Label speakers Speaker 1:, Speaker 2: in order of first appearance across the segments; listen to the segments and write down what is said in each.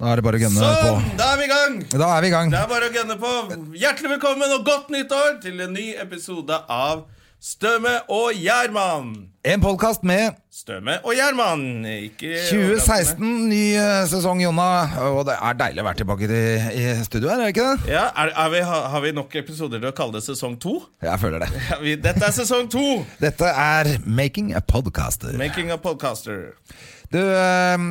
Speaker 1: Da er det bare å gønne
Speaker 2: Sånn,
Speaker 1: på.
Speaker 2: da er vi i gang!
Speaker 1: Da er vi i gang.
Speaker 2: Det er bare å gønne på. Hjertelig velkommen og godt nytt år til en ny episode av Støme og Gjerman.
Speaker 1: En podkast med
Speaker 2: Støme og Gjerman. Ikke
Speaker 1: 2016, ny eh, sesong, Jonna. Og det er deilig å være tilbake i, i studio her, er det ikke det?
Speaker 2: Ja, er, er vi, har, har vi nok episoder til å kalle det sesong to?
Speaker 1: Jeg føler det.
Speaker 2: Ja, vi, dette er sesong to!
Speaker 1: Dette er Making a Podcaster.
Speaker 2: Making a podcaster.
Speaker 1: Du ehm,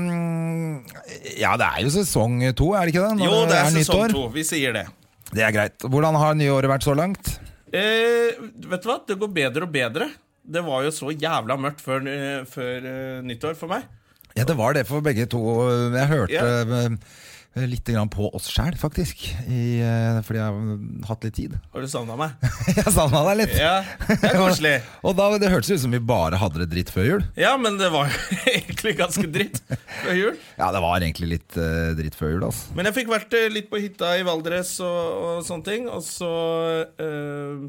Speaker 1: Ja, det er jo sesong to, er det ikke det? Når
Speaker 2: Jo, det er
Speaker 1: nytt
Speaker 2: sesong
Speaker 1: år.
Speaker 2: to. Vi sier det.
Speaker 1: Det er greit. Hvordan har nyåret vært så langt?
Speaker 2: Eh, vet du hva? Det går bedre og bedre. Det var jo så jævla mørkt før, eh, før eh, nyttår for meg.
Speaker 1: Ja, det var det for begge to. Jeg hørte
Speaker 2: Ja.
Speaker 1: eh, lite grann på oss sjæl, faktisk. I, eh, fordi jeg har hatt litt tid.
Speaker 2: Har du savna meg?
Speaker 1: jeg savna deg litt.
Speaker 2: Ja, det er koselig.
Speaker 1: Og da, Det hørtes ut som vi bare hadde det dritt før jul.
Speaker 2: Ja, men det var jo egentlig ganske dritt før jul.
Speaker 1: Ja, det var egentlig litt eh, dritt før jul, altså.
Speaker 2: Men jeg fikk vært eh, litt på hytta i Valdres og, og sånne ting, og så eh,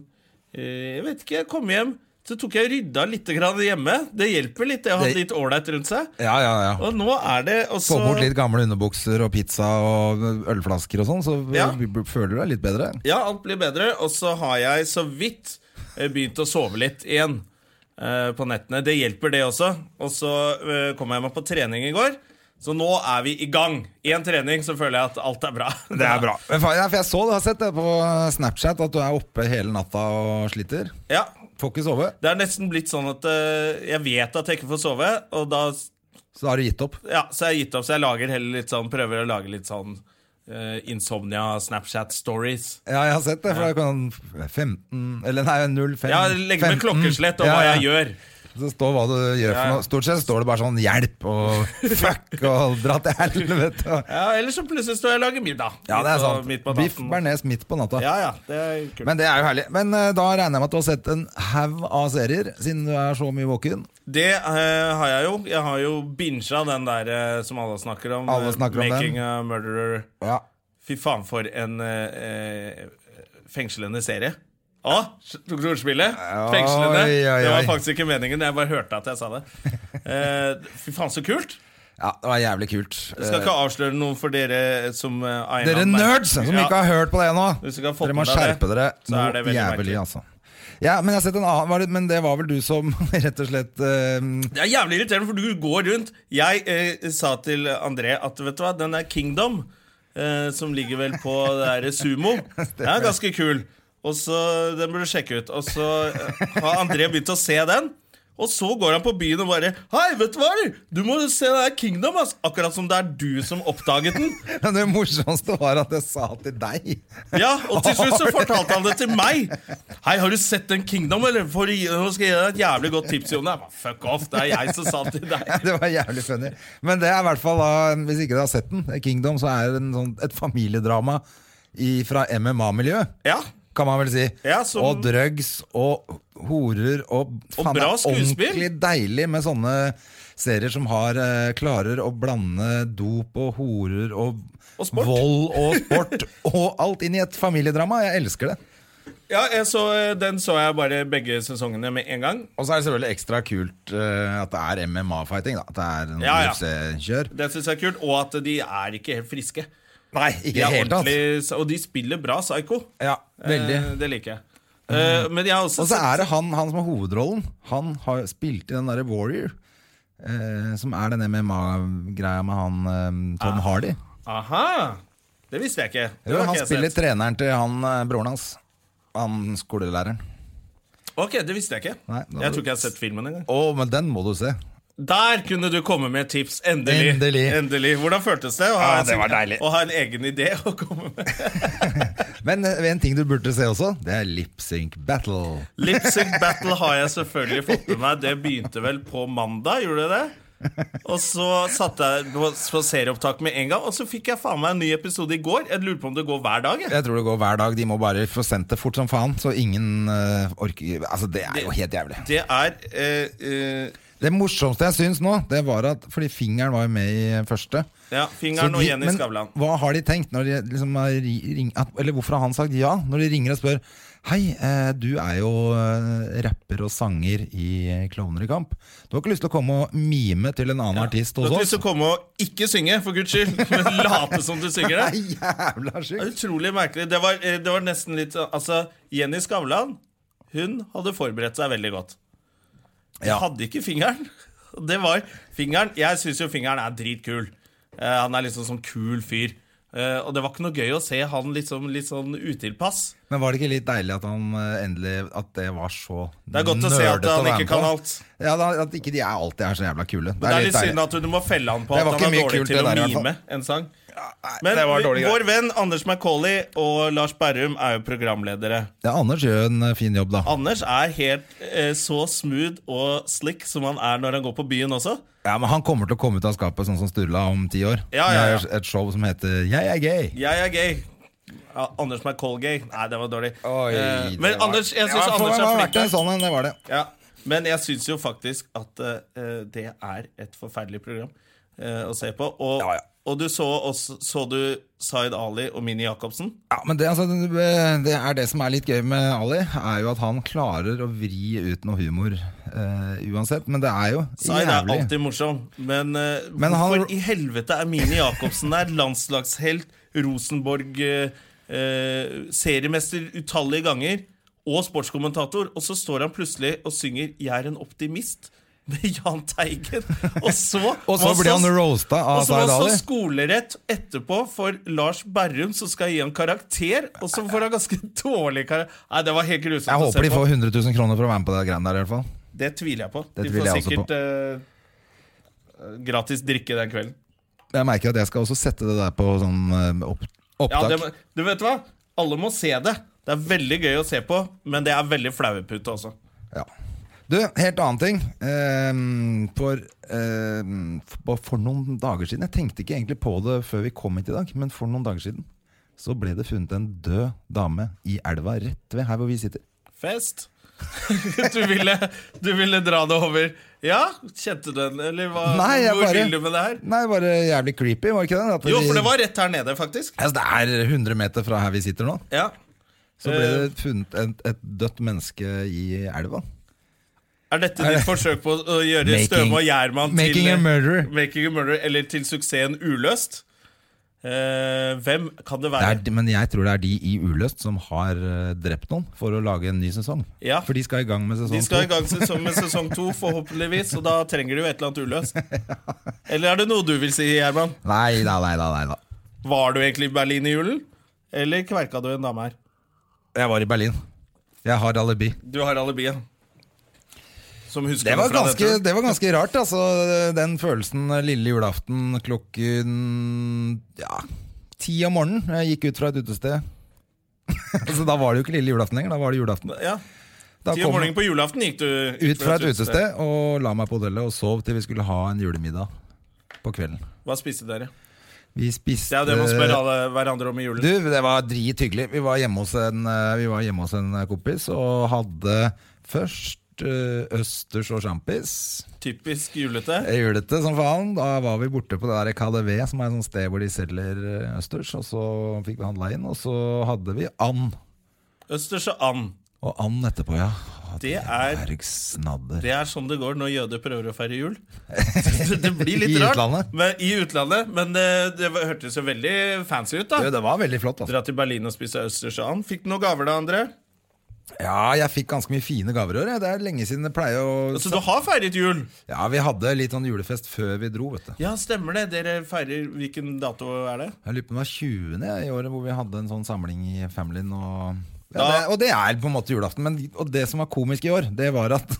Speaker 2: eh, Jeg vet ikke, jeg kom hjem, så tok jeg og rydda litt grann hjemme. Det hjelper litt, det å ha
Speaker 1: Det-
Speaker 2: litt ålreit rundt seg.
Speaker 1: Ja, ja, ja.
Speaker 2: Og nå er det også
Speaker 1: Få bort litt gamle underbukser og pizza og ølflasker og sånn, så
Speaker 2: Ja.
Speaker 1: b- b- føler du deg litt bedre.
Speaker 2: Ja, alt blir bedre, og så har jeg så vidt eh, begynt å sove litt igjen eh, på nettene. Det hjelper, det også. Og så eh, kom jeg meg på trening i går, så nå er vi i gang. Én trening, så føler jeg at alt er bra.
Speaker 1: Det er bra. Men faen, ja, for jeg så det, jeg har sett det på Snapchat, at du er oppe hele natta og sliter.
Speaker 2: Ja.
Speaker 1: Får ikke sove,
Speaker 2: Det er nesten blitt sånn at eh, jeg vet at jeg ikke får sove, og da
Speaker 1: så da har du gitt opp.
Speaker 2: Ja, så jeg har gitt opp, så jeg lager heller litt sånn prøver å lage litt sånn eh, Insomnia, Snapchat stories.
Speaker 1: Ja, jeg har sett det, for da kan 15 Eller nei, 05
Speaker 2: Ja, legger
Speaker 1: 15.
Speaker 2: med klokkeslett og
Speaker 1: Ja,
Speaker 2: hva
Speaker 1: ja.
Speaker 2: jeg gjør.
Speaker 1: Så står hva du gjør
Speaker 2: Ja,
Speaker 1: for
Speaker 2: ja.
Speaker 1: noe. Stort sett står det bare sånn 'hjelp' og 'fuck' og 'dra til helvete'.
Speaker 2: Ja, Eller så plutselig står jeg og lager middag.
Speaker 1: Ja, det
Speaker 2: midt
Speaker 1: er
Speaker 2: på-
Speaker 1: sant.
Speaker 2: Midt på
Speaker 1: Biff
Speaker 2: natten.
Speaker 1: bearnés midt på natta.
Speaker 2: Ja, ja, det er kult.
Speaker 1: Men det er jo herlig. Men eh, da regner jeg med at du har sett en haug av serier, siden du er så mye våken.
Speaker 2: Det eh, har jeg jo. Jeg har jo bincha den der eh, som alle snakker om.
Speaker 1: Alle
Speaker 2: eh,
Speaker 1: snakker om den.
Speaker 2: 'Making a Murderer'.
Speaker 1: Ja.
Speaker 2: Fy faen, for en eh, eh, fengslende serie. Å, tok du ordspillet? Fengslende.
Speaker 1: Oi, oi,
Speaker 2: Det
Speaker 1: oi.
Speaker 2: var faktisk ikke meningen. Jeg bare hørte at jeg sa det. Eh, fy faen, så kult!
Speaker 1: ja, det var jævlig kult.
Speaker 2: Jeg skal ikke avsløre noe for dere som eh, av en eller
Speaker 1: Eh. Dere
Speaker 2: annen merke-
Speaker 1: nerds som ikke har hørt på det ennå,
Speaker 2: Hvis du ikke har fått
Speaker 1: dere må
Speaker 2: med deg
Speaker 1: skjerpe
Speaker 2: det,
Speaker 1: dere
Speaker 2: så
Speaker 1: noe
Speaker 2: er det veldig
Speaker 1: jævlig,
Speaker 2: merkelig.
Speaker 1: altså. Ja, men, jeg har sett en annen, var det, men det var vel du som rett og slett eh,
Speaker 2: Det er jævlig irriterende, for du går rundt. Jeg eh, sa til André at vet du hva, den der Kingdom, eh, som ligger vel på det der Sumo, den er ganske kul. Og så, Den burde du sjekke ut. Og så eh, har André begynt å se den. Og så går han på byen og bare Hei, vet du hva? eller? Du må se den der Kingdom, ass! Akkurat som det er du som oppdaget den.
Speaker 1: Det morsomste var at jeg sa til deg.
Speaker 2: Ja, Og til slutt så fortalte han det til meg. Hei, har du sett den Kingdom, eller? For å gi- nå skal jeg gi deg et jævlig godt tips, Jon. Jeg bare, Fuck off, det er jeg som sa det til deg.
Speaker 1: Det var jævlig funny. Men det er i hvert fall da, hvis ikke du har sett den, Kingdom, så er det en sånn, et familiedrama i, fra MMA-miljøet.
Speaker 2: Ja,
Speaker 1: Kan man vel si.
Speaker 2: Ja, som-
Speaker 1: Og drugs og horer og faen, det
Speaker 2: bra
Speaker 1: er
Speaker 2: skuespill.
Speaker 1: Ordentlig deilig med sånne serier som har, eh, klarer å blande dop og horer og,
Speaker 2: Og sport.
Speaker 1: vold og sport og alt inn i et familiedrama. Jeg elsker det.
Speaker 2: Ja, jeg så, eh, den så jeg bare begge sesongene med en gang.
Speaker 1: Og så er det selvfølgelig ekstra kult eh, at det er MMA-fighting. da At det er noen
Speaker 2: Ja, ja.
Speaker 1: UFC-kjør.
Speaker 2: Det synes jeg er kult, Og at de er ikke helt friske.
Speaker 1: Nei,
Speaker 2: De
Speaker 1: ikke
Speaker 2: er
Speaker 1: helt tatt.
Speaker 2: ordentlig, og de spiller bra psycho.
Speaker 1: Ja, veldig. Mm.
Speaker 2: Eh, det liker jeg. Eh, men jeg har også
Speaker 1: Og så er det han, han som har hovedrollen. Han har spilt i den derre Warrior. Eh, som er den MMA-greia med han eh, Tom Hardy.
Speaker 2: sett Aha! Det visste jeg ikke. Det
Speaker 1: Jo,
Speaker 2: har
Speaker 1: han
Speaker 2: ikke jeg
Speaker 1: spiller
Speaker 2: sett.
Speaker 1: treneren til han eh, broren hans. Han skolelæreren.
Speaker 2: Ok, det visste jeg ikke.
Speaker 1: Nei, da-
Speaker 2: jeg tror ikke jeg har sett filmen engang.
Speaker 1: Å, men den må du se.
Speaker 2: Der kunne du komme med et tips. Endelig.
Speaker 1: Endelig.
Speaker 2: Hvordan føltes det å ha,
Speaker 1: Ja, det var deilig.
Speaker 2: å ha en egen idé å komme med?
Speaker 1: Men eh, en ting du burde se også, det er Lip Sync Battle.
Speaker 2: Lipsync Battle har jeg selvfølgelig fått med meg. Det begynte vel på mandag, gjorde det det? Og så satte jeg på, på serieopptak med en gang, og så fikk jeg faen meg en ny episode i går. Jeg lurer på om det går hver dag. Jeg.
Speaker 1: Jeg tror det går hver dag. De må bare få sendt det fort som faen, så ingen eh, orker Altså, det er jo helt jævlig.
Speaker 2: Det er eh, eh,
Speaker 1: Det morsomste jeg syns nå, det var at Fordi fingeren var jo med i første.
Speaker 2: Ja,
Speaker 1: Så
Speaker 2: Fingeren
Speaker 1: de-
Speaker 2: og Jenny
Speaker 1: men
Speaker 2: Skavlan.
Speaker 1: Hva har de tenkt når de liksom har ri- ring, at, Eller hvorfor har han sagt ja når de ringer og spør Hei, eh, du er jo eh, rapper og sanger i eh, Klovner i kamp. Du har ikke lyst til å komme og mime til en annen artist
Speaker 2: Du har
Speaker 1: hos
Speaker 2: ikke
Speaker 1: oss?
Speaker 2: lyst til å komme og ikke synge, for guds skyld, men late som du synger det.
Speaker 1: Nei, jævla
Speaker 2: Det er
Speaker 1: sjukt!
Speaker 2: Utrolig merkelig. Det var, eh, det var nesten litt Altså, Jenny Skavlan Hun hadde forberedt seg veldig godt. Jeg
Speaker 1: Ja.
Speaker 2: hadde ikke fingeren. Og Det var fingeren Jeg syns jo fingeren er dritkul. Eh, han er liksom sånn kul fyr. Eh, og det var ikke noe gøy å se han liksom litt sånn utilpass.
Speaker 1: Men var det ikke litt deilig at han eh, endelig At det var så nerdete
Speaker 2: Det er godt å se at han
Speaker 1: være
Speaker 2: ikke
Speaker 1: med
Speaker 2: kan
Speaker 1: på?
Speaker 2: alt.
Speaker 1: Ja, da, At ikke de er alltid er så jævla kule.
Speaker 2: Det er litt
Speaker 1: deilig.
Speaker 2: synd at du må felle han på
Speaker 1: Det
Speaker 2: at
Speaker 1: var
Speaker 2: han
Speaker 1: ikke
Speaker 2: er
Speaker 1: mye
Speaker 2: dårlig
Speaker 1: kult,
Speaker 2: til
Speaker 1: det
Speaker 2: å
Speaker 1: der, i hvert fall.
Speaker 2: mime en sang.
Speaker 1: Nei,
Speaker 2: Men
Speaker 1: det var dårlig
Speaker 2: vår
Speaker 1: greier.
Speaker 2: venn Anders Macauley og Lars Berrum er jo programledere.
Speaker 1: Ja, Anders gjør en eh, fin jobb, da.
Speaker 2: Anders er helt eh, så smooth og slick som han er når han går på byen også.
Speaker 1: Ja, men Han kommer til å komme ut av skapet sånn som Sturla om ti år.
Speaker 2: Ja, ja, ja.
Speaker 1: Det er Et show som heter Jeg er gay.
Speaker 2: Jeg er gay. Ja, Anders McCall-gay. Nei, det var dårlig.
Speaker 1: Oi,
Speaker 2: Eh,
Speaker 1: det
Speaker 2: men
Speaker 1: var-
Speaker 2: Anders, jeg
Speaker 1: Ja,
Speaker 2: syns
Speaker 1: for meg
Speaker 2: Anders
Speaker 1: var
Speaker 2: er
Speaker 1: det verdt en
Speaker 2: flink.
Speaker 1: Sånn, en, det var det.
Speaker 2: Ja. Men jeg syns jo faktisk at eh, det er et forferdelig program eh, å se på. Og,
Speaker 1: Ja, ja.
Speaker 2: og du så, også, så du Zaid Ali og Mini Jacobsen.
Speaker 1: Ja, men det, altså, det er det som er litt gøy med Ali, er jo at han klarer å vri ut noe humor eh, uansett. Men det er jo
Speaker 2: Zaid er
Speaker 1: jævlig.
Speaker 2: alltid morsom, men, eh,
Speaker 1: Men han-
Speaker 2: hvorfor i helvete er Mini Jacobsen der? Landslagshelt, Rosenborg, eh, eh, seriemester utallige ganger og sportskommentator. Og så står han plutselig og synger 'Jeg er en optimist' med Jahn Teigen. Og så,
Speaker 1: Og så blir han roasta av
Speaker 2: og så var
Speaker 1: Zaid
Speaker 2: han
Speaker 1: Ali.
Speaker 2: så skolerett etterpå for Lars Berrum, som skal gi han karakter. Og så får han ganske dårlig karakter. Nei, det var helt grusomt
Speaker 1: Jeg
Speaker 2: å se
Speaker 1: håper de
Speaker 2: på.
Speaker 1: får 100 000 kroner for å være med på det greiene der, i hvert fall.
Speaker 2: Det tviler jeg på.
Speaker 1: Det
Speaker 2: de
Speaker 1: tviler
Speaker 2: får
Speaker 1: jeg også
Speaker 2: sikkert eh, gratis drikke den kvelden.
Speaker 1: Jeg merker at jeg skal også sette det der på sånn eh, opp,
Speaker 2: Ja,
Speaker 1: opptak.
Speaker 2: det, du vet hva? Alle må se det. Det er veldig gøy å se på, men det er veldig flauepute også.
Speaker 1: Ja. Du, helt annen ting. Ehm, for, ehm, for, for noen dager siden Jeg tenkte ikke egentlig på det før vi kom hit i dag, men for noen dager siden så ble det funnet en død dame i elva rett ved her hvor vi sitter.
Speaker 2: Fest. du, ville, du ville dra det over. Ja, kjente du den, eller hva?
Speaker 1: Nei, jeg
Speaker 2: hvor
Speaker 1: bare-
Speaker 2: vil du med det her?
Speaker 1: Nei, bare jævlig creepy, var det ikke det? At
Speaker 2: Jo,
Speaker 1: vi-
Speaker 2: for det var rett her nede, faktisk.
Speaker 1: altså, Det er 100 meter fra her vi sitter nå.
Speaker 2: Ja.
Speaker 1: Så ble
Speaker 2: Eh.
Speaker 1: det funnet et, et dødt menneske i elva.
Speaker 2: Er dette ditt forsøk på å gjøre
Speaker 1: Making-
Speaker 2: Støme og Gjerman
Speaker 1: making
Speaker 2: til eh,
Speaker 1: a murderer.
Speaker 2: Making a murderer, eller til suksessen Uløst? Eh, hvem kan det
Speaker 1: Det
Speaker 2: være?
Speaker 1: er, de- men jeg tror det er de i Uløst som har eh, drept noen for å lage en ny sesong.
Speaker 2: Ja.
Speaker 1: For de skal i gang med sesong
Speaker 2: De skal i
Speaker 1: Sånn to.
Speaker 2: gang sesong, med sesong to, forhåpentligvis, og da trenger du jo et eller annet uløst. Eller er det noe du vil si, Gjerman?
Speaker 1: Nei da, nei da, nei da.
Speaker 2: Var du egentlig i Berlin i julen? Eller kverka du en dame her?
Speaker 1: Jeg var i Berlin. Jeg har alibi.
Speaker 2: Du har alibiet. Som husker
Speaker 1: Det var
Speaker 2: noe fra
Speaker 1: ganske,
Speaker 2: dette.
Speaker 1: det var ganske rart, altså. Den følelsen lille julaften klokken ja, ti om morgenen. Jeg gikk ut fra et utested. Så da var det jo ikke lille julaften lenger. Da var det julaften.
Speaker 2: Ja,
Speaker 1: Da
Speaker 2: Ti om
Speaker 1: kom jeg
Speaker 2: morgenen på julaften gikk du
Speaker 1: ut fra et utested og la meg på hotellet og sov til vi skulle ha en julemiddag på kvelden.
Speaker 2: Hva spiste dere?
Speaker 1: Vi
Speaker 2: Det
Speaker 1: spiste
Speaker 2: er jo det man spør alle hverandre om i julen.
Speaker 1: Eh, Du, det var drithyggelig. Vi var hjemme hos en, eh, vi var hjemme hos en kompis og hadde først eh, østers og sjampis.
Speaker 2: Typisk julete.
Speaker 1: Jeg Julete som faen. Da var vi borte på det der KDV, som er et sånt sted hvor de selger eh, østers. Og så fikk vi handla inn, og så hadde vi and.
Speaker 2: Østers og and.
Speaker 1: Og and etterpå, ja. Å,
Speaker 2: Det er
Speaker 1: Berg snadder.
Speaker 2: Det er sånn det går når jøder prøver å feire jul. Det, det blir litt
Speaker 1: I
Speaker 2: rart.
Speaker 1: utlandet.
Speaker 2: Men, I utlandet. Men det, det var- hørtes jo veldig fancy ut,
Speaker 1: Du,
Speaker 2: da.
Speaker 1: det var veldig flott. altså
Speaker 2: Dra til Berlin og spise østers og and. Fikk du noen gaver, da, André?
Speaker 1: Ja, jeg fikk ganske mye fine gaver i år. jeg. Det er lenge siden det pleier å
Speaker 2: Så du har feiret jul?
Speaker 1: Ja, vi hadde litt sånn julefest før vi dro, vet du.
Speaker 2: Ja, stemmer det. Dere feirer Hvilken dato er det?
Speaker 1: Jeg lurer på om det var 20. jeg, i året hvor vi hadde en sånn samling i Familyen. Og, ja,
Speaker 2: Da-
Speaker 1: det, og det er på en måte julaften. Men og det som var komisk i år, det var at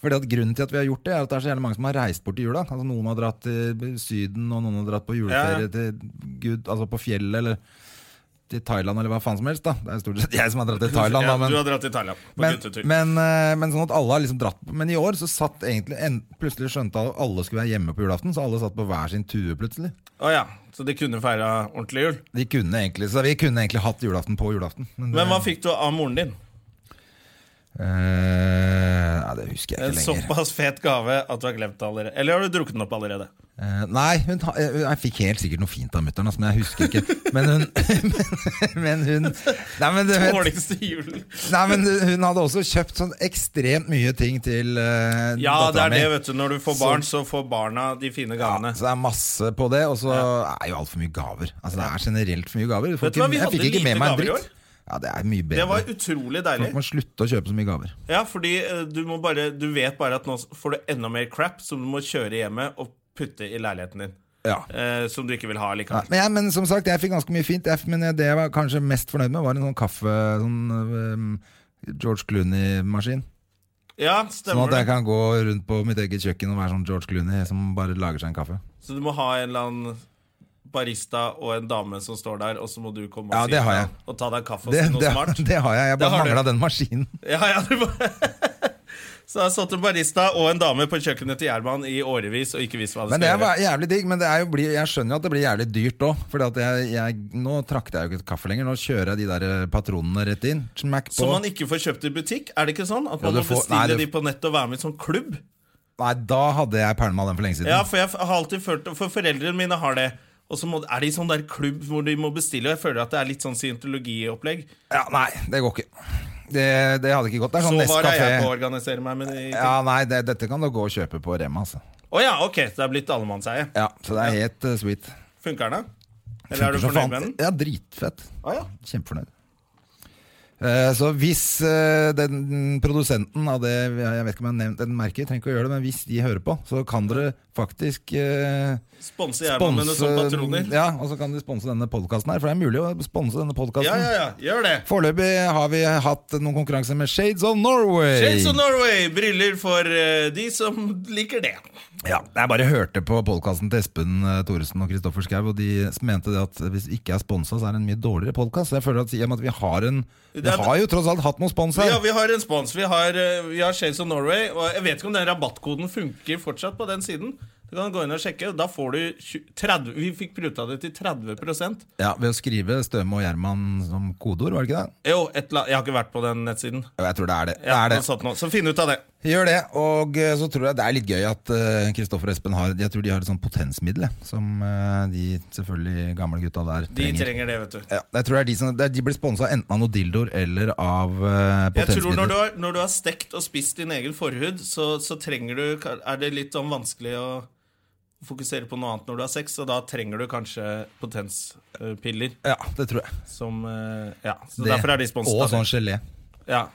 Speaker 1: fordi at Grunnen til at vi har gjort det, er at det er så jævlig mange som har reist bort i jula. Altså Noen har dratt til Syden, og noen har dratt på
Speaker 2: Ja,
Speaker 1: juleferie
Speaker 2: ja.
Speaker 1: til Gud, altså på fjellet eller til Thailand eller hva faen som helst. da Det er stort sett jeg som har dratt til Thailand, da.
Speaker 2: Ja,
Speaker 1: Men,
Speaker 2: du har dratt til Thailand på
Speaker 1: men,
Speaker 2: guttetur.
Speaker 1: men, eh, men sånn at alle har liksom dratt på- Men i år så satt egentlig en, Plutselig skjønte alle at alle skulle være hjemme på julaften, så alle satt på hver sin tue plutselig.
Speaker 2: Å ja, så de kunne feira ordentlig jul.
Speaker 1: De kunne egentlig, så vi kunne egentlig hatt julaften på julaften. Men det,
Speaker 2: Men hva fikk du av moren din?
Speaker 1: Eh, nei, Nei, det husker jeg
Speaker 2: En
Speaker 1: ikke lenger.
Speaker 2: såpass fet gave at du har glemt det allerede. Eller har du drukket den opp allerede?
Speaker 1: Eh, nei, hun, ha- eh, jeg fikk helt sikkert noe fint av mutter'n, altså, men jeg husker ikke. Men hun Men, men hun Nei, men du vet
Speaker 2: Dårligste julen.
Speaker 1: Nei, men hun hadde også kjøpt sånn ekstremt mye ting til uh,
Speaker 2: Ja, det
Speaker 1: dattera
Speaker 2: er
Speaker 1: mi.
Speaker 2: det, vet du. Når du får barn, så får barna de fine
Speaker 1: Ja,
Speaker 2: gavene.
Speaker 1: så det er masse på det, og så er jo altfor mye gaver. Altså Det er generelt for mye gaver. Du får
Speaker 2: Vet du hva, vi
Speaker 1: jeg
Speaker 2: hadde
Speaker 1: fikk ikke
Speaker 2: lite
Speaker 1: med meg en
Speaker 2: gaver i
Speaker 1: dritt. Ja, det er mye
Speaker 2: Det
Speaker 1: bedre.
Speaker 2: var utrolig deilig.
Speaker 1: Folk må slutte å kjøpe så mye gaver.
Speaker 2: Ja, fordi eh, du, må bare, du vet bare at nå får du enda mer crap som du må kjøre hjemme og putte i leiligheten din.
Speaker 1: Ja.
Speaker 2: Eh, som du ikke vil ha
Speaker 1: Nei,
Speaker 2: likevel.
Speaker 1: men, jeg, men som sagt, jeg fikk ganske mye fint. Jeg, men det jeg var kanskje mest fornøyd med, var en sånn kaffe sånn, øhm, George Clooney-maskin.
Speaker 2: Ja,
Speaker 1: Sånn
Speaker 2: stemmer
Speaker 1: at jeg
Speaker 2: det.
Speaker 1: kan gå rundt på mitt eget kjøkken og være sånn George Clooney som bare lager seg en kaffe.
Speaker 2: Så du må ha en eller annen barista og en dame som står der, og så må du komme og,
Speaker 1: Ja,
Speaker 2: si
Speaker 1: det har
Speaker 2: ifra
Speaker 1: jeg.
Speaker 2: og ta deg en kaffe og
Speaker 1: Det,
Speaker 2: si noe
Speaker 1: det,
Speaker 2: smart.
Speaker 1: det har jeg. Jeg
Speaker 2: Det
Speaker 1: bare
Speaker 2: har du.
Speaker 1: mangla den maskinen.
Speaker 2: Ja, ja, du bare... Så det har satt en barista og en dame på kjøkkenet til Gjerman i årevis og ikke visst hva det
Speaker 1: Men det
Speaker 2: skulle gjøre.
Speaker 1: var jævlig digg, men det er jo bli, jeg skjønner jo at det blir jævlig dyrt òg. For jeg, jeg, nå trakter jeg jo ikke kaffe lenger. Nå kjører jeg de der eh, patronene rett inn. Smack på.
Speaker 2: Som man ikke får kjøpt i butikk? Er det ikke sånn? At
Speaker 1: Ja,
Speaker 2: man
Speaker 1: du
Speaker 2: må
Speaker 1: får-
Speaker 2: bestille
Speaker 1: nei, du-
Speaker 2: de på nett og være med i sånn klubb?
Speaker 1: Nei, da hadde jeg pælma den for lenge siden.
Speaker 2: Ja, for jeg f- har alltid følt For foreldrene mine har det. Og så må, er de i sånn der klubb hvor de må bestille, og jeg føler at det er litt sånn scientologiopplegg.
Speaker 1: Ja, nei, det går ikke. Det, det hadde ikke gått. Det er
Speaker 2: Så
Speaker 1: sånn
Speaker 2: var det jeg på å
Speaker 1: Nescafé.
Speaker 2: organisere meg med de
Speaker 1: Ja, nei, det, dette kan du gå og kjøpe på Rema, altså.
Speaker 2: Å ja, ok, det er blitt allemannseie.
Speaker 1: Ja, så det er helt eh, sweet.
Speaker 2: Funker den, da? Eller er
Speaker 1: Funker
Speaker 2: du
Speaker 1: som
Speaker 2: fornøyd med
Speaker 1: faen.
Speaker 2: den?
Speaker 1: Ja, dritfett.
Speaker 2: Å ja.
Speaker 1: Kjempefornøyd. Eh, Så hvis eh, den produsenten av det Jeg vet ikke om jeg har nevnt den merket, trenger ikke å gjøre det, men hvis de hører på, så kan dere faktisk eh,
Speaker 2: Sponse Gjerman med noen
Speaker 1: sponse
Speaker 2: sånne patroner.
Speaker 1: eh, Ja, og så kan de sponse denne podkasten her, for det er mulig å sponse denne podkasten.
Speaker 2: Ja, ja, ja, gjør det.
Speaker 1: Foreløpig har vi hatt noen konkurranser med Shades of Norway.
Speaker 2: Shades of Norway, briller for eh, de som liker det.
Speaker 1: Ja, jeg bare hørte på podkasten til Espen eh, Thoresen og Kristoffer Schau, og de mente det at hvis vi ikke er sponsa, så er det en mye dårligere podkast. Så jeg føler at, i og med at vi har en
Speaker 2: Det
Speaker 1: Vi
Speaker 2: er-
Speaker 1: har jo tross alt hatt noen spons her.
Speaker 2: Ja, vi har en spons. Vi har, eh, vi har Shades of Norway. Og jeg vet ikke om den rabattkoden funker fortsatt på den siden. Du kan gå inn og sjekke. Da får du tju- 30, Vi fikk pruta det til 30
Speaker 1: Ja, Ved å skrive Støme og Gjerman som kodeord, var det ikke det?
Speaker 2: Jo, et la, jeg har ikke vært på den nettsiden.
Speaker 1: Jo, Jeg tror det er det.
Speaker 2: Ja,
Speaker 1: det, er
Speaker 2: altså- noe
Speaker 1: det.
Speaker 2: sånt noe. Så finn ut av det.
Speaker 1: Gjør det. Og eh, så tror jeg det er litt gøy at eh, Kristoffer og Espen har Jeg tror de har et sånt potensmiddel, jeg, som eh, de selvfølgelig gamle gutta der
Speaker 2: De
Speaker 1: trenger.
Speaker 2: trenger det, vet du.
Speaker 1: Ja, jeg tror det er de, som, det er, de blir sponsa enten av noen dildoer eller av eh,
Speaker 2: Jeg tror når du,
Speaker 1: potensmidler.
Speaker 2: har, når du har stekt og spist din egen forhud, så, så trenger du ka- Er det litt sånn vanskelig å fokusere på noe annet når du har sex, og da trenger du kanskje potenspiller
Speaker 1: Ja, det tror jeg.
Speaker 2: som eh, Ja. Så
Speaker 1: Det-
Speaker 2: derfor er de sponset.
Speaker 1: Og
Speaker 2: av det.
Speaker 1: sånn gelé.
Speaker 2: Ja.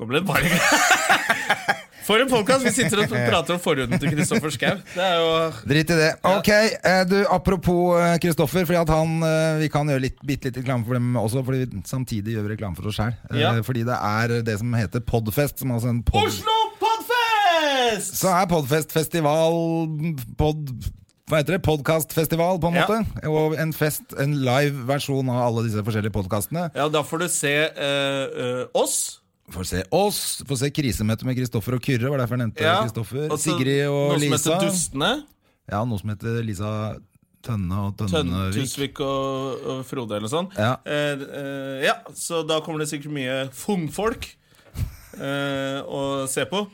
Speaker 2: Nå ble det bare For en podkast! Vi sitter og prater om forhuden til Kristoffer Schau. Det er jo
Speaker 1: Drit i det. Ok, eh, du, Apropos eh, Kristoffer. Fordi at han, eh, Vi kan gjøre litt, bitte litt reklame for dem også, Fordi vi samtidig gjør vi reklame for oss sjøl.
Speaker 2: Ja.
Speaker 1: Fordi det er det som heter Podfest. Som er altså en pod
Speaker 2: Oslo Podfest!
Speaker 1: Så er Podfest-festival pod, Hva heter det? Podkastfestival, på en
Speaker 2: Ja.
Speaker 1: måte. Og en fest, en live versjon av alle disse forskjellige podkastene.
Speaker 2: Ja, da får du se eh, eh, oss.
Speaker 1: Får se oss, får se krisemøte med Kristoffer og Kyrre. Var derfor jeg nevnte
Speaker 2: Ja.
Speaker 1: Kristoffer.
Speaker 2: Og så
Speaker 1: Sigrid og
Speaker 2: noe
Speaker 1: Lisa.
Speaker 2: som heter Dustene.
Speaker 1: Ja, noe som heter Lisa Tønne og
Speaker 2: Tønn,
Speaker 1: Tønnevik.
Speaker 2: Tusvik og, og Frode eller sånn.
Speaker 1: Ja.
Speaker 2: Eh, eh, ja, så da kommer det sikkert mye fungfolk eh, å se på.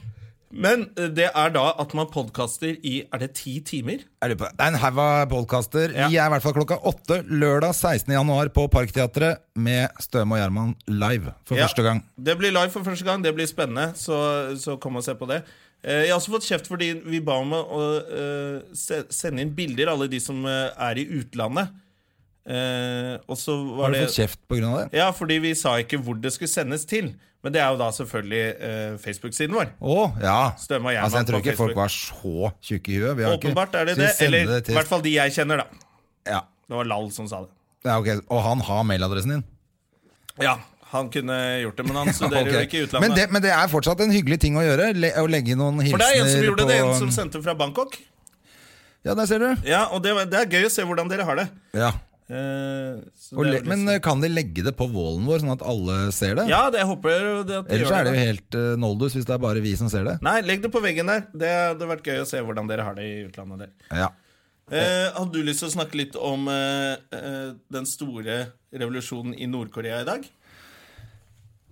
Speaker 2: Men eh, det er da at man podkaster i Er det ti timer?
Speaker 1: Jeg lurer på- Det er en haug av podkaster.
Speaker 2: Ja.
Speaker 1: Vi er i hvert fall klokka åtte lørdag 16. januar på Parkteatret med Støme og Gjerman live for
Speaker 2: Ja.
Speaker 1: første gang.
Speaker 2: Det blir live for første gang, det blir spennende, så, så kom og se på det. Eh, Jeg har også fått kjeft fordi vi ba om å eh, se- sende inn bilder, alle de som eh, er i utlandet. Eh, og så var
Speaker 1: Har du
Speaker 2: det
Speaker 1: fått kjeft pga. det?
Speaker 2: Ja, fordi vi sa ikke hvor det skulle sendes til. Men det er jo da selvfølgelig eh, Facebook-siden vår.
Speaker 1: Å, ja.
Speaker 2: Stømme og Gjerman
Speaker 1: altså, jeg tror
Speaker 2: på
Speaker 1: ikke
Speaker 2: Facebook.
Speaker 1: folk var så tjukke i huet. Vi har ikke-
Speaker 2: Åpenbart er det
Speaker 1: Så vi
Speaker 2: det.
Speaker 1: sender
Speaker 2: Eller
Speaker 1: til-
Speaker 2: i hvert fall de jeg kjenner, da.
Speaker 1: ja.
Speaker 2: Det var Lall som sa det.
Speaker 1: Ja, ok. Og han har mailadressen din?
Speaker 2: Ja, han kunne gjort det, men han studerer jo
Speaker 1: Ok.
Speaker 2: ikke i
Speaker 1: men,
Speaker 2: utlandet.
Speaker 1: det, men det er fortsatt en hyggelig ting å gjøre. Le, å legge noen hilsener
Speaker 2: For det er en som gjorde
Speaker 1: på
Speaker 2: det, en som sendte fra Bangkok.
Speaker 1: Ja, der ser du.
Speaker 2: Ja, og det, var- det er gøy å se hvordan dere har det.
Speaker 1: Ja.
Speaker 2: Eh, så
Speaker 1: Og le,
Speaker 2: det er jo litt
Speaker 1: men
Speaker 2: sånn.
Speaker 1: eh, kan de legge det på vålen vår, sånn at alle ser det?
Speaker 2: Ja, det jeg håper jo det at de
Speaker 1: Ellers
Speaker 2: gjør
Speaker 1: er det
Speaker 2: det.
Speaker 1: jo helt eh, noldus hvis det er bare vi som ser det.
Speaker 2: Nei, legg det på veggen der. Det hadde vært gøy å se hvordan dere har det i utlandet der.
Speaker 1: Ja.
Speaker 2: Eh, hadde du lyst til å snakke litt om eh, eh, den store revolusjonen i Nord-Korea i dag?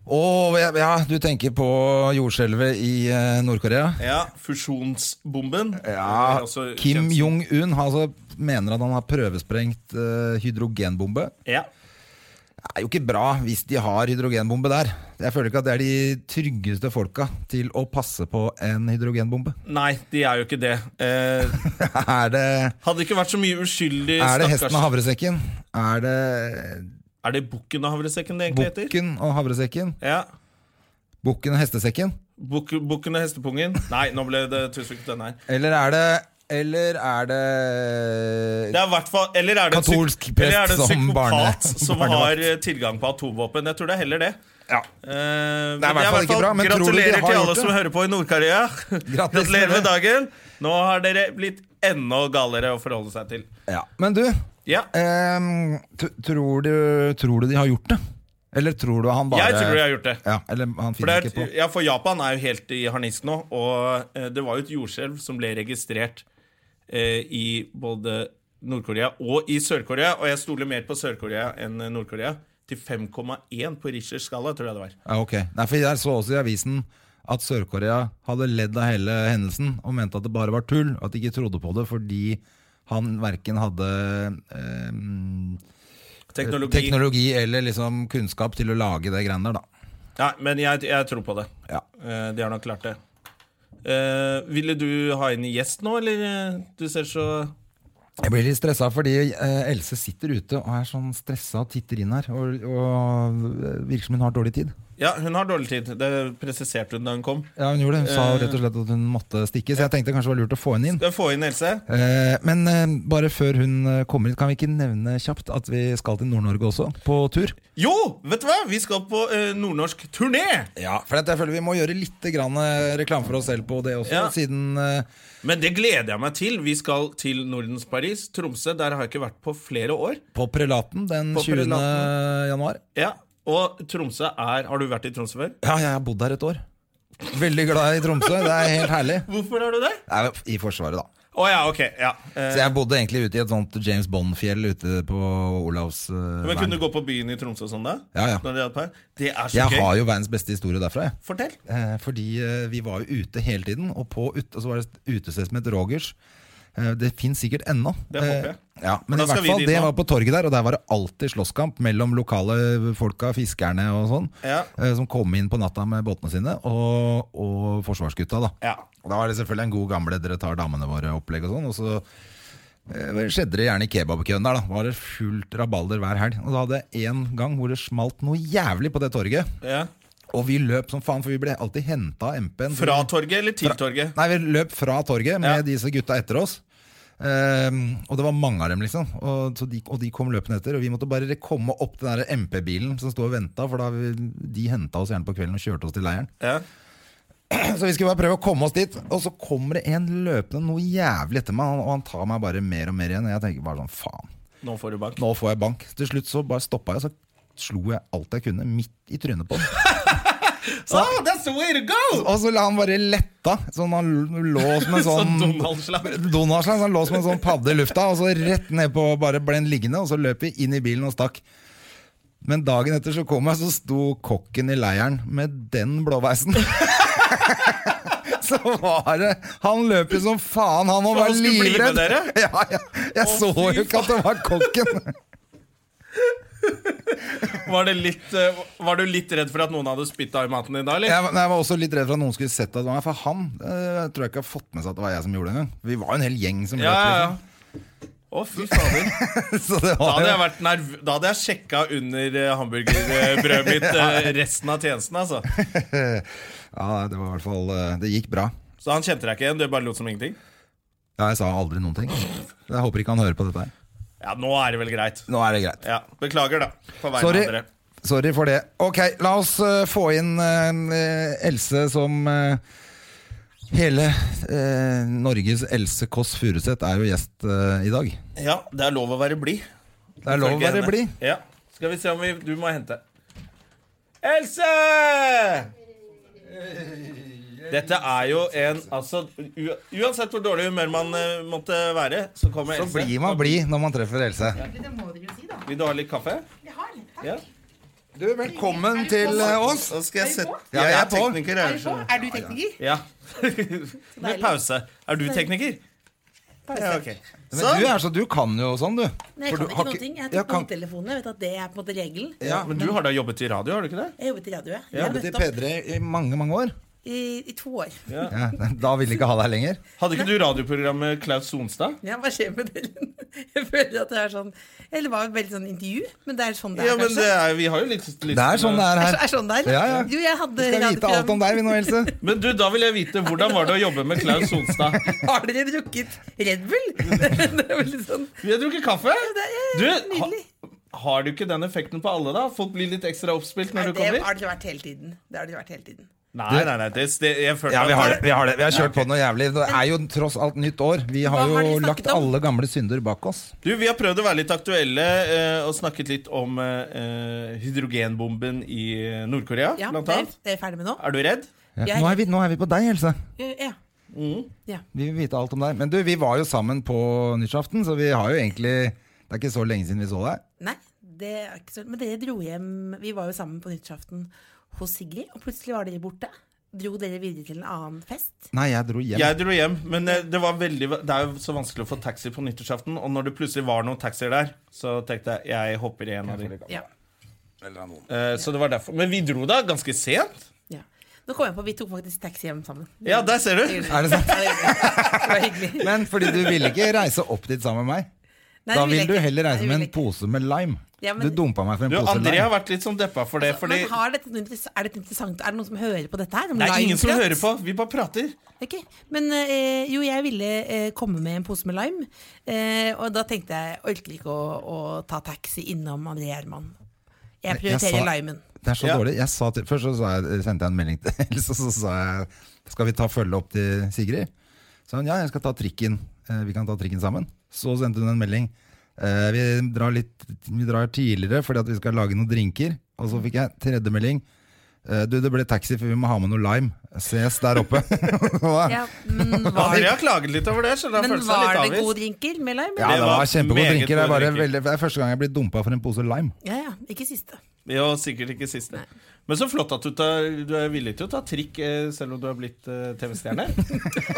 Speaker 1: Å, ja, ja, du tenker på jordskjelvet i eh, Nord-Korea?
Speaker 2: Ja, Fusjonsbomben.
Speaker 1: Ja,
Speaker 2: altså, Det er også
Speaker 1: Kim
Speaker 2: kjent-
Speaker 1: Jong-un har altså, mener at han har prøvesprengt eh, hydrogenbombe.
Speaker 2: Ja.
Speaker 1: Det er jo ikke bra hvis de har hydrogenbombe der. Jeg føler ikke at det er de tryggeste folka til å passe på en hydrogenbombe.
Speaker 2: Nei, de er jo ikke det. Eh,
Speaker 1: er det,
Speaker 2: hadde det ikke vært så mye
Speaker 1: er
Speaker 2: uskyldig
Speaker 1: det
Speaker 2: stakkars
Speaker 1: hesten og havresekken? Er det
Speaker 2: Er det bukken og havresekken det egentlig heter?
Speaker 1: bukken og havresekken?
Speaker 2: Ja.
Speaker 1: Bukken og hestesekken?
Speaker 2: Buk, bukken og hestepungen. Nei, nå ble det tusenfrykt den her.
Speaker 1: Eller er det Eller er det
Speaker 2: Det er hvert fall, eller er det en psyk-
Speaker 1: Katolsk prest
Speaker 2: eller er det en
Speaker 1: som barne-
Speaker 2: psykopat som har
Speaker 1: barnevakt.
Speaker 2: eh, tilgang på atomvåpen? Jeg tror det er heller det.
Speaker 1: Ja.
Speaker 2: Eh, men
Speaker 1: Det er i hvert fall ikke bra, men tror du de
Speaker 2: gratulerer
Speaker 1: har
Speaker 2: til alle
Speaker 1: gjort det?
Speaker 2: som hører på i Nord-Korea. Gratulerer med dagen. Nå har dere blitt enda galere å forholde seg til.
Speaker 1: ja. Men du,
Speaker 2: Ja,
Speaker 1: ehm, t- tror, du, tror du de har gjort det? Eller tror du han bare
Speaker 2: jeg tror jeg har gjort det.
Speaker 1: Ja, eller han
Speaker 2: For,
Speaker 1: finner
Speaker 2: det
Speaker 1: ikke på
Speaker 2: er, ja, for Japan er jo helt i harnisk nå, og eh, det var jo et jordskjelv som ble registrert eh, i både Nord-Korea og i Sør-Korea, og jeg stoler mer på Sør-Korea enn Nord-Korea. Til 5,1 på Richters skala, tror jeg det var.
Speaker 1: Ja, ok. Nei, for Jeg så også i avisen at Sør-Korea hadde ledd av hele hendelsen og mente at det bare var tull, og at de ikke trodde på det fordi han verken hadde ehm,
Speaker 2: Teknologi.
Speaker 1: teknologi eller liksom kunnskap til å lage det greiene der, da.
Speaker 2: Nei, men jeg, jeg tror på det.
Speaker 1: Ja.
Speaker 2: Eh, de har nok klart det. Eh, ville du ha inn gjest nå, eller? eh, Du ser så
Speaker 1: Jeg blir litt stressa fordi eh, Else sitter ute og er sånn stressa og titter inn her. Og, og virker som hun har dårlig tid.
Speaker 2: Ja, hun har dårlig tid. Det presiserte hun da hun kom.
Speaker 1: Ja, hun gjorde det. Hun sa
Speaker 2: Eh.
Speaker 1: rett og slett at hun måtte stikke, så jeg tenkte kanskje det var lurt å få henne inn.
Speaker 2: Skal jeg få inn Else?
Speaker 1: Eh, Men eh, bare før hun eh, kommer hit, kan vi ikke nevne kjapt at vi skal til Nord-Norge også, på tur?
Speaker 2: Jo, vet du hva? Vi skal på eh, nordnorsk turné!
Speaker 1: Ja, for at jeg føler vi må gjøre litt grann eh, reklame for oss selv på det også,
Speaker 2: Ja.
Speaker 1: siden eh,
Speaker 2: Men det gleder jeg meg til. Vi skal til Nordens Paris, Tromsø. Der har jeg ikke vært på flere år.
Speaker 1: på Prelaten den
Speaker 2: På
Speaker 1: 20.
Speaker 2: Prelaten.
Speaker 1: januar.
Speaker 2: Ja, Og Tromsø er Har du vært i Tromsø før?
Speaker 1: Ja, jeg har bodd der et år. Veldig glad i Tromsø. Det er helt herlig.
Speaker 2: Hvorfor er du det?
Speaker 1: Nei, I Forsvaret, da.
Speaker 2: Å ja, ok. ja
Speaker 1: Så
Speaker 2: eh,
Speaker 1: jeg bodde egentlig ute i et sånt James Bond-fjell ute på eh, Olavsvern.
Speaker 2: Men kunne du gå på byen i Tromsø og sånn, da?
Speaker 1: Ja, ja.
Speaker 2: Når de hadde par? Det er så
Speaker 1: Jeg
Speaker 2: gøy.
Speaker 1: har jo verdens beste historie derfra, jeg.
Speaker 2: Fortell.
Speaker 1: Eh, fordi eh, vi var jo ute hele tiden, og på ut, og så var det et utested som het Rogers. Eh, det fins sikkert ennå.
Speaker 2: Det håper jeg.
Speaker 1: Eh, ja, men
Speaker 2: da
Speaker 1: i
Speaker 2: skal
Speaker 1: hvert
Speaker 2: vi
Speaker 1: fall,
Speaker 2: dit
Speaker 1: det
Speaker 2: nå.
Speaker 1: var på torget der, og der var det alltid slåsskamp mellom lokale folka, fiskerne og sånn,
Speaker 2: Ja.
Speaker 1: eh, som kom inn på natta med båtene sine, og, og forsvarsgutta, da.
Speaker 2: Ja.
Speaker 1: Og da var det selvfølgelig en god gamle 'dere tar damene våre'-opplegg og sånn. Og så eh, skjedde det gjerne i kebabkøen der, da. Var det fullt rabalder hver helg. Og da hadde jeg en gang hvor det smalt noe jævlig på det torget.
Speaker 2: ja.
Speaker 1: Og vi løp som faen, for vi ble alltid henta av MP-en.
Speaker 2: Fra torget eller til torget?
Speaker 1: Nei, vi løp fra torget med
Speaker 2: Ja.
Speaker 1: disse gutta etter oss. Ehm, og det var mange av dem, liksom. Og, så de, og de kom løpende etter. Og vi måtte bare komme opp den der MP-bilen som sto og venta, for da vi, de henta oss gjerne på kvelden og kjørte oss til leiren.
Speaker 2: Ja.
Speaker 1: Så vi skulle bare prøve å komme oss dit. Og så kommer det en løpende noe jævlig etter meg, og han tar meg bare mer og mer igjen. Og jeg tenker bare sånn, faen.
Speaker 2: Nå får du bank.
Speaker 1: Nå får jeg bank. Til slutt så bare stoppa jeg, og så slo jeg alt jeg kunne, midt i trynet på han.
Speaker 2: Oh, that's the way to go!
Speaker 1: Og så la han bare letta, sånn han lå som en
Speaker 2: Sånn
Speaker 1: sånn
Speaker 2: Donald-slapp.
Speaker 1: Donaldslag, så han lå som en sånn padde i lufta, og så rett ned på bare ble han liggende, og så løp vi inn i bilen og stakk. Men dagen etter så kom jeg, så sto kokken i leiren med den blåveisen. Så var det Han løp jo som faen, han òg
Speaker 2: Så
Speaker 1: var
Speaker 2: han skulle bli med
Speaker 1: livredd.
Speaker 2: dere?
Speaker 1: Ja, ja. Jeg
Speaker 2: Å,
Speaker 1: så
Speaker 2: fy
Speaker 1: jo ikke at det var kokken.
Speaker 2: Var, det litt, eh, var du litt redd for at noen hadde spytta i maten din da, eller?
Speaker 1: Jeg, var- jeg var også litt redd for at noen skulle sett at det var meg, for han eh, tror jeg ikke har fått med seg at det var jeg som gjorde det engang. Vi var jo en hel gjeng som løp.
Speaker 2: Ja, ja,
Speaker 1: liksom.
Speaker 2: ja. Å, fy fader.
Speaker 1: Så det
Speaker 2: Da
Speaker 1: var
Speaker 2: hadde
Speaker 1: jo
Speaker 2: jeg, vært nerv da hadde jeg sjekka under eh, hamburgerbrødet mitt eh, resten av tjenesten, altså.
Speaker 1: Ja, det var i hvert fall eh, Det gikk bra.
Speaker 2: Så han kjente deg ikke igjen? Du bare lot som ingenting?
Speaker 1: Ja, jeg sa aldri noen ting. Jeg håper ikke han hører på dette her.
Speaker 2: Ja, nå er det vel greit.
Speaker 1: Nå er det greit.
Speaker 2: Ja, Beklager, da. På vegne av
Speaker 1: Sorry.
Speaker 2: andre.
Speaker 1: Sorry for det. Ok, la oss eh, få inn eh, Else som eh, Hele eh, Norges Else Kåss Furuseth er jo gjest eh, i dag.
Speaker 2: Ja, det er lov å være blid.
Speaker 1: Det er lov å
Speaker 2: Ifølge
Speaker 1: være
Speaker 2: henne.
Speaker 1: blid.
Speaker 2: Ja. Skal vi se om vi Du må hente. Else! Dette er jo en Altså, u- uansett hvor dårlig humør man eh, måtte være, så kommer
Speaker 1: Så
Speaker 2: Else.
Speaker 1: blir man blid når man treffer Else.
Speaker 3: Det må dere jo si, da.
Speaker 2: Vil du ha litt kaffe?
Speaker 3: Jeg har litt, takk.
Speaker 2: Ja.
Speaker 1: Du, velkommen til eh, oss.
Speaker 2: Nå skal jeg sette
Speaker 1: Ja, jeg er
Speaker 2: Jeg er
Speaker 1: på.
Speaker 2: tekniker,
Speaker 3: Er
Speaker 2: jeg.
Speaker 3: du på?
Speaker 2: skjønner.
Speaker 3: Er du tekniker?
Speaker 2: Ja. Med pause. Er du tekniker? Ja, ok.
Speaker 1: Men du
Speaker 2: Sånn.
Speaker 1: er så, du kan jo sånn, du.
Speaker 3: Nei, jeg
Speaker 1: For du
Speaker 3: kan ikke
Speaker 1: har
Speaker 3: noen
Speaker 1: ikke-
Speaker 3: ting. Jeg
Speaker 1: Ja,
Speaker 3: tok på
Speaker 1: kan-
Speaker 3: hodetelefonene. Jeg vet at det er på en måte regelen.
Speaker 2: Ja, men du har da jobbet i radio, har du ikke det?
Speaker 3: Jeg jobbet i radio, jeg.
Speaker 1: Jeg
Speaker 3: Jeg
Speaker 1: har jobbet i
Speaker 3: møtte opp
Speaker 1: P3 i mange, mange år.
Speaker 3: i, i to år.
Speaker 1: Ja, da ville de ikke ha deg lenger.
Speaker 2: Hadde ikke du radioprogrammet Klaus Sonstad?
Speaker 3: Ja, hva skjer med delen? Jeg føler at det er sånn Eller det var veldig sånn intervju, men det er sånn det er,
Speaker 2: Ja, men det
Speaker 3: kanskje.
Speaker 2: er, vi har jo litt, litt
Speaker 1: Det er sånn det er
Speaker 3: Er,
Speaker 1: her.
Speaker 3: så- er sånn det er?
Speaker 1: Ja, ja.
Speaker 3: Jo, jeg hadde
Speaker 1: Vi skal vite alt om deg, vi nå, Else.
Speaker 2: Men du, da vil jeg vite, hvordan var det å jobbe med Klaus Sonstad?
Speaker 3: Har dere drukket Red Bull? det er veldig sånn
Speaker 2: Vi har drukket kaffe.
Speaker 3: det er
Speaker 2: Du, ha,
Speaker 3: nydelig.
Speaker 2: har du ikke den effekten på alle, da? Folk blir litt ekstra oppspilt
Speaker 3: Nei,
Speaker 2: når du
Speaker 3: det
Speaker 2: kommer?
Speaker 3: har det vært hele tiden. Det har det vært hele tiden.
Speaker 2: Nei, nei, nei. Det, det, jeg følte
Speaker 1: Ja, vi har
Speaker 2: at-
Speaker 1: det. Vi har, det. Vi har kjørt på noe jævlig. Det er jo tross alt nytt år. Vi har
Speaker 3: Hva har
Speaker 1: jo
Speaker 3: de snakket
Speaker 1: lagt
Speaker 3: om?
Speaker 1: alle gamle synder bak oss.
Speaker 2: Du, Vi har prøvd å være litt aktuelle eh, og snakket litt om eh, hydrogenbomben i eh, Nord-Korea.
Speaker 3: Ja,
Speaker 2: blant
Speaker 3: det,
Speaker 2: annet.
Speaker 3: det er jeg ferdig med nå.
Speaker 2: Er du redd?
Speaker 1: Ja.
Speaker 3: Jeg-
Speaker 1: Nå, er vi, nå er vi på deg, Else.
Speaker 3: Ja.
Speaker 2: Mm.
Speaker 3: ja.
Speaker 1: Vi vil vite alt om deg. Men du, vi var jo sammen på nyttårsaften, så vi har jo egentlig Det er ikke så lenge siden vi så deg.
Speaker 3: Nei, det er ikke så Men dere dro hjem Vi var jo sammen på nyttårsaften hos Sigrid, og plutselig var dere borte. Dro dere videre til en annen fest?
Speaker 1: Nei, jeg dro hjem.
Speaker 2: Jeg dro hjem, men eh, det, var veldig, det er jo så vanskelig å få taxi på nyttårsaften. Og når det plutselig var noen taxier der, så tenkte jeg jeg hopper i en av dem.
Speaker 3: Ja.
Speaker 2: så det var derfor. Men vi dro da ganske sent.
Speaker 3: ja. Nå kom jeg på, vi tok faktisk taxi hjem sammen.
Speaker 2: Ja, der ser du.
Speaker 3: det
Speaker 1: Er det sant?
Speaker 3: var hyggelig.
Speaker 1: Men fordi du ville ikke reise opp dit sammen med meg.
Speaker 3: Nei,
Speaker 1: Da
Speaker 3: det ville
Speaker 1: vil
Speaker 3: jeg
Speaker 1: du
Speaker 3: ikke.
Speaker 1: heller reise
Speaker 3: Nei, det
Speaker 1: med
Speaker 3: ville
Speaker 1: en
Speaker 3: jeg ikke.
Speaker 1: pose med lime.
Speaker 3: Ja, men-
Speaker 1: Du dumpa meg for en
Speaker 2: Du,
Speaker 1: pose
Speaker 2: André har
Speaker 1: lime.
Speaker 2: vært litt sånn deppa for det. Fordi
Speaker 3: Altså, Men har dette, noe interess- er dette interessant? Er det noen som hører på dette her?
Speaker 2: det er ingen som hører på. Vi bare prater.
Speaker 3: Ok, Men eh, jo, jeg ville eh, komme med en pose med lime. Eh, og da tenkte jeg orker ikke å, å ta taxi innom André Gjerman. Jeg
Speaker 1: jeg
Speaker 3: prioriterer
Speaker 1: sa-
Speaker 3: limen.
Speaker 1: Det er så
Speaker 2: Ja.
Speaker 1: dårlig. Jeg sa til, først så sa jeg, sendte jeg en melding til Else, så sa jeg Skal vi ta følge opp til Sigrid? Så sa hun ja, jeg skal ta trikken. Eh, Vi kan ta trikken sammen. Så sendte hun en melding. Eh, Vi drar, litt, vi drar tidligere fordi at vi skal lage noen drinker. Og så fikk jeg tredje melding. Eh, Du, det ble taxi, for vi må ha med noe lime. Ses der oppe. Og da-
Speaker 3: Ja, men var,
Speaker 2: André har klaget litt over det, så han
Speaker 3: men
Speaker 2: følte seg litt
Speaker 3: var
Speaker 2: avvist.
Speaker 3: det gode drinker med lime?
Speaker 1: ja,
Speaker 3: eller?
Speaker 1: det var
Speaker 2: var
Speaker 1: kjempegode
Speaker 2: meget
Speaker 1: drinker. Det er,
Speaker 2: gode
Speaker 1: bare
Speaker 2: drinker.
Speaker 1: veldig, det er første gang jeg blir dumpa for en pose lime.
Speaker 3: Ja, ja, ikke siste.
Speaker 2: Ja, sikkert ikke siste. Men så flott at du, tar, du er villig til å ta trikk eh, selv om du har blitt eh, TV-stjerne.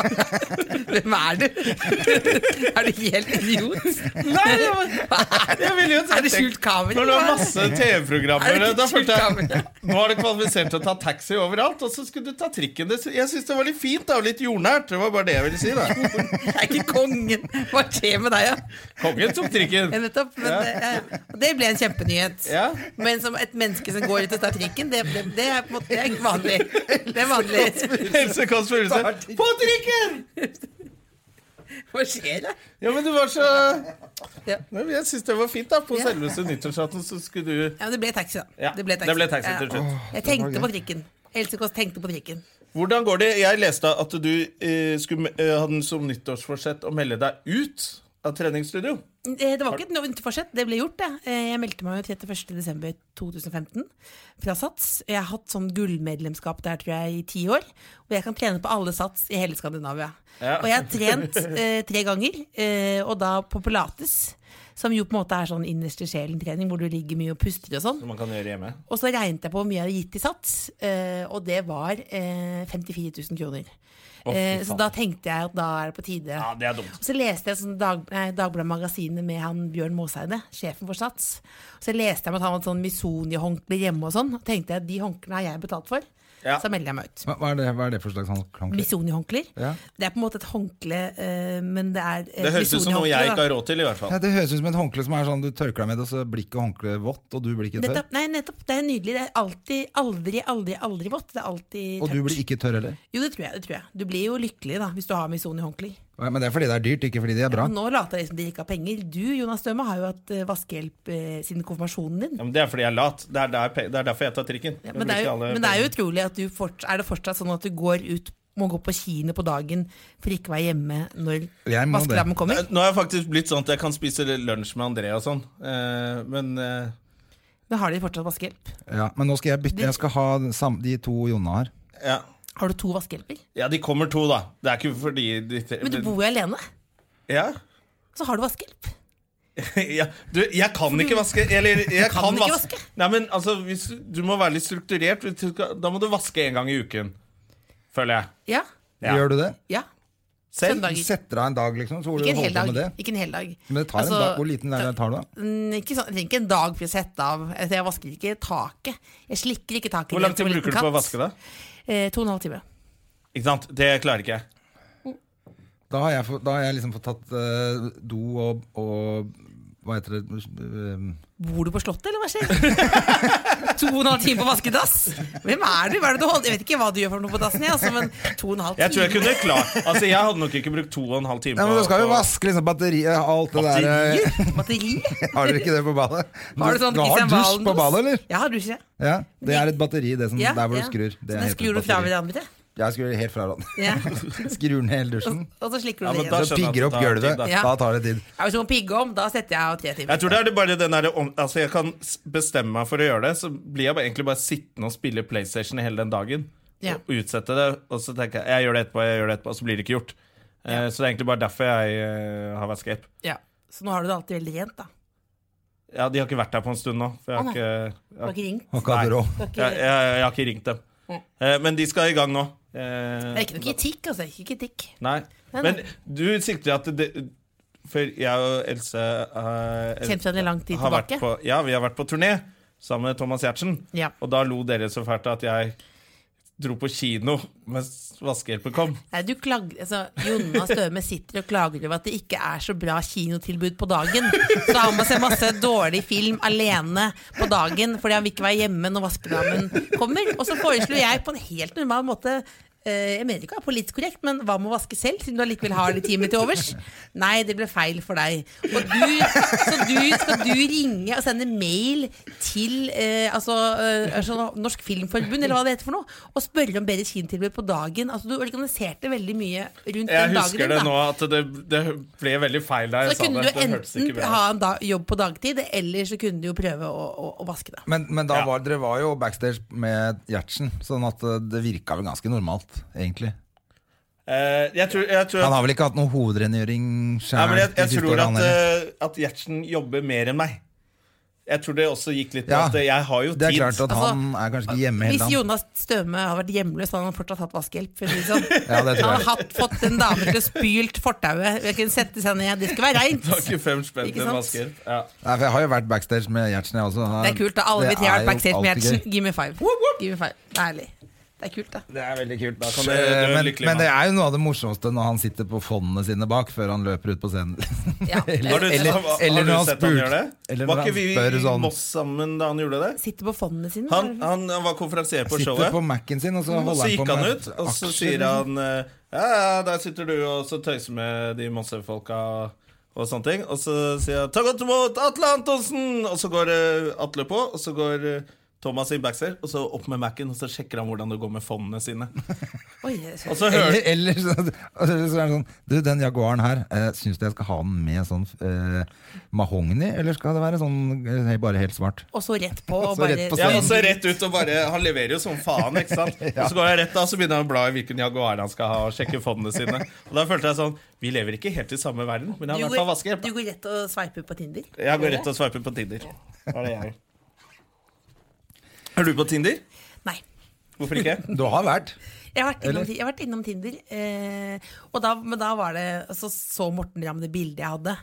Speaker 3: Hvem er du? er du helt idiot?
Speaker 2: Nei, jeg var- jeg ville jo
Speaker 3: Er det skjult kamera?
Speaker 2: Når du har
Speaker 3: eller hva?
Speaker 2: masse
Speaker 3: Er
Speaker 2: TV-programmer
Speaker 3: det ikke
Speaker 2: Da følte
Speaker 3: skjult
Speaker 2: jeg Nå er det kvalifisert til å ta taxi overalt, og så skulle du ta trikken. Det- Jeg syns det var litt fint da, og litt jordnært. Det var bare det jeg ville si. da
Speaker 3: Jeg er ikke kongen. Hva skjer med deg, ja?
Speaker 2: Kongen tok
Speaker 3: Ja,
Speaker 2: trikken.
Speaker 3: nettopp. Men,
Speaker 2: Ja.
Speaker 3: det- ja. Og det ble en kjempenyhet.
Speaker 2: Ja.
Speaker 3: Men som et menneske som går ut og tar trikken, det, det, det, er, på en måte- det er ikke vanlig. Det er vanlig.
Speaker 2: Helse Kåss Furuseth. På trikken!
Speaker 3: Hva skjer da?
Speaker 2: Ja, men du var så
Speaker 3: Ja.
Speaker 2: Nei, men Jeg syns det var fint, da. På
Speaker 3: Ja.
Speaker 2: selveste nyttårsaften så skulle du
Speaker 3: Ja, men det ble taxi, da.
Speaker 2: Ja, det ble taxi til
Speaker 3: Ja.
Speaker 2: slutt.
Speaker 3: Jeg tenkte på trikken. Else Kåss tenkte på trikken.
Speaker 2: Hvordan går det? Jeg leste at du eh, skulle eh, hadde som nyttårsforsett å melde deg ut av treningsstudio.
Speaker 3: Eh, Det var ikke et vinterforsett, det ble gjort, det. Eh, Jeg meldte meg jo 31.12.2015 fra Sats. Jeg har hatt sånn gullmedlemskap der, tror jeg, i ti år. Og jeg kan trene på alle Sats i hele Skandinavia.
Speaker 2: Ja.
Speaker 3: Og jeg har trent eh, tre ganger, eh, og da på pilates. Som jo på en måte er sånn innerste sjelen-trening, hvor du ligger mye og puster og sånn.
Speaker 2: Som man kan gjøre hjemme.
Speaker 3: Og så regnet jeg på hvor mye jeg hadde gitt i sats, eh, og det var eh, 54 000 kroner.
Speaker 2: Å, fy
Speaker 3: Eh, så
Speaker 2: faen.
Speaker 3: da tenkte jeg at da er det på tide.
Speaker 2: Ja, det er dumt.
Speaker 3: Og så leste jeg sånn dag, nei, Dagbladet Magasinet med han Bjørn Måseide, sjefen for Sats. Og så leste jeg om at han hadde sånn Misoni-håndkle hjemme og sånn. Og tenkte jeg de håndklene har jeg betalt for.
Speaker 2: Ja.
Speaker 3: Så melder jeg meg ut.
Speaker 1: Hva hva er det, hva er det for slags sånn håndkle?
Speaker 3: Misoni-håndklær.
Speaker 1: Ja.
Speaker 3: Det er på en måte et håndkle, eh, men det er
Speaker 2: Det høres ut som noe jeg ikke
Speaker 3: har
Speaker 2: har råd til, i hvert fall.
Speaker 1: Ja, det høres ut som et håndkle som er sånn du tørker deg med, og så blir ikke håndkleet vått, og du blir ikke tørr.
Speaker 3: Nettopp, nei, nettopp. Det er nydelig. Det er alltid, aldri, aldri, aldri vått. Det er alltid
Speaker 1: Og du blir ikke tørr heller.
Speaker 3: Jo, det tror jeg. det tror jeg Du blir jo lykkelig da, hvis du har Misoni-håndklær.
Speaker 1: Ja, Men det er fordi det er dyrt, ikke fordi de er bra.
Speaker 3: Men nå later jeg som de ikke har penger. Du, Jonas Døme, har jo hatt eh, vaskehjelp eh, siden konfirmasjonen din.
Speaker 2: Ja, men det er fordi jeg er lat. Det er, der, pe- det er derfor jeg tar trikken. Jeg
Speaker 3: Ja, men, det er
Speaker 2: bruker
Speaker 3: jo,
Speaker 2: alle
Speaker 3: men det er jo utrolig at du fort, Er det fortsatt sånn at du går ut må gå på kino på dagen for ikke å være hjemme når
Speaker 1: Jeg må det.
Speaker 3: vaskelammen kommer?
Speaker 2: pengene. Eh, Nå har jeg faktisk blitt sånn at jeg kan spise lunsj med André og sånn. Eh, men eh,
Speaker 3: Men har de fortsatt vaskehjelp?
Speaker 1: Ja, men nå skal jeg bytte. Jeg skal ha den sam de to Jonna har.
Speaker 2: ja.
Speaker 3: Har du to vaskehjelper?
Speaker 2: ja, de kommer to, da. Det er ikke fordi de
Speaker 3: Men du bor jo alene,
Speaker 2: Ja?
Speaker 3: så har du vaskehjelp.
Speaker 2: ja, du, jeg kan ikke vaske. Eller, jeg
Speaker 3: kan
Speaker 2: kan,
Speaker 3: ikke
Speaker 2: vaske.
Speaker 3: vaske.
Speaker 2: Nei, men altså, hvis, du må være litt strukturert. hvis du skal- Da må du vaske en gang i uken. Føler jeg.
Speaker 3: Ja.
Speaker 2: Ja.
Speaker 1: Gjør du det?
Speaker 3: ja.
Speaker 2: Selv?
Speaker 3: Søndager.
Speaker 1: Du setter av en dag, liksom? Så holder
Speaker 3: Ikke
Speaker 1: du
Speaker 3: en hel
Speaker 1: holdt på
Speaker 3: dag.
Speaker 1: med det.
Speaker 3: Ikke en hel dag.
Speaker 1: Men det tar
Speaker 3: Altså,
Speaker 1: en dag, Hvor liten leilighet tar du, da?
Speaker 3: Mm, Ikke sånn, jeg trenger ikke en dag for å sette av. Altså, Jeg vasker ikke taket. Jeg slikker ikke taket.
Speaker 2: Hvor lang tid bruker du på å vaske det?
Speaker 3: Eh, to og en halv time.
Speaker 2: Ikke sant? Det klarer ikke jeg.
Speaker 1: Da har jeg, fått- da har jeg liksom fått tatt eh, do og, og Hva heter det eh,
Speaker 3: Bor du på Slottet, eller hva skjer? to og en halv time på vaskedass? Hvem er du? Hva er det du holder? Jeg vet ikke hva du gjør for noe på dassen, jeg, altså, men to og en halv time
Speaker 2: Jeg tror jeg kunne klart Altså, jeg hadde nok ikke brukt to og en halv time
Speaker 1: Ja, men
Speaker 2: på-
Speaker 1: Du skal jo
Speaker 2: på-
Speaker 1: vaske liksom batteriet og alt det der. eh,
Speaker 3: Batteri? Batteri?
Speaker 1: Har dere ikke det på badet? Du,
Speaker 3: Har du sånn
Speaker 1: du har
Speaker 3: Christian
Speaker 1: dusj på
Speaker 3: Valen-dos?
Speaker 1: badet, eller?
Speaker 3: Ja, har du ikke det?
Speaker 1: Ja, Det er et batteri, det som,
Speaker 3: Ja,
Speaker 1: der hvor
Speaker 3: ja.
Speaker 1: du skrur.
Speaker 3: Så
Speaker 1: Det
Speaker 3: det
Speaker 1: heter
Speaker 3: skrur du
Speaker 1: batteri.
Speaker 3: fra hverandre?
Speaker 1: Jeg skrur helt fra hverandre.
Speaker 3: Ja.
Speaker 1: Skrur ned hele dusjen.
Speaker 3: Og så slikker du
Speaker 2: Ja,
Speaker 3: det
Speaker 2: men
Speaker 3: igjen.
Speaker 2: da
Speaker 1: Så
Speaker 2: skjønner jeg at
Speaker 1: pigger
Speaker 2: det
Speaker 1: opp
Speaker 2: tar
Speaker 1: gulvet.
Speaker 2: tid, da.
Speaker 3: Ja.
Speaker 1: Da tar det tid.
Speaker 3: Ja, Hvis du må pigge om, da setter jeg av tre timer.
Speaker 2: Jeg tror det er det bare den der om, Altså jeg kan s- bestemme meg for å gjøre det, så blir jeg bare, egentlig bare sittende og spille PlayStation hele den dagen.
Speaker 3: Ja.
Speaker 2: Og utsette det. Og så tenker jeg jeg gjør det etterpå, jeg gjør det etterpå, og så blir det ikke gjort. Eh, Så det er egentlig bare derfor jeg eh, har vaskehjelp.
Speaker 3: Ja. Så nå har du det alltid veldig rent, da.
Speaker 2: Ja, de har ikke vært der på en stund nå. For jeg
Speaker 3: Å, nei.
Speaker 2: har ikke, jeg, har ikke-
Speaker 3: Du har ikke ringt?
Speaker 1: Og ikke hatt
Speaker 2: Nei.
Speaker 1: råd.
Speaker 3: Du har ikke...
Speaker 2: jeg, jeg, jeg har ikke ringt dem. Eh, Men de skal i gang nå. Eh,
Speaker 3: Mm. Det er ikke noe kritikk, altså. Ikke kritikk.
Speaker 2: Nei.
Speaker 3: Nei, nei.
Speaker 2: Men du sikter at det For jeg og Else eh,
Speaker 3: Kjent hverandre lang tid
Speaker 2: har vært
Speaker 3: tilbake.
Speaker 2: på, ja, vi har vært på turné sammen med Thomas Giertsen.
Speaker 3: Ja.
Speaker 2: Og da lo dere så fælt at jeg dro på kino mens vaskehjelpen kom.
Speaker 3: Nei, du klag... altså, Jonna Støme sitter og klager over at det ikke er så bra kinotilbud på dagen. Så han må se masse dårlig film alene på dagen fordi han vil ikke være hjemme når vaskedamen kommer. Og så foreslo jeg på en helt normal måte eh, jeg mener ikke å være politisk korrekt, men hva med å vaske selv, siden du allikevel har litt time til overs? Nei, det ble feil for deg. Og du, så du, skal du ringe og sende mail til eh, altså, eh, altså Norsk Filmforbund, eller hva det heter for noe, og spørre om bedre kinotilbud på dagen? Altså, du organiserte veldig mye
Speaker 2: Jeg
Speaker 3: rundt den dagen
Speaker 2: husker
Speaker 3: din.
Speaker 2: det
Speaker 3: da.
Speaker 2: nå at det, det ble veldig feil da
Speaker 3: Så
Speaker 2: jeg sa
Speaker 3: kunne
Speaker 2: det.
Speaker 3: du
Speaker 2: Det hørtes
Speaker 3: enten
Speaker 2: ikke bra
Speaker 3: ha
Speaker 2: ut.
Speaker 3: en da, jobb på dagtid, eller så kunne du jo prøve å, å, å vaske det.
Speaker 1: Men, men da
Speaker 2: Ja.
Speaker 1: var, dere var jo backstage med Gjertsen, sånn at eh, det virka vel ganske normalt, egentlig.
Speaker 2: Eh, jeg tror, jeg tror
Speaker 1: Han
Speaker 2: at,
Speaker 1: har vel ikke hatt noe hovedrengjøring
Speaker 2: nei,
Speaker 1: sjæl
Speaker 2: men jeg,
Speaker 1: de
Speaker 2: jeg
Speaker 1: siste
Speaker 2: tror
Speaker 1: åra,
Speaker 2: at,
Speaker 1: han heller?
Speaker 2: eh, at Gjertsen jobber mer enn meg. Jeg tror det også gikk litt på
Speaker 1: Ja,
Speaker 2: at jeg har jo tid.
Speaker 1: Det er klart at
Speaker 3: Altså,
Speaker 1: han er kanskje ikke hjemme hele
Speaker 3: Hvis
Speaker 1: dagen.
Speaker 3: Jonas Støme hadde vært hjemløs, hadde han fortsatt hatt vaskehjelp. For å si det sånn.
Speaker 1: Ja, det
Speaker 3: han
Speaker 1: tror
Speaker 3: hadde
Speaker 1: jeg.
Speaker 3: hatt, fått en dame til å spylt fortauet. Jeg kunne sette seg ned, det skulle være reint.
Speaker 2: Det var ikke fem spenn
Speaker 3: Ikke
Speaker 2: til
Speaker 3: sant?
Speaker 2: vaskehjelp. Ja.
Speaker 1: Nei, for jeg har jo vært backstage med Gjertsen, jeg også. Han-
Speaker 3: Det er kult, da. Alle vi
Speaker 1: det
Speaker 3: tre har
Speaker 1: er
Speaker 3: vært
Speaker 1: jo
Speaker 3: backstage med
Speaker 1: alltid gøy.
Speaker 3: Gjertsen. Give me five. Give me five. Det er ærlig. Det er kult, da.
Speaker 2: Det er veldig kult. Da kan du, du er
Speaker 1: Eh, Men,
Speaker 2: lykkelig
Speaker 1: men det
Speaker 2: mann.
Speaker 1: er jo noe av det morsomste når han sitter på fondene sine bak før han løper ut på scenen.
Speaker 3: Ja.
Speaker 2: Har du,
Speaker 1: eller-
Speaker 2: har,
Speaker 1: eller
Speaker 2: har
Speaker 1: når
Speaker 2: du
Speaker 1: han
Speaker 2: sett han
Speaker 1: spurte-
Speaker 2: gjøre det?
Speaker 1: eller når
Speaker 2: Var ikke
Speaker 1: han
Speaker 2: vi
Speaker 1: spør
Speaker 2: i
Speaker 1: sånn-
Speaker 2: Moss sammen da han gjorde det?
Speaker 3: Eh, Sitter på fondene sine.
Speaker 2: Han,
Speaker 3: eller?
Speaker 2: han, han var konferansier på
Speaker 1: Sitter
Speaker 2: showet.
Speaker 1: på Mac-en sin, og så
Speaker 2: Og
Speaker 1: holder
Speaker 2: så
Speaker 1: han på
Speaker 2: gikk
Speaker 1: med
Speaker 2: han ut, og så
Speaker 1: aksjer,
Speaker 2: sier
Speaker 1: liksom.
Speaker 2: han eh, Ja, ja, der sitter du og så tøyser med de Mosse-folka og, og sånne ting. Og så sier han 'ta godt imot Atle Antonsen', og så går eh, Atle på, og så går eh, Thomas inn backstage, og så opp med Mac-en, og så sjekker han hvordan det går med fondene sine.
Speaker 3: Oi, jeg
Speaker 2: Og
Speaker 3: skjønner.
Speaker 2: så hører
Speaker 1: Eller, eller så, og så så er det sånn Du, den Jaguaren her, eh, syns du jeg skal ha den med sånn eh, mahogni, eller skal det være sånn eh, bare helt svart?
Speaker 3: Og så rett på. Og
Speaker 1: Så
Speaker 3: bare,
Speaker 1: rett på
Speaker 2: ja, og så rett ut og bare Han leverer jo som faen, ikke sant? Og så går jeg rett da, så begynner han å bla i hvilken Jaguar han skal ha, og sjekke fondene sine. Og da følte jeg sånn Vi lever ikke helt i samme verden, men han
Speaker 3: Du
Speaker 2: har i hvert fall
Speaker 3: går,
Speaker 2: vaskehjelp.
Speaker 3: du går rett og sveiper på Tinder?
Speaker 2: Jeg går rett og sveiper på Tinder. Da er det jeg. Er du på Tinder?
Speaker 3: Nei.
Speaker 2: Hvorfor ikke?
Speaker 1: Du har vært.
Speaker 3: Jeg har vært innom,
Speaker 1: Eller?
Speaker 3: jeg har vært innom Tinder, eh, og da, men da var det, altså, så Morten Ramm det bildet jeg hadde.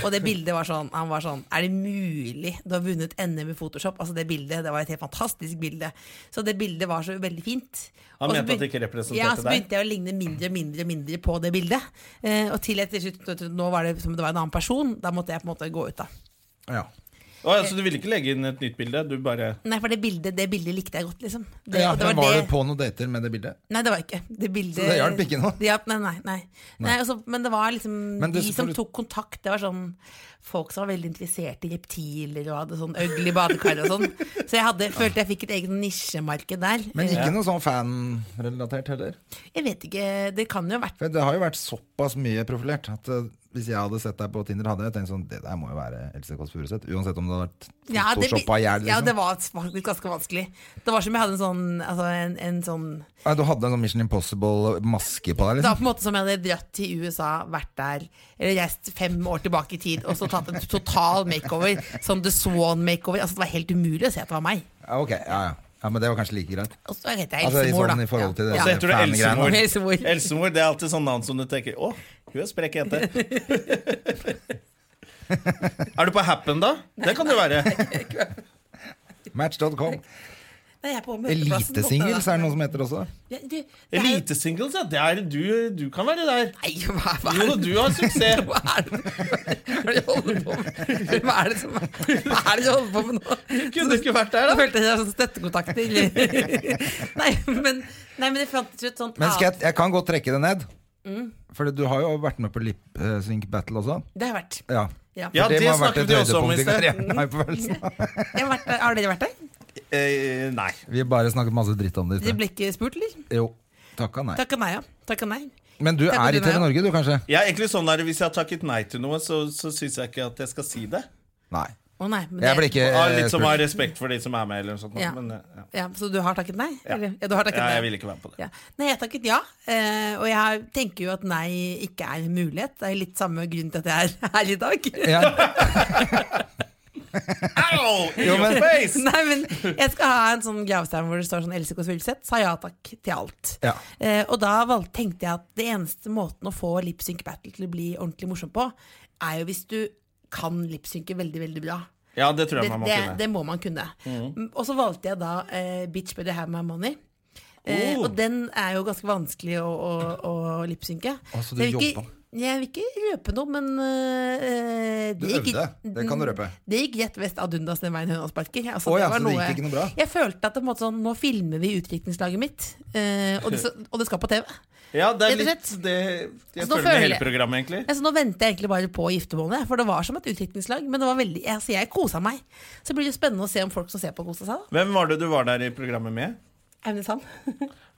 Speaker 3: Og det bildet var sånn, han var sånn Er det mulig du har vunnet NM i Photoshop? Altså Det bildet, det var et helt fantastisk bilde. Så det bildet var så veldig fint.
Speaker 2: Han
Speaker 3: Og så
Speaker 2: mente at det
Speaker 3: begyn-
Speaker 2: ikke representerte
Speaker 3: ja, så
Speaker 2: deg?
Speaker 3: begynte jeg å ligne mindre og mindre og mindre på det bildet. Eh, og til jeg til slutt Nå var det som om det var en annen person. Da måtte jeg på en måte gå ut, da.
Speaker 1: Ja.
Speaker 2: Å, ja, så du ville ikke legge inn et nytt bilde? Du bare
Speaker 3: Nei, for det bildet, det bildet likte jeg godt, liksom. Det,
Speaker 1: ja
Speaker 3: og det
Speaker 1: men
Speaker 3: var
Speaker 1: var du
Speaker 3: det-
Speaker 1: på noen dater med det bildet?
Speaker 3: Nei, det var ikke. Det bildet,
Speaker 1: Så det hjalp ikke noe?
Speaker 3: Det hjalp- nei, nei, nei. nei altså, men det var liksom
Speaker 1: Men det-
Speaker 3: de som tok kontakt. Det var sånn folk som var veldig interessert i reptiler og hadde sånn øgle badekar og sånn. Så jeg hadde, følte jeg fikk et eget nisjemarked der.
Speaker 1: Men
Speaker 3: Eh,
Speaker 1: ikke noe sånn fanrelatert heller.
Speaker 3: Jeg vet ikke, det kan jo ha vært
Speaker 1: For det har jo vært såpass mye profilert at eh, Hvis jeg hadde sett deg på Tinder, hadde jeg tenkt sånn Det der må jo være Else Kåss Furuseth. Uansett om det hadde vært
Speaker 3: Ja, det,
Speaker 1: photoshoppa i hjel.
Speaker 3: ja, det
Speaker 1: Liksom.
Speaker 3: var faktisk ganske vanskelig. Det var som jeg hadde en sånn, altså en, en sånn
Speaker 1: Nei, Du hadde en sånn Mission Impossible-maske på deg.
Speaker 3: Det var
Speaker 1: liksom
Speaker 3: på en måte som jeg hadde dratt til USA, vært der, eller reist fem år tilbake i tid og så tatt en total makeover. Sånn The Swan makeover. Altså Det var helt umulig å se at det var meg.
Speaker 1: ja, Ok, ja, ja. ja, Men det var kanskje like greit.
Speaker 3: Og så heter jeg
Speaker 1: Altså, i,
Speaker 3: Elsemor,
Speaker 1: sånn, i
Speaker 3: da.
Speaker 1: forhold til det
Speaker 3: Ja.
Speaker 2: Så heter du
Speaker 1: fan-greiene.
Speaker 2: Elsemor.
Speaker 3: Ja. Elsemor.
Speaker 2: Elsemor, det er alltid sånn navn som du tenker Å, hun er sprek jente. er du på Happen, da? Det kan du være.
Speaker 1: Match.com.
Speaker 3: Nei, jeg er på møteplassen,
Speaker 1: Elitesingles
Speaker 3: på
Speaker 1: er
Speaker 3: en
Speaker 1: det noe
Speaker 3: måte,
Speaker 1: som heter også.
Speaker 3: da. Ja, du, det er jo-
Speaker 2: Elitesingles, ja. Det er, du, du kan være der.
Speaker 3: Nei, hva, hva
Speaker 2: Jo,
Speaker 3: er
Speaker 2: da,
Speaker 3: det
Speaker 2: du har suksess.
Speaker 3: hva er det hva er det du holder på med? Hva er det som Hva er det du holder på med nå?
Speaker 2: Kunne ikke vært der,
Speaker 3: Da
Speaker 2: da.
Speaker 3: følte jeg sånn støttekontakter. nei, men, nei, men det fant ut sånn- sånt
Speaker 1: Men skal jeg, jeg kan godt trekke det ned. For du har jo vært med på Lip eh, Sync Battle også.
Speaker 3: Det har jeg vært.
Speaker 1: Ja,
Speaker 3: Ja.
Speaker 2: Ja,
Speaker 1: For
Speaker 2: det
Speaker 1: må ha vært
Speaker 2: snakket
Speaker 1: et
Speaker 2: vi også om
Speaker 1: høydepunkt
Speaker 2: i sted.
Speaker 1: karrieren, har jeg på følelsen.
Speaker 3: Jeg har, vært der. har dere vært der?
Speaker 2: Eh, nei.
Speaker 1: Vi har bare snakket masse dritt om det i
Speaker 3: Dere
Speaker 1: sted.
Speaker 3: ble ikke spurt, eller?
Speaker 1: Jo. Takka nei.
Speaker 3: Takka nei, ja. Takka nei.
Speaker 1: Men du
Speaker 3: Takk for
Speaker 1: er i
Speaker 3: din,
Speaker 1: TV
Speaker 3: ja.
Speaker 1: Norge, du, kanskje?
Speaker 2: Jeg er egentlig sånn der, Hvis jeg har takket nei til noe, så, så syns jeg ikke at jeg skal si det.
Speaker 1: Nei.
Speaker 3: Å nei. Men
Speaker 1: Jeg ble ikke
Speaker 2: Av
Speaker 1: eh,
Speaker 2: litt som
Speaker 1: spurt.
Speaker 2: har respekt for de som er med, eller noe sånt.
Speaker 3: Ja.
Speaker 2: Men, eh, ja.
Speaker 3: ja, Så du har takket nei?
Speaker 2: Ja.
Speaker 3: Eller? ja du har takket
Speaker 2: Ja,
Speaker 3: nei.
Speaker 2: jeg vil ikke være med på det.
Speaker 3: Ja. Nei, jeg takket ja. eh, og jeg har- tenker jo at nei ikke er en mulighet. Det er litt samme grunn til at jeg er her i dag.
Speaker 1: Ja.
Speaker 2: Au! In
Speaker 1: Jo,
Speaker 2: your
Speaker 1: men-
Speaker 2: face!
Speaker 3: Nei, men jeg skal ha en sånn gravstein hvor det står sånn Else Kåss Furuseth sa ja takk til alt.
Speaker 1: Ja.
Speaker 3: Eh, og da valgte, tenkte jeg at det eneste måten å få lip sync battle til å bli ordentlig morsom på, er jo hvis du kan lip synke veldig, veldig bra.
Speaker 2: Ja, det tror jeg
Speaker 3: det,
Speaker 2: man må
Speaker 3: det,
Speaker 2: kunne.
Speaker 3: det må man kunne. Mm, Og så valgte jeg da eh, Bitch Better Have My Money. Eh,
Speaker 2: Oh.
Speaker 3: Og den er jo ganske vanskelig å, å, å lipsynke.
Speaker 1: Å, så du
Speaker 3: jeg, vil ikke,
Speaker 1: jobba.
Speaker 3: jeg vil ikke røpe noe, men eh,
Speaker 1: Du øvde. Det kan du røpe.
Speaker 3: Det gikk rett vest ad undas den veien høna sparker. Altså,
Speaker 1: Å ja,
Speaker 3: var
Speaker 1: så det gikk ikke noe bra?
Speaker 3: Jeg følte at det på en måte sånn, nå filmer vi utdrikningslaget mitt, eh, og, det, så- og det skal på TV.
Speaker 2: Ja, det er
Speaker 3: Rett og
Speaker 2: litt
Speaker 3: slett.
Speaker 2: det, Jeg
Speaker 3: Altså,
Speaker 2: føler
Speaker 3: nå
Speaker 2: med
Speaker 3: føler
Speaker 2: hele
Speaker 3: jeg-
Speaker 2: programmet, egentlig.
Speaker 3: Altså, nå venter jeg egentlig bare på giftermålet, for det var som et utdrikningslag. Men det var veldig, altså, jeg kosa meg. Så blir det spennende å se om folk som ser på, koser seg. da.
Speaker 2: Hvem var det du var der i programmet med?
Speaker 3: Aune Sand.